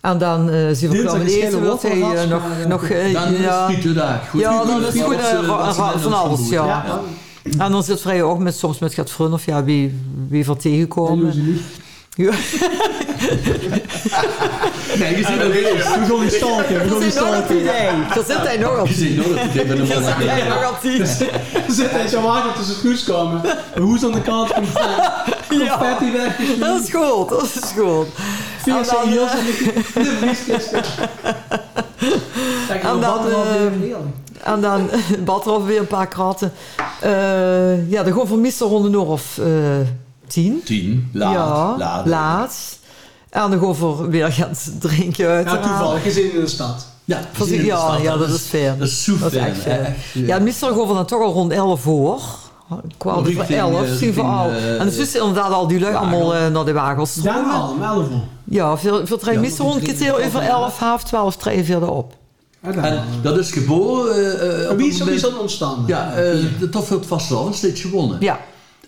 S6: En dan eh, zien we
S4: Dinsdag
S6: klaar met
S4: is geen
S6: eten, wil hij eh,
S4: wortelras,
S6: nog...
S4: maar, eh,
S6: nog eh,
S5: Dan is
S6: ja.
S5: het niet de dag. Goed,
S6: Ja,
S5: goed,
S6: dan is het goed,
S5: goed,
S6: eh,
S5: wat ze-
S6: ra-
S5: wat ze
S6: ra-
S5: met
S6: van
S5: ons
S6: alles,
S5: doen.
S6: ja.
S4: Ja,
S5: Ja.
S6: En dan zit vrij ook met, soms met Gert Frun of ja, wie, wie voor
S4: dan doen ze
S6: tegenkomen.
S4: niet.
S6: Ja.
S5: Nee, je ziet ook
S4: We gaan die stalken, we gaan
S6: Dat
S4: die
S6: is nog
S4: stalken.
S6: altijd idee. Dat zit hij nog
S5: Je
S6: altijd.
S5: ziet ook dat ik ben een man
S6: Dat zit hij nog altijd.
S4: Dan zit hij zo hard dat ze het goed komen. De hoes aan de kant komt aan.
S6: Ja,
S4: Confetti weg.
S6: dat is goed, dat is goed.
S4: Vier
S6: En dan,
S4: serieus
S6: eh,
S4: aan de de vrieskist. Kijk,
S6: En
S4: en
S6: dan,
S4: dan...
S6: eh, En dan eh, bad er weer een paar kratten. Eh, ja, dan gewoon van meestal rond een uur of eh, tien.
S5: Tien, laat,
S6: ja,
S5: laat.
S6: laat. En dan gewoon voor weer gaan drinken uit.
S4: Nou, toevallig, gezin in de stad.
S5: Ja,
S6: Ja,
S5: gezien in de stad,
S6: ja, dat is fair.
S5: Dat is zo
S6: Dat is
S5: fijn,
S6: echt fijn.
S5: echt,
S6: Ja, meestal gewoon dan toch al rond 11 voor. Kwart voor
S5: Richting,
S6: 11,
S5: eh,
S6: zien we
S5: richting,
S6: al.
S5: eh,
S6: En dus is inderdaad al die lui
S5: Wagel.
S6: allemaal eh, naar de wagens.
S4: Dan al, om 11 uur.
S6: Ja, veel, veel trein.
S5: Ja,
S6: meestal rond
S5: richting
S6: keer
S5: de
S6: over
S5: Wagel.
S6: 11, half 12 trein veel op.
S4: Ja, dan al.
S5: En dat is geboren... eh, eh, op
S4: Wie
S5: het
S4: is, wie
S5: moment-
S4: is dan ontstaan?
S5: Ja, eh, de Tof heeft vast wel steeds gewonnen.
S6: Ja,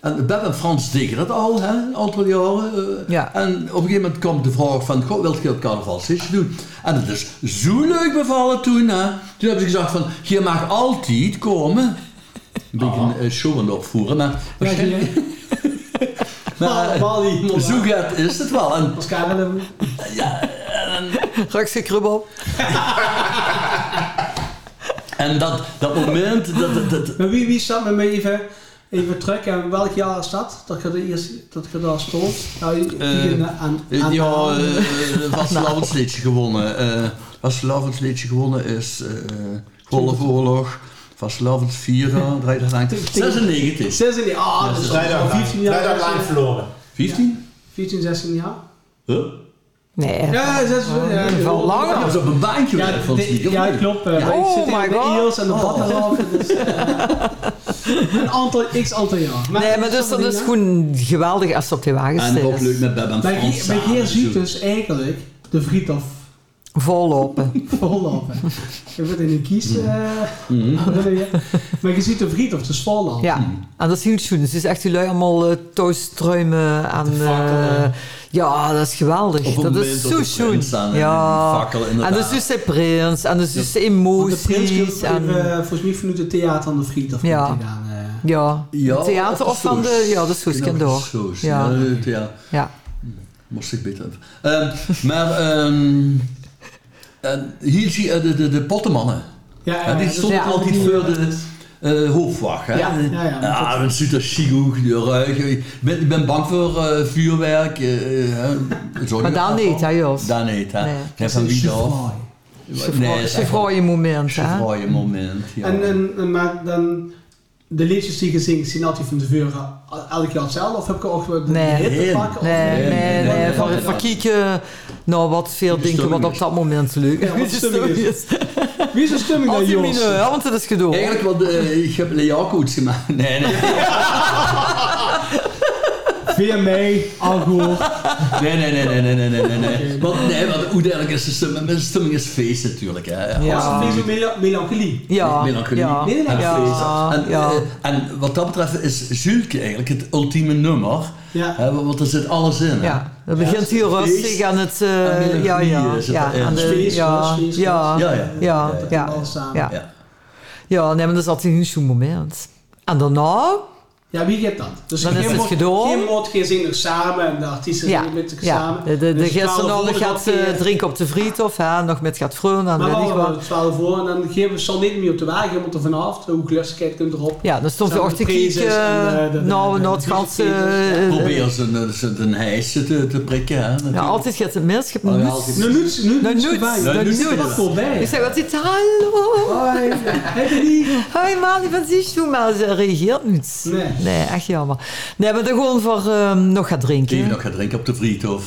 S5: En Beb en Frans deden dat al, hè, een aantal jaren. eh.
S6: Ja.
S5: En op een gegeven moment komt de vraag van, goh, wilt je dat carnavalsfeestje doen? En het is zo leuk bevallen toen, hè. Toen hebben ze gezegd van, je mag altijd komen. Een beetje een
S6: Ah.
S5: eh, show aan het opvoeren, maar... waarschijnlijk- maar, eh,
S4: Bal die iemand
S5: zo
S4: aan.
S5: gaat is het wel. En
S4: Als Karel hem-
S6: rukse krubbel.
S5: En dat, dat moment, dat, dat, dat-
S4: Maar wie, wie staat met mij even, even terug en welk jaar is dat? Dat je, de eerste, dat je daar stond? Nou, die- die
S5: Eh,
S4: in, eh, aan,
S5: eh,
S6: Ah,
S4: aan
S5: ja,
S4: aan-
S5: eh,
S6: nou.
S5: Vastelavonds liedje gewonnen. eh Vastelavonds liedje gewonnen is eh Golfoorlog, Vastelavonds Vieren, Drijfdag 96.
S4: 16 jaar, ah, dat is
S3: Vrijdag
S4: al
S3: lang-
S4: 15 jaar.
S3: vrijdag lang
S4: 16
S3: verloren.
S5: 15?
S4: 14, 16 jaar?
S5: Huh?
S6: Nee,
S4: Ja, Oh, 16 jaar.
S6: ieder geval langer.
S5: Dat was op een baantje
S4: Ja,
S5: werk, volgens
S4: dit-
S5: mij. of
S4: ja,
S5: niet?
S4: klopt. eh,
S6: Ja.
S4: Ik
S6: Oh
S4: zit hier
S6: my
S4: bij
S6: God. Oh.
S4: Eels en de Battenland. Dus, eh, een aantal, x aantal jaar.
S6: Nee, maar dus dat is gewoon geweldig als het op die wagens
S5: En ook leuk
S6: zit.
S5: met Beb en
S4: Maar
S5: Frans
S4: hier, maar hier
S5: samen,
S4: ziet
S5: zo.
S4: dus eigenlijk de friethof
S6: Vollopen.
S4: vollopen. Je wordt in een kies. eh,
S5: Mhm.
S4: maar je ziet de friethof, dus vollopen.
S6: Ja, en dat is heel schoon. Het is echt die lui allemaal eh toastruimen en...
S3: fakkelen.
S6: eh, ja, dat is geweldig.
S5: Op een
S6: Dat
S5: moment
S6: is
S5: dat de
S6: zo schoon.
S5: prins staan en die
S6: Ja,
S5: fakkelen,
S6: en
S5: inderdaad.
S6: dat is dus de prins en dat is dus de
S4: Want de prins
S6: emoties.
S4: komt
S6: En,
S4: eh, volgens mij vanuit het theater aan de friethof.
S6: Ja.
S4: komt hij dan, eh.
S6: ja,
S5: Ja,
S6: theater of van de... Ja, dat is goed, kind door.
S5: Soos,
S6: Ja.
S5: ja. het- ja.
S6: Ja.
S5: Moest ik beter. Ehm, maar ehm, en hier zie je de, de, de pottenmannen.
S4: Ja,
S5: Ja,
S4: ja, eh,
S5: die
S4: dat
S5: stond
S4: is-
S6: ja,
S5: altijd
S4: die-
S5: voor de, eh hoofdwacht. Hè?
S6: Ja,
S4: ja, ja.
S5: Ah, dan ziet er chic uit, de ruig. Ik ben, ik ben bang voor eh, vuurwerk. eh, eh, sorry.
S6: Maar dan niet, hè, Jos?
S5: Dan niet, hè.
S6: Nee.
S4: eh,
S5: Nee, van wie dan?
S4: Chauffeur.
S5: Nee,
S6: Een fraaie moment, hè?
S5: Een moment, ja.
S4: En, eh, en, en maar dan, de liedjes die je zingt, zijn altijd van tevoren eh, elk jaar hetzelfde? Of heb je ook de
S6: Nee.
S4: hit te
S5: Nee.
S4: pakken? Of-
S6: Nee,
S5: Nee,
S6: nee, nee.
S5: nee, nee,
S6: Van,
S5: nee,
S6: van
S5: nee.
S6: kieken, nou, wat veel denken wat op dat moment leuk
S4: Ja, wat stemming is. Wie is er stemming dan,
S6: Als die mine,
S4: Jos?
S6: hè, want het is gedoe.
S5: Eigenlijk, wat, eh, ik heb Leakoets gemaakt. Nee, nee,
S4: Via mij, Algo.
S5: nee, nee, nee, nee, nee, nee, nee, nee. nee. Want, nee, want uiteindelijk is de stemming, de stemming is feest natuurlijk, hè.
S6: Ja.
S4: Dat is een beetje mela- melancholie.
S6: Ja,
S5: melancholie.
S6: ja,
S4: Nee, nee, nee.
S6: ja,
S5: En,
S6: Ah, ja.
S5: eh, en wat dat betreft is Julke eigenlijk het ultieme nummer.
S4: Ja.
S5: Hè, want er zit alles in. hè.
S6: Ja, dat begint hier
S5: feest.
S6: rustig aan het... eh,
S5: melancholie
S6: ja, ja,
S5: is het
S6: ja,
S5: ergens.
S6: aan de,
S4: Feest,
S6: ja,
S4: feest, feest.
S6: ja,
S5: Ja, ja.
S6: ja, ja,
S4: Alles eh, samen.
S6: ja.
S5: Ja.
S6: Ja, nee, maar dat is altijd een zo'n moment. En daarna,
S4: Ja, wie geeft dat? Dus
S6: Dan
S4: geen
S6: is het
S4: mot-
S6: gedoe.
S4: Geen mot, geen zinger samen en de artiesten
S6: ja,
S4: zingen met zich
S6: ja.
S4: samen.
S6: de, de, de
S4: Dus
S6: gasten
S4: 12
S6: nog
S4: voor,
S6: gaat
S4: dan
S6: eh,
S4: kun je-
S6: drinken op de friethof, hè, nog met gaat vronen, en
S4: Maar
S6: weet ik
S4: wel
S6: wat.
S4: eh, 12 voor en dan geven ze al niet meer op de wagen, want er vanaf, hoe gelustigheid kunt erop.
S6: Ja, dan stond je
S4: Samen
S6: ook te
S4: de prezes
S6: kieken,
S4: en, eh, de- de-
S6: nou,
S4: de-
S6: nou, het
S4: de-
S6: ganse...
S4: de-
S6: eh,
S5: Probeer ze een, ze een hijsje te, te prikken. Hè, natuurlijk.
S6: Ja, altijd gaat het mis, je hebt
S5: Oh,
S6: een
S5: ja,
S6: nuts.
S5: altijd.
S4: Nu nuts, nu
S6: Nou,
S4: nuts
S6: nuts,
S4: voorbij.
S6: nou,
S4: Nu
S6: nuts.
S4: is Oh, het wat
S6: Ik
S4: voorbij.
S6: zeg altijd, hallo.
S4: Hoi, heb je die?
S6: Hoi Mali, wat is je? Maar ze reageert niet.
S4: Nee.
S6: echt jammer. Nee, maar dan gewoon voor ehm, nog gaan
S5: Even
S6: drinken.
S5: nog gaan drinken op de friethof.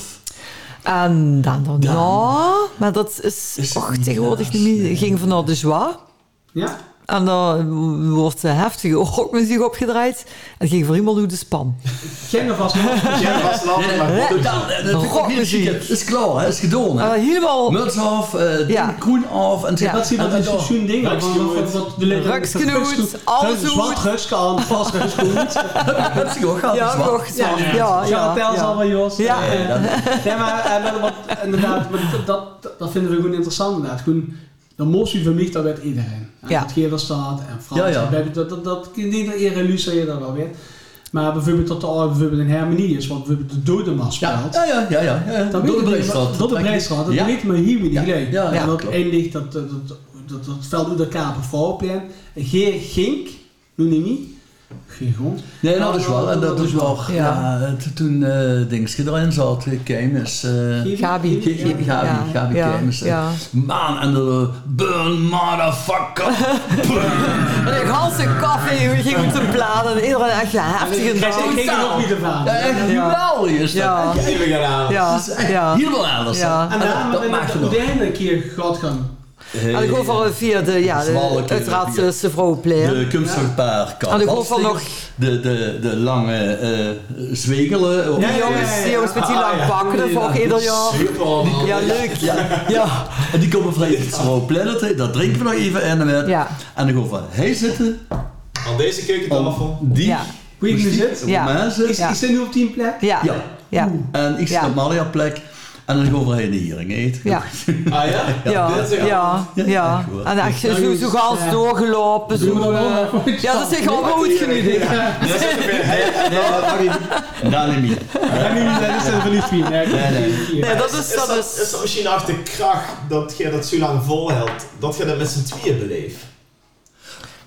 S6: En dan dan. Ja, maar dat is,
S5: Is het
S6: och,
S5: niet
S6: tegenwoordig
S5: naast,
S6: niet. meer. ging vanaf de zwaar.
S4: Ja.
S6: En dan wordt de heftige rockmuziek opgedraaid. En ging voor iemand uit de span.
S4: Geen alvast maar.
S3: Ja, dat was lastig, maar goed.
S5: Totaal, eh, dat vind ik ook niet
S6: Rockmuziek.
S5: chic. Het is klaar, hè, het is gedaan.
S6: En
S5: Hè.
S6: dan Nou, helemaal
S5: Muts af, eh,
S6: Ah, Ja.
S5: ding, groen af. En
S6: Ja.
S4: Dat zie je
S5: en-
S4: dat is
S5: en-
S4: zo'n zo'n ding. Wat, wat, wat de lekker-
S6: Ruksknoet,
S4: ruksknoet,
S6: alles
S4: Zwart
S6: goed.
S4: ruksknoet, vast ruksknoet.
S5: Dat is gewoon gaaf.
S6: ja,
S5: dat is wat.
S6: nog ja, ja, Oh, ja,
S4: Ja, tel ze allemaal, Jos.
S6: Ja.
S4: Eh,
S5: Ja, dat-
S4: Nee, maar eh, maar wat, inderdaad, maar dat- dat, dat vinden we gewoon interessant inderdaad. Gewoon, de motie vermiegt dat werd iedereen. En
S6: Ja.
S4: Dat Gerda staat en Frans.
S5: Ja, ja.
S4: en Bebbe, Dat, dat, dat, die eer en Luce je dat wel weer. Maar bijvoorbeeld dat er al bijvoorbeeld een harmonie is, want bijvoorbeeld de dodenmas
S5: Ja,
S4: speelt.
S5: ja, ja, ja, ja, ja.
S4: Dat
S5: Door de
S4: Breedstraat.
S5: Breedstraat.
S4: Door de Breedstraat, dat
S5: Ja.
S4: weet men hier weer niet
S5: Ja.
S4: gelijk.
S5: Ja, ja,
S4: en ook
S5: klopt.
S4: eindigt dat, dat, dat, dat, dat veld uit elkaar op een vrouwenplein. Geer Gink, noem je niet? Geen grond.
S5: Nee, nou, dat is wel. En dat is wel.
S6: Ja.
S5: Ja, het- toen eh Dingske erin zat, Kemes. eh
S6: Gabi.
S5: Gabi, Gabi,
S6: Ja,
S5: Gabi
S6: ja,
S5: Kemes. eh,
S6: ja.
S5: Maan en de burn, motherfucker.
S6: En de ganse koffie ging op de plaat. En iedereen echt heftig en
S4: Krijg je er nog niet ervan.
S5: Ja, echt
S6: Ja.
S5: geweldig is dat.
S6: Ja.
S5: Ja.
S3: Even gaan halen.
S6: Ja,
S5: Dat is echt
S6: ja.
S5: helemaal anders.
S6: Ja.
S4: En
S5: En
S4: daarom hebben
S5: dat, dat maakt
S4: we
S5: het
S4: de
S5: nog.
S4: derde keer gehad gaan.
S6: En ik hoor van eh, via de, ja,
S5: Dat is wel
S6: de,
S5: een keer
S6: uiteraard
S5: via-
S6: eh, zijn vrouwenplein.
S5: De kunstwerkpaar
S6: Ah, die golf van nog-
S5: De, de, de lange eh zwegelen. of-
S6: Die jongens, die jongens
S5: Ah,
S6: met die lang pakken, dat volg ik ieder jaar.
S3: Superman.
S6: Ja, leuk.
S5: Ja, ja, en die komen vrij iets van Planet, dat drinken we nog even in en met.
S6: Ja.
S5: En dan gaan we van, hey zitten,
S3: Aan deze keukentafel.
S5: die,
S6: Ja.
S4: Hoe ik nu
S5: moest die,
S4: zit.
S5: op
S6: Ja.
S5: mij
S4: Is,
S5: zitten.
S6: Ja.
S4: is dit nu op tien plek?
S6: Ja,
S5: Ja.
S6: ja.
S5: En ik zit
S6: Ja.
S5: op Maria plek. En dan gaan we heen de hiering eten.
S6: Ja.
S3: Ah ja?
S6: Ja,
S3: dit is echt-
S6: ja, ja.
S5: goed.
S6: En echt zo, zo gans doorgelopen. Zo, eh, ja, dat is echt allemaal goed genieten.
S3: Dat is echt weer- Hey, nou, dat mag niet.
S5: Daar niet meer.
S4: Ja, nu dat is er van die vier. Nee,
S6: Nee, dat is,
S3: Is
S6: dat
S3: dat- is
S6: is...
S3: dat misschien achter de kracht dat je dat zo lang volhoudt, dat je dat met z'n tweeën beleeft?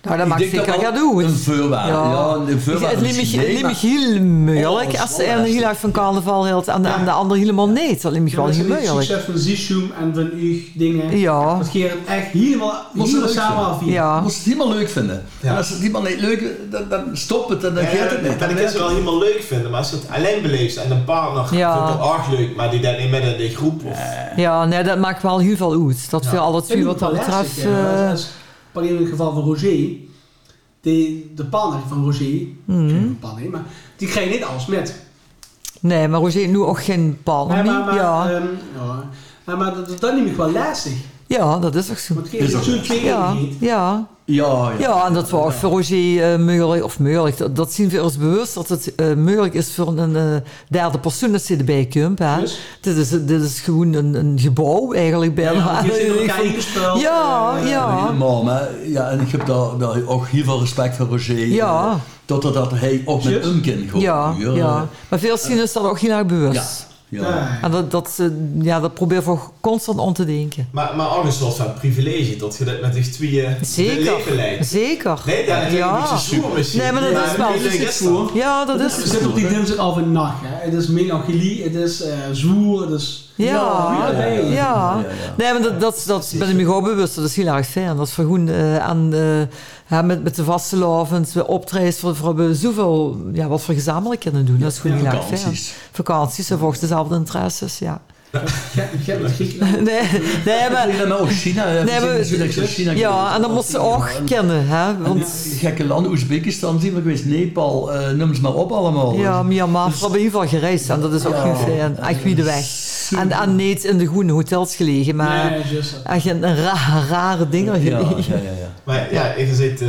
S6: Nou, dat maakt
S5: Ik denk
S6: zeker
S5: dat
S6: gaan
S5: wel
S6: doen.
S5: Een voorwaarde. Ja, een voorwaarde.
S6: Het ligt
S5: misschien,
S6: me- ligt
S5: maar-
S6: me heel
S5: Oh, dat
S6: moeilijk
S5: is
S6: als de
S5: wel
S6: ene heel
S5: lastig.
S6: erg van carnaval hield en de, en de andere helemaal niet. Dat ligt me gewoon
S4: dat is
S6: heel
S4: een
S6: moeilijk.
S4: succes van Zishoom en van u dingen.
S6: Ja.
S4: Dat Gerard echt helemaal,
S5: Moest
S4: helemaal
S5: het leuk
S4: samen
S5: zijn.
S4: afvieren.
S5: Je
S6: Ja,
S5: moest het helemaal leuk vinden.
S3: Ja.
S5: En als het helemaal niet leuk is, dan, dan stop het en dan
S3: Ja,
S5: gaat het niet.
S3: dat ik het wel helemaal leuk vinden, maar als je het alleen beleeft en een partner
S6: Ja.
S3: vindt het erg leuk, maar die dat niet met in de groep of...
S6: ja nee, dat maakt wel heel veel uit. Dat veel al dat vuur wat dat betreft... eh,
S4: Pak even het geval van Roger. Die, de partner van Roger,
S6: Mhm.
S4: mm. partner, maar die krijgt niet alles met.
S6: eh, Nee, maar Roger, nu ook geen palm.
S4: Maar, maar, maar,
S6: ja.
S4: ehm, ja. Maar, maar dat, dat neem ik wel lastig.
S6: ja, dat is ook zo.
S4: Want Gerard
S5: ook
S4: zo'n
S5: lastig.
S4: twee
S6: Ja,
S4: niet.
S6: ja.
S5: Ja, ja.
S6: ja, en dat was voor Roger eh mogelijk, of mogelijk, dat, dat zien we ons bewust, dat het eh, mogelijk is voor een eh, derde persoon dat ze erbij komt. Hè.
S4: Dus?
S6: Dit, is, dit is gewoon een, een gebouw eigenlijk bijna.
S4: Ja, je zit in
S6: Ah,
S4: elkaar ingespeeld.
S6: ja,
S4: Eh,
S6: ja.
S5: Helemaal, maar ja, en ik heb daar, daar ook heel veel respect voor Roger.
S6: Ja.
S5: eh, Totdat dat hij ook met
S4: Juist.
S5: een kind gewoon.
S6: Ja,
S5: eh,
S6: ja. Maar veel zien is dat ook heel erg bewust.
S4: eh,
S5: Ja. Ja.
S6: En dat, dat, ze- ja, dat probeer voor constant om te denken.
S3: Maar, maar ook een soort van privilege dat je dat met die tweeën leven
S6: Zeker.
S3: leidt.
S6: Zeker.
S3: Nee, dat is een beetje zoer misschien.
S6: Nee, maar dat is wel-
S3: een beetje
S4: dat is
S3: gisteren.
S4: zoer.
S6: Ja, dat
S4: We
S6: is.
S4: zitten op die dinsdag al van nacht. Hè. Het is melancholie, het is eh zwoer, het is...
S6: Ja.
S4: ja, nee.
S6: Ja.
S5: ja, ja.
S6: Nee, maar dat, dat, dat ben ik me gewoon bewust. Dat is heel erg fijn. Dat is voor gewoon eh, aan, eh, ja, met, met de vaste lovens, we optredens, voor, voor we zoveel, ja, wat we gezamenlijk kunnen doen. Dat is gewoon heel erg fijn.
S5: Vakanties.
S6: Vakanties, en volgens dezelfde interesses, ja.
S4: Ge- ge- het Griekenland.
S6: Nee, nee maar...
S5: Ja, maar ook China. hè.
S6: Nee, maar-
S5: We zien natuurlijk zo China
S6: Ja, en dat moest ze ook kennen, hè. Want,
S5: Gekke landen, Oezbekistan zien we geweest, Nepal, eh noem ze maar op allemaal.
S6: ja, Myanmar, we hebben in ieder geval gereisd. En dat is ook
S5: Ja.
S6: heel fijn. Echt wie de weg. En, en niet in de goede hotels gelegen, maar...
S4: Nee, juist dat.
S6: Echt een ra- rare dingen
S5: ja,
S6: gelegen.
S5: ja, ja. ja.
S3: Maar ja, je zit... eh,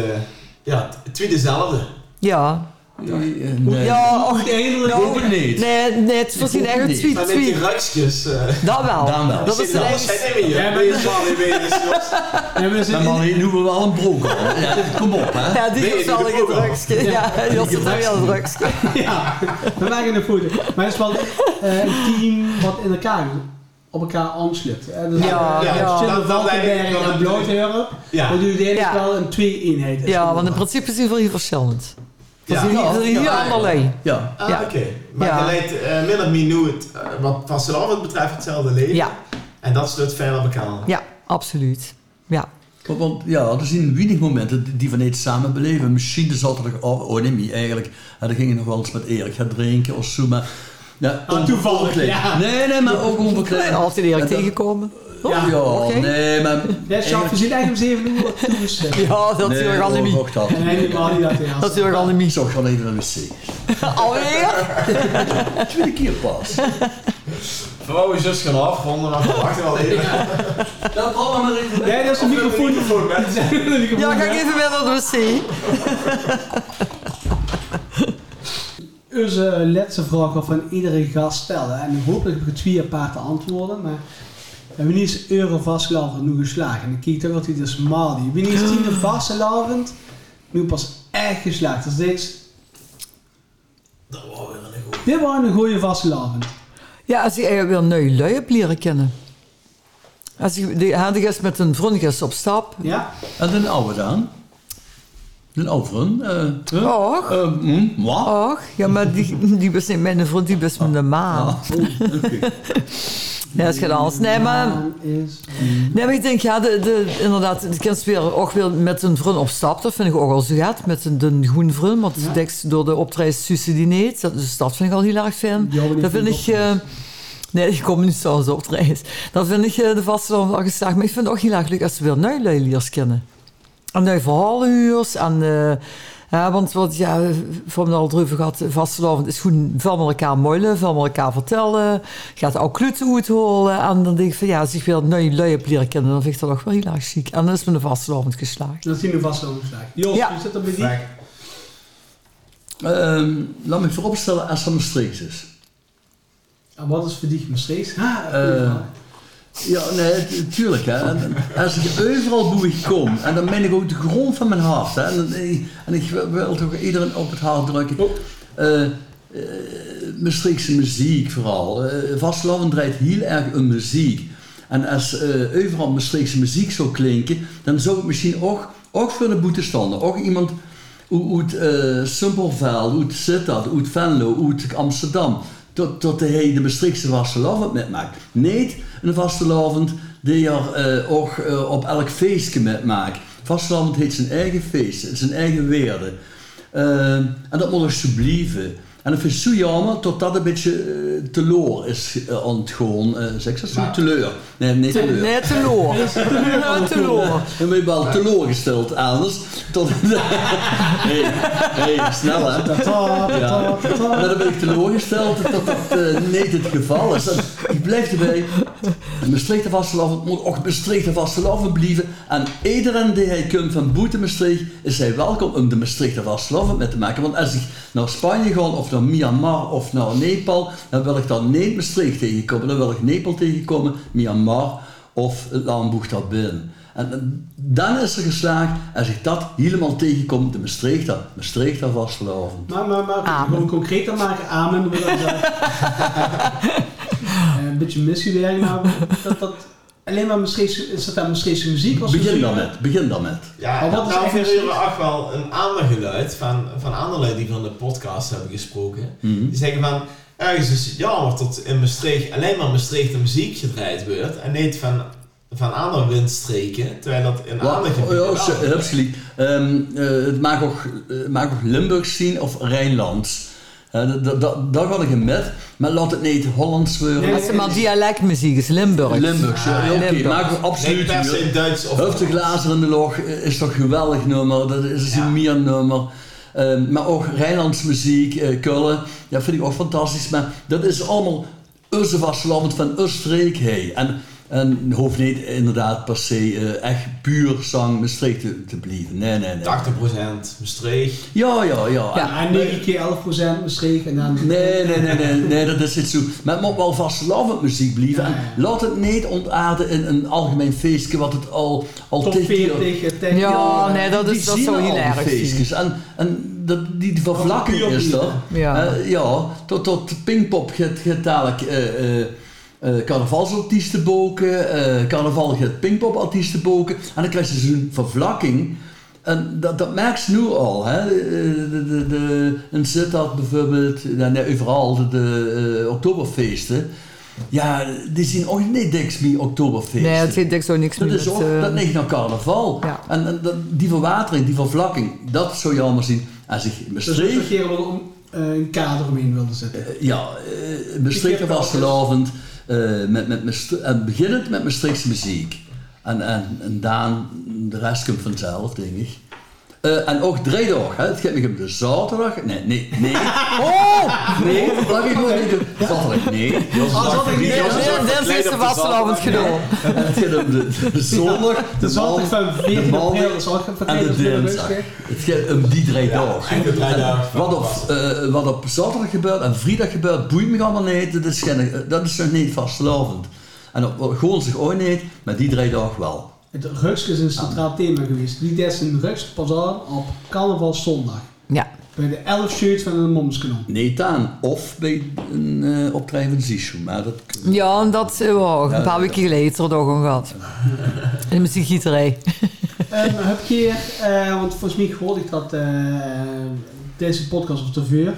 S3: ja, t- twee dezelfde.
S6: Ja.
S5: Eh, nee.
S6: Ja, och,
S5: Eindelijk
S6: nou,
S5: ook niet.
S6: Nee, nee, het was niet echt een
S5: niet.
S6: tweet,
S3: Maar met die
S6: tweet.
S3: ruikjes... eh
S6: Dat wel.
S5: Dan wel.
S6: Dat
S3: zit
S6: is de
S3: er alles
S6: enige-
S3: zijn in je.
S4: Ja,
S3: Ben je zwaar mee bezig, jongens?
S4: Ja, maar er zit
S5: Maar
S4: in-
S5: man, hier noemen we al een broek al. Ja, kom op, hè.
S6: Ja, die
S3: Nee,
S6: was
S3: die
S6: wel een
S3: gebroken.
S6: drugsje. Ja, die was wel een drugsje.
S4: Ja, we maken een foto. Maar het is wel eh, een team wat in elkaar op elkaar aansluit. hè. Dus,
S6: Ja,
S4: eh,
S6: ja.
S4: Schiller,
S3: Dat- dat
S4: Valkenberg
S3: lijkt me wel
S4: en
S3: een-
S4: Blauwdurp.
S3: Ja.
S4: We doen uiteindelijk
S6: Ja.
S4: wel een twee-eenheid.
S6: Ja, want in principe zijn we heel verschillend.
S3: Ja.
S6: Dat is
S5: Ja.
S6: heel allerlei.
S5: Ja.
S3: Ah,
S6: Ja.
S3: oké. Maar
S6: Ja.
S3: je leidt eh, min of meer nu het, eh, wat Vastelavond betreft hetzelfde leven.
S6: Ja,
S3: En dat sluit fijn op elkaar aan.
S6: ja, absoluut. Ja.
S5: Want, want ja, er zijn weinig momenten die van iets samen beleven. Misschien de zaterdag, oh, oh nee, niet eigenlijk. En dan ging je nog wel eens met Erik gaan drinken of zo, maar... Ja,
S4: Ah, toevallig,
S5: onverkleed.
S4: ja.
S5: Nee, nee, maar ook onverkleed.
S6: En altijd eerlijk
S5: En dan-
S6: tegenkomen.
S5: Ja,
S6: Ja, oké.
S5: nee, maar...
S4: Ja, Sjaak, we zien eigenlijk om 7 uur wat toegestemd.
S6: Ja, dat
S5: Nee,
S6: is ook al niet
S5: oh,
S6: meer.
S5: ook dat.
S4: En hij mag niet dat hij
S6: Dat is ook al niet
S5: Ik
S6: meer.
S5: zag gewoon even naar de wc.
S6: Alweer?
S5: Tweede keer pas.
S3: Vrouw is dus gaan afronden, maar we wachten wel even.
S5: Dat allemaal maar even.
S4: Nee, dat is een microfoon.
S6: Ja, ga ik even weer naar de wc.
S4: Onze laatste vraag al van iedere gast stellen. En hopelijk heb ik het vier paar te antwoorden. Maar wanneer is euro vastgelavend nu geslagen? En dan kijk ik toch altijd dus Mali. Wanneer is tiende
S6: Ah.
S4: vastgelavend nu pas echt geslaagd? Dus deze... Dit waren een goeie vastgelavend.
S6: Ja, als ik eigenlijk weer nieuwe lui heb leren kennen. Als ik die handig is met een vriendjes op stap.
S4: Ja?
S5: En een oude dan? Een ouderen? eh huh?
S6: Och,
S5: Eh, hm, wat?
S6: och. Ja, maar die, die was niet mijn vriend, die was mijn
S4: Oh.
S6: ma.
S5: Oh,
S6: Ja, dat is geen alles. Nee, maar, Mm.
S4: Dan is...
S6: nee, maar ik denk, ja, de, de, inderdaad, de kind weer, ook weer met een vriend op stap. Dat vind ik ook al zo gaat. Met een, een goede vriend, want
S4: Ja.
S6: ik denk door de optredens suicidineert. Dat, dus dat vind ik al heel erg fijn.
S4: Ja, maar die
S6: dat vind
S4: vind
S6: ik...
S4: ik ook
S6: eh, Nee, ik kom niet zo'n optredens. Dat vind ik eh, de vaste dan wel geslaagd. Maar ik vind het ook heel erg leuk als ze weer nieuwe lui leers kennen. En nieuwe verhalenhuurs. En, eh, ja, want wat, ja, voor me al droevig gehad, vastelavond is gewoon veel met elkaar moilen, veel met elkaar vertellen. Gaat ook kluten uitholen. En dan denk ik van ja, als ik weer nieuwe lui heb leren kennen, dan vind ik dat ook wel heel erg chic. En dan is mijn vastelavond geslaagd.
S4: Dat is tiende vastgelavend geslaagd. Jos,
S6: Ja.
S4: je zit er bij die.
S3: Frank,
S5: Ehm, laat me vooropstellen als dat Maastricht is.
S4: En wat is voor die Maastricht? Ha,
S5: Eh,
S4: goeie vraag.
S5: Ja, nee, tu- tuurlijk. Hè. En als ik overal boeig kom, en dan ben ik ook de grond van mijn hart. Hè. En, dan- en ik wil- wil toch iedereen op het hart drukken. Eh, eh, Maastrichtse muziek vooral. Eh Vastelavond draait heel erg om muziek. En als eh, overal Maastrichtse muziek zou klinken, dan zou het misschien ook, ook voor de boete stonden. Ook iemand uit, uit eh, Simpelveld, uit Sittard, uit Venlo, uit Amsterdam. Tot, tot hij de Maastrichtse vastelavond metmaakt. Nee, een vastelavond die er eh, ook eh, op elk feestje metmaakt. Vastelavond heeft zijn eigen feest, zijn eigen weerde. Eh, en dat moet er zo blijven. En dat vind ik zo jammer totdat het een beetje eh, teleur is eh, ontgaan. Eh, zeg ik dat zo? Teleur. Nee, nee, teleur.
S6: Nee, te loor. Nee, te loor.
S5: Dan ben je wel teleurgesteld, anders. Tot... hey, hey, snel hè.
S4: Ta, ta, ta, ta, ta.
S5: Maar dan ben ik teleurgesteld dat dat eh, niet het geval is. En ik blijf erbij. Maastricht en Vastelavond moet ook Maastricht en Vastelavond blijven. En iedereen die hij kunt van boeten Maastricht, is hij welkom om de Maastricht en Vastelavond mee te maken. Want als ik naar Spanje ga, of naar Myanmar, of naar Nepal, dan wil ik daar niet Maastricht tegenkomen. Dan wil ik Nepal tegenkomen, Myanmar of het Lamboeg daar binnen. En eh, dan is er geslaagd, als ik dat helemaal tegenkom, de Maastrichter, Maastrichter Vastelavond.
S4: Maar, maar, maar,
S6: Amen.
S4: gewoon concreter maken, amen. wil ik zeggen. Eh, beetje missiewerk, maar dat, dat alleen maar Maastrichtse, is dat dan Maastrichtse muziek? Als
S5: Begin
S4: we
S5: dan
S4: zingen?
S5: met, begin dan met.
S3: Ja,
S4: Maar
S3: en
S4: wat is
S3: nou
S4: echt
S3: vinden jullie
S4: precies?
S3: echt wel een ander geluid van, van anderen die van de podcast hebben gesproken. Die zeggen van, ergens is het jammer dat in Maastricht alleen maar Maastricht de muziek gedraaid wordt. En niet van, van andere windstreken, terwijl dat in
S5: Ja,
S3: andere gebieden
S5: Oh, ja,
S3: wel
S5: ze-
S3: gebeurt.
S5: absoluut. Ehm, eh, het mag ook, eh, mag ook Limburgs zien of Rijnlands. Eh, dat- dat- dat- daar ga ik in met. Maar laat het niet Hollands worden.
S6: Als het maar dialectmuziek is, Limburgs.
S5: Ah, Limburgs, ja, ja, oké.
S6: Limburgs.
S5: Mag ook
S3: Niet
S5: absoluut.
S3: per se in Duits of
S5: Huf de glazen in de log eh, is toch een geweldig nummer. Dat is een meer nummer. Ehm, maar ook Rijnlands muziek, eh Kullen. Ja, vind ik ook fantastisch. Maar dat is allemaal onze vasteland van onze streek. Hey. En, en hoeft niet inderdaad per se eh, echt puur zang met streek te, te blijven. Nee, nee, nee.
S3: 80% Maastricht.
S5: Ja, ja, ja.
S6: Ja.
S4: Ja, 9 keer 11 procent Maastricht en dan...
S5: Nee, nee, nee, nee, nee, dat is het zo. Maar het moet wel vastlovend muziek blijven.
S4: Ja,
S5: En laat het niet ontaarden in een algemeen feestje wat het al, al
S4: Top
S5: tig keer-
S4: 40, eh, tech-
S6: Ja, nee, dat is dat
S5: zien
S6: zo
S5: al
S6: heel
S5: die
S6: erg. zien.
S5: feestjes. En, en dat, die vervlakking
S3: Kopie op
S5: is
S3: die,
S5: er.
S6: Ja.
S5: Eh, ja, tot, tot Pinkpop gaat, gaat dadelijk eh, eh, eh, carnavalsartiesten boken. eh, carnaval gaat Pinkpopartiesten boken. En dan krijg je zo'n vervlakking. En dat, dat merk je nu al. Hè? De, de, de, de, in Sittard bijvoorbeeld, ja, nee, overal de, de, eh, oktoberfeesten. Ja, die zien ook niet niks meer oktoberfeesten.
S6: Nee, het heeft echt zo niks
S5: Dat
S6: meer
S5: is
S6: met,
S5: ook,
S6: eh,
S5: dat ligt naar carnaval.
S6: Ja.
S5: En, en dat- die verwatering, die vervlakking, dat zou je allemaal zien. Als ik
S4: Dus dat de
S5: bestreek,
S4: regering wel om, eh, een kader omheen wilde zetten.
S5: ja, eh bestreek
S4: heb
S5: was
S4: het al
S5: gelovend, eh, met, met, mijn st- en beginnend met mijn streekse muziek. En, en, en Daan, de rest komt vanzelf, denk ik. Eh, en ook draaidag, hè. het gaat me om de zaterdag. Nee, nee, nee. Oh! Nee, laat ik gewoon niet doen. Zaterdag, nee.
S4: Alsof ik niet...
S6: Ja,
S4: Ja,
S6: dat- Dat is de vastelavond gedaan.
S5: Het gaat om de, de zondag, de,
S4: De zondag van
S5: maandag, de
S4: 14
S5: maandag.
S4: april, dat zal ik van
S5: En de
S4: 14 april
S5: dinsdag.
S4: rustig.
S5: Het gaat om die drie dagen.
S3: en de drie
S5: En
S3: dagen van
S5: Wat op,
S3: vast.
S5: eh, wat op zaterdag gebeurt en vrijdag gebeurt, boeit me allemaal niet. Dat is, geen, dat is nog niet vastlovend. En op zich ook niet, maar die drie dagen wel.
S4: Het rugs is een centraal thema geweest. Die des een rugs pas aan op carnavalzondag.
S6: Ja.
S4: Bij de 11 shirts van de Momskanon.
S5: Niet aan. Of bij een eh optreden van Zishu. Maar dat...
S6: Ja, en dat hebben we ook een paar weken later nog een gehad. In mijn gieterij.
S4: Ehm, heb je, eh, want volgens mij hoorde ik dat eh, deze podcast op de vuur.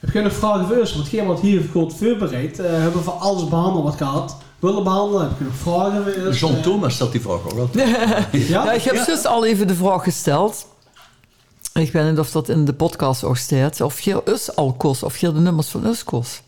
S4: Heb je nog vragen voor ons? Want geen wat hier goed voorbereid. eh hebben we voor alles behandeld wat gehad. Willen behandelen, heb je nog vragen voor ons?
S5: John
S4: Eh,
S5: Thomas stelt die vraag ook altijd.
S4: Ja?
S6: Ja, ik heb zus al even de vraag gesteld. Ik weet niet of dat in de podcast ook staat. Of je us al kost, of je de nummers van us kost.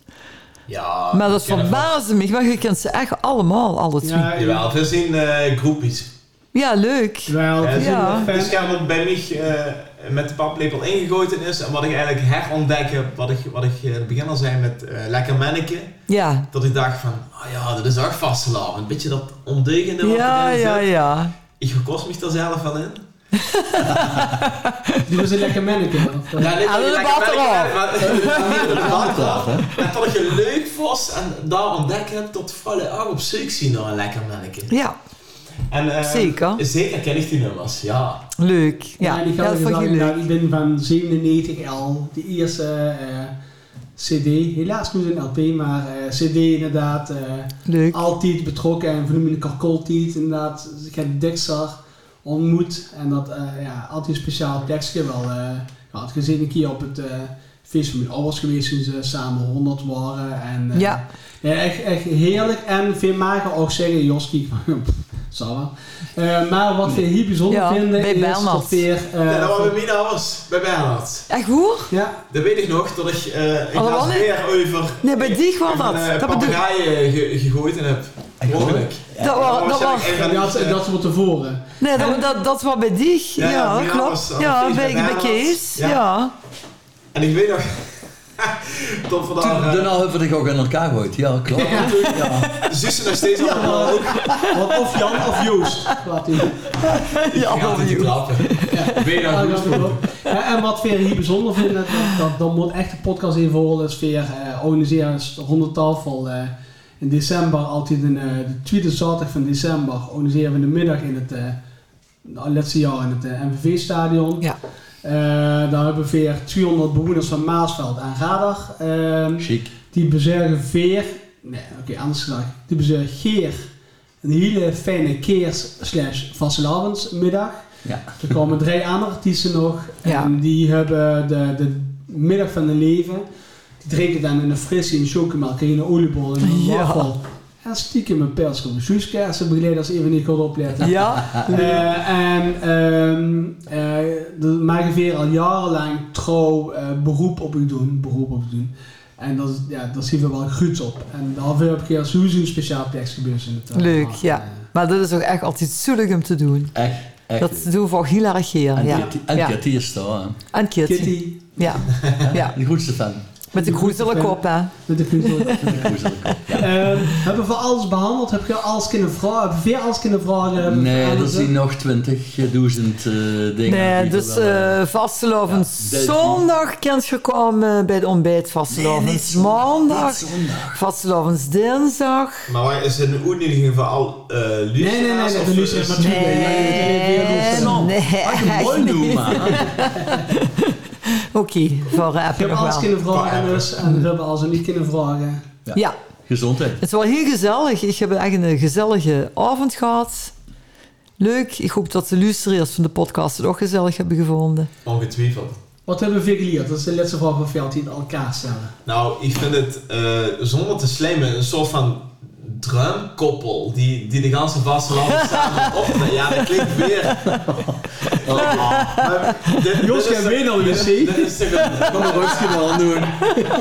S3: Ja,
S6: Maar dat
S3: ik ken wel.
S6: verbaasde me, want je kent ze echt allemaal, alle twee. Ja,
S4: Ja, jawel.
S3: Jawel, we zien eh groepjes. Eh,
S6: leuk.
S4: Jawel, het is
S6: Ja.
S4: een
S3: Dus Het
S4: fan.
S3: scherm wat bij mij eh, met de paplepel ingegoten is en wat ik eigenlijk herontdek, heb, wat ik, wat ik eh, in het begin al zei met eh, Lekker Manneke,
S6: Ja.
S3: dat ik dacht van, ah ja, dat is ook vastelavond. Een beetje dat ondeugende wat
S6: Ja,
S3: erin
S6: ja,
S3: zit.
S6: ja.
S3: Ik gekost me daar zelf wel in.
S4: Die was een lekker manneke. man. Of, eh,
S3: Ja,
S6: Ah, dat is
S3: Lekker
S6: water
S3: Manneke, maar-
S5: Altijd, hè?
S3: En dat ik het leuk vond en daar ontdekt heb dat vrouwen ook op zoek zien naar een Lekker Manneke.
S6: Ja,
S3: En, eh,
S6: Zeker.
S3: Zeker ken ik die nummers, ja.
S6: leuk. Ja,
S4: die
S6: ja dat
S4: gelden
S6: vond je
S4: wel. Ja,
S6: leuk.
S4: ik ben van 97 al, de eerste eh, CD. Helaas niet een LP, maar eh, CD inderdaad. eh,
S6: Leuk.
S4: altijd betrokken en vernoemde ik elkaar altijd. Inderdaad, Dus ik heb Dexter ontmoet en dat eh, ja, altijd een speciaal tekstje wel. eh ja, het gezin een keer op het eh feest van mijn ouders geweest toen ze samen 100 waren. En, eh,
S6: Ja.
S4: ja, echt, echt heerlijk en veel maken ook zeggen, Joski, zal wel. Eh, maar wat we hier bijzonder
S6: Ja,
S4: vinden
S6: bij
S4: is
S6: Belmans.
S4: dat weer... eh,
S3: En dat waren bij mij ouders, bij Bernhard.
S6: Echt hoor?
S4: ja,
S3: Dat weet ik nog, dat ik, eh ik
S6: Alle
S3: had
S6: mannen?
S3: weer over
S6: Nee, bij die gewoon
S3: een
S6: dat.
S3: eh,
S6: Dat bedoel Oh,
S3: papegaai eh, ge- gegooid en heb. Ongeluk.
S6: Dat was, dat was,
S4: dat,
S3: eh,
S4: dat is eh, wat tevoren.
S6: nee, dat, dat, dat was bij die. Ja,
S3: Ja, bij jou
S6: klopt.
S3: was- was
S6: Ja,
S3: Kees
S6: bij,
S3: bij
S6: bij
S3: mij
S6: Kees.
S3: was. Ja.
S6: Ja.
S3: En ik weet nog... Tot
S5: Toen-
S3: vandaag...
S5: Daarna Ah, hebben we het ook in elkaar gegooid. Ja, klopt. Ja.
S3: eh, Zussen nog steeds allemaal ook.
S4: Want of Jan of Joost. Wat die-
S6: Ja,
S3: Ik ga
S6: over
S3: niet
S6: you.
S3: klappen. Weet je
S4: Ja,
S3: nog
S4: dat
S3: goed?
S4: is wel. Ja, en wat we hier bijzonder vinden, dat, dat, dat moet echt de podcast even horen, is weer eh organiseren is de ronde tafel eh, in december, altijd in, eh, de tweede zaterdag van december, organiseren we in de middag in het, eh, nou, laatste jaar in het MVV-stadion.
S6: Ja.
S4: daar hebben we weer 200 bewoners van Maasveld en Radar. eh,
S5: Chic.
S4: die bezorgen veer Nee, oké, anders gezegd. Toen ze Geer. Een hele fijne keers slash vastelavondsmiddag.
S5: Ja.
S4: Er komen drie andere artiesten nog. En
S6: Ja.
S4: die hebben de, de middag van hun leven. Die drinken dan een frissie, een chocomelk, een oliebol en een
S6: Ja.
S4: wafel. En stiekem een pers op een sjoeskaas begeleid als ze even niet goed opletten.
S6: Ja,
S4: Eh, en ehm eh dat maak ik weer al jarenlang trouw eh, beroep op u doen. Beroep op u doen. En dat, is- ja, daar zien we wel gruts op. En daarvoor heb ik hier sowieso een speciaal tekst gebeurd in het eh,
S6: leuk,
S4: verhaal.
S6: ja. Maar dat is ook echt altijd zoelig om te doen.
S5: Echt, echt.
S6: Dat doen we voor heel erg hier.
S5: en
S6: Ja.
S5: Kitty- en
S6: Ja.
S5: Kitty is daar, hè.
S6: En Kitty.
S4: Kitty
S6: Ja. ja.
S5: De grootste fan.
S6: Met de groezele kop, hè.
S4: met de gruzel.
S5: De grootste.
S4: Ehm, hebben we alles behandeld? Heb je alles kunnen vragen? Heb je veel alles kunnen vragen?
S5: nee, er
S4: dat
S5: zijn nog 20.000 eh, dingen.
S6: Nee,
S5: die
S6: dus
S5: wel, eh,
S6: eh vastelovend
S5: Ja, dat is-
S6: zondag kent gekomen bij het ontbijt.
S5: eh,
S6: Vastelovend maandag. Vastelovend dinsdag.
S3: Maar waar is het een oefening voor al eh
S4: Nee, nee, nee, nee,
S3: luisteraars,
S4: de
S3: of,
S4: Lucie
S3: eh,
S4: is maar twee. Nee, nee, nee.
S6: Nee,
S5: Wat een Ah, mooi noemen, man.
S6: Oké, voor
S4: Ik
S6: appen
S4: heb alles
S6: nog wel.
S4: kunnen vragen dus, en we hebben alles niet kunnen vragen.
S6: Ja,
S5: Gezondheid.
S6: het was heel gezellig. Ik heb echt een gezellige avond gehad. Leuk. Ik hoop dat de luisteraars van de podcast het ook gezellig hebben gevonden.
S3: Ongetwijfeld.
S4: Wat hebben we geleerd? Dat is de laatste vraag van Veld die het aan elkaar stellen.
S3: Nou, ik vind het eh, zonder te slijmen een soort van drumkoppel die, die de ganse vaste landen samen opneemt. Ja, dat klinkt weer. Maar dit-
S4: Oh. Jos,
S3: dit is
S4: jij
S3: toch-
S4: weet al,
S3: dit-
S4: Lucie.
S3: Dit is toch een. Kom maar rustig wel doen.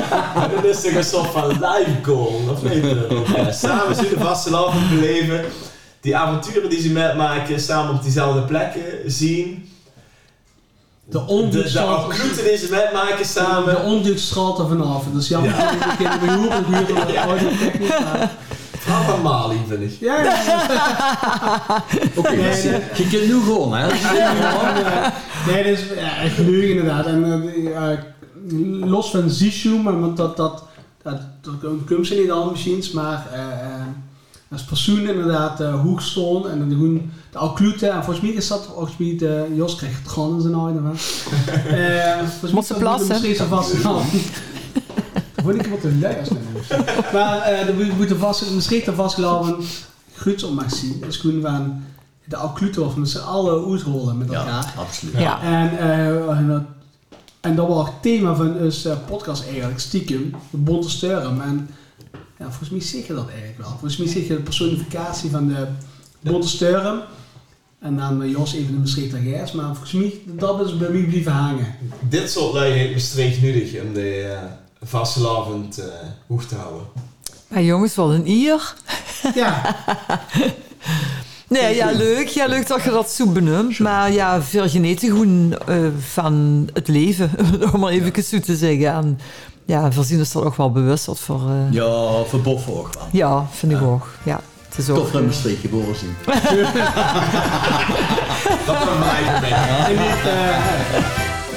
S3: Dit is toch een soort van live goal, of niet? Ja, samen zien de vaste landen beleven. Die avonturen die ze metmaken, samen op diezelfde plekken zien.
S4: De
S3: De, de
S4: onduitschalte
S3: acuten die ze metmaken samen.
S4: de onduitschalte vanavond. Dus jammer dat ik een keer mijn hoer op uur aan maar...
S3: Vooral van Mali, vind ik.
S4: Ja, ja, ja.
S5: Oké, dus je- je kunt nu gewoon, hè.
S4: Nee, dat is ja, echt leuk inderdaad. En eh, eh, los van Zishu, maar want dat, dat, dat, dat komt ze niet al misschien, maar eh eh, als persoon inderdaad eh hoekston en dan doen de occlute. En volgens mij is dat volgens mij, de- Jos krijgt het gewoon in zijn ogen. hè. Eh, volgens mij
S6: Moet ze
S4: is dat
S6: plassen?
S4: Misschien zo vast Dan word ik wat een luiers met Maar eh dan moet- moet er vast, misschien te vastgelopen gruts om mag zien. Dus toen waren de occlute of met z'n allen uitrollen met elkaar.
S5: Ja, absoluut.
S6: Ja.
S4: En, eh, en dat, en dat was het thema van onze podcast eigenlijk, stiekem, de bonte steuren. En ja, volgens mij zeg je dat eigenlijk wel. Volgens mij zeg je de personificatie van de bonte steuren. En dan bij Jos even de beschikte gijs, maar volgens mij, dat is bij mij blijven hangen.
S3: Dit soort lui heeft me streek nodig om de eh vastelavond eh, hoog te houden.
S6: Maar jongens, wat een ier.
S4: Ja,
S6: Nee, ja, leuk. Ja, leuk dat je dat zo benoemt. Maar ja, veel geneten groen eh, van het leven, om maar even zo te zeggen. En ja, voorzien is dat ook wel bewust. Wat voor, eh, ja.
S5: Ja, voor Boffen ook wel.
S6: vind ik ook. Ja, het is ook...
S5: Tof dat we streek geboren zijn.
S3: Dat kan mij mee.
S4: en dit, eh,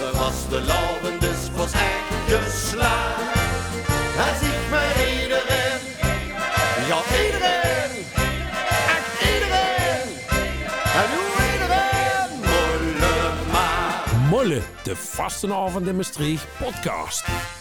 S7: Er was de lauwen dus pas echt geslaagd. Hij ziet mij iedereen. Ja, iedereen. Echt iedereen. En nu iedereen. Molle maar.
S1: Molle, de Vastenavond in Maastricht podcast.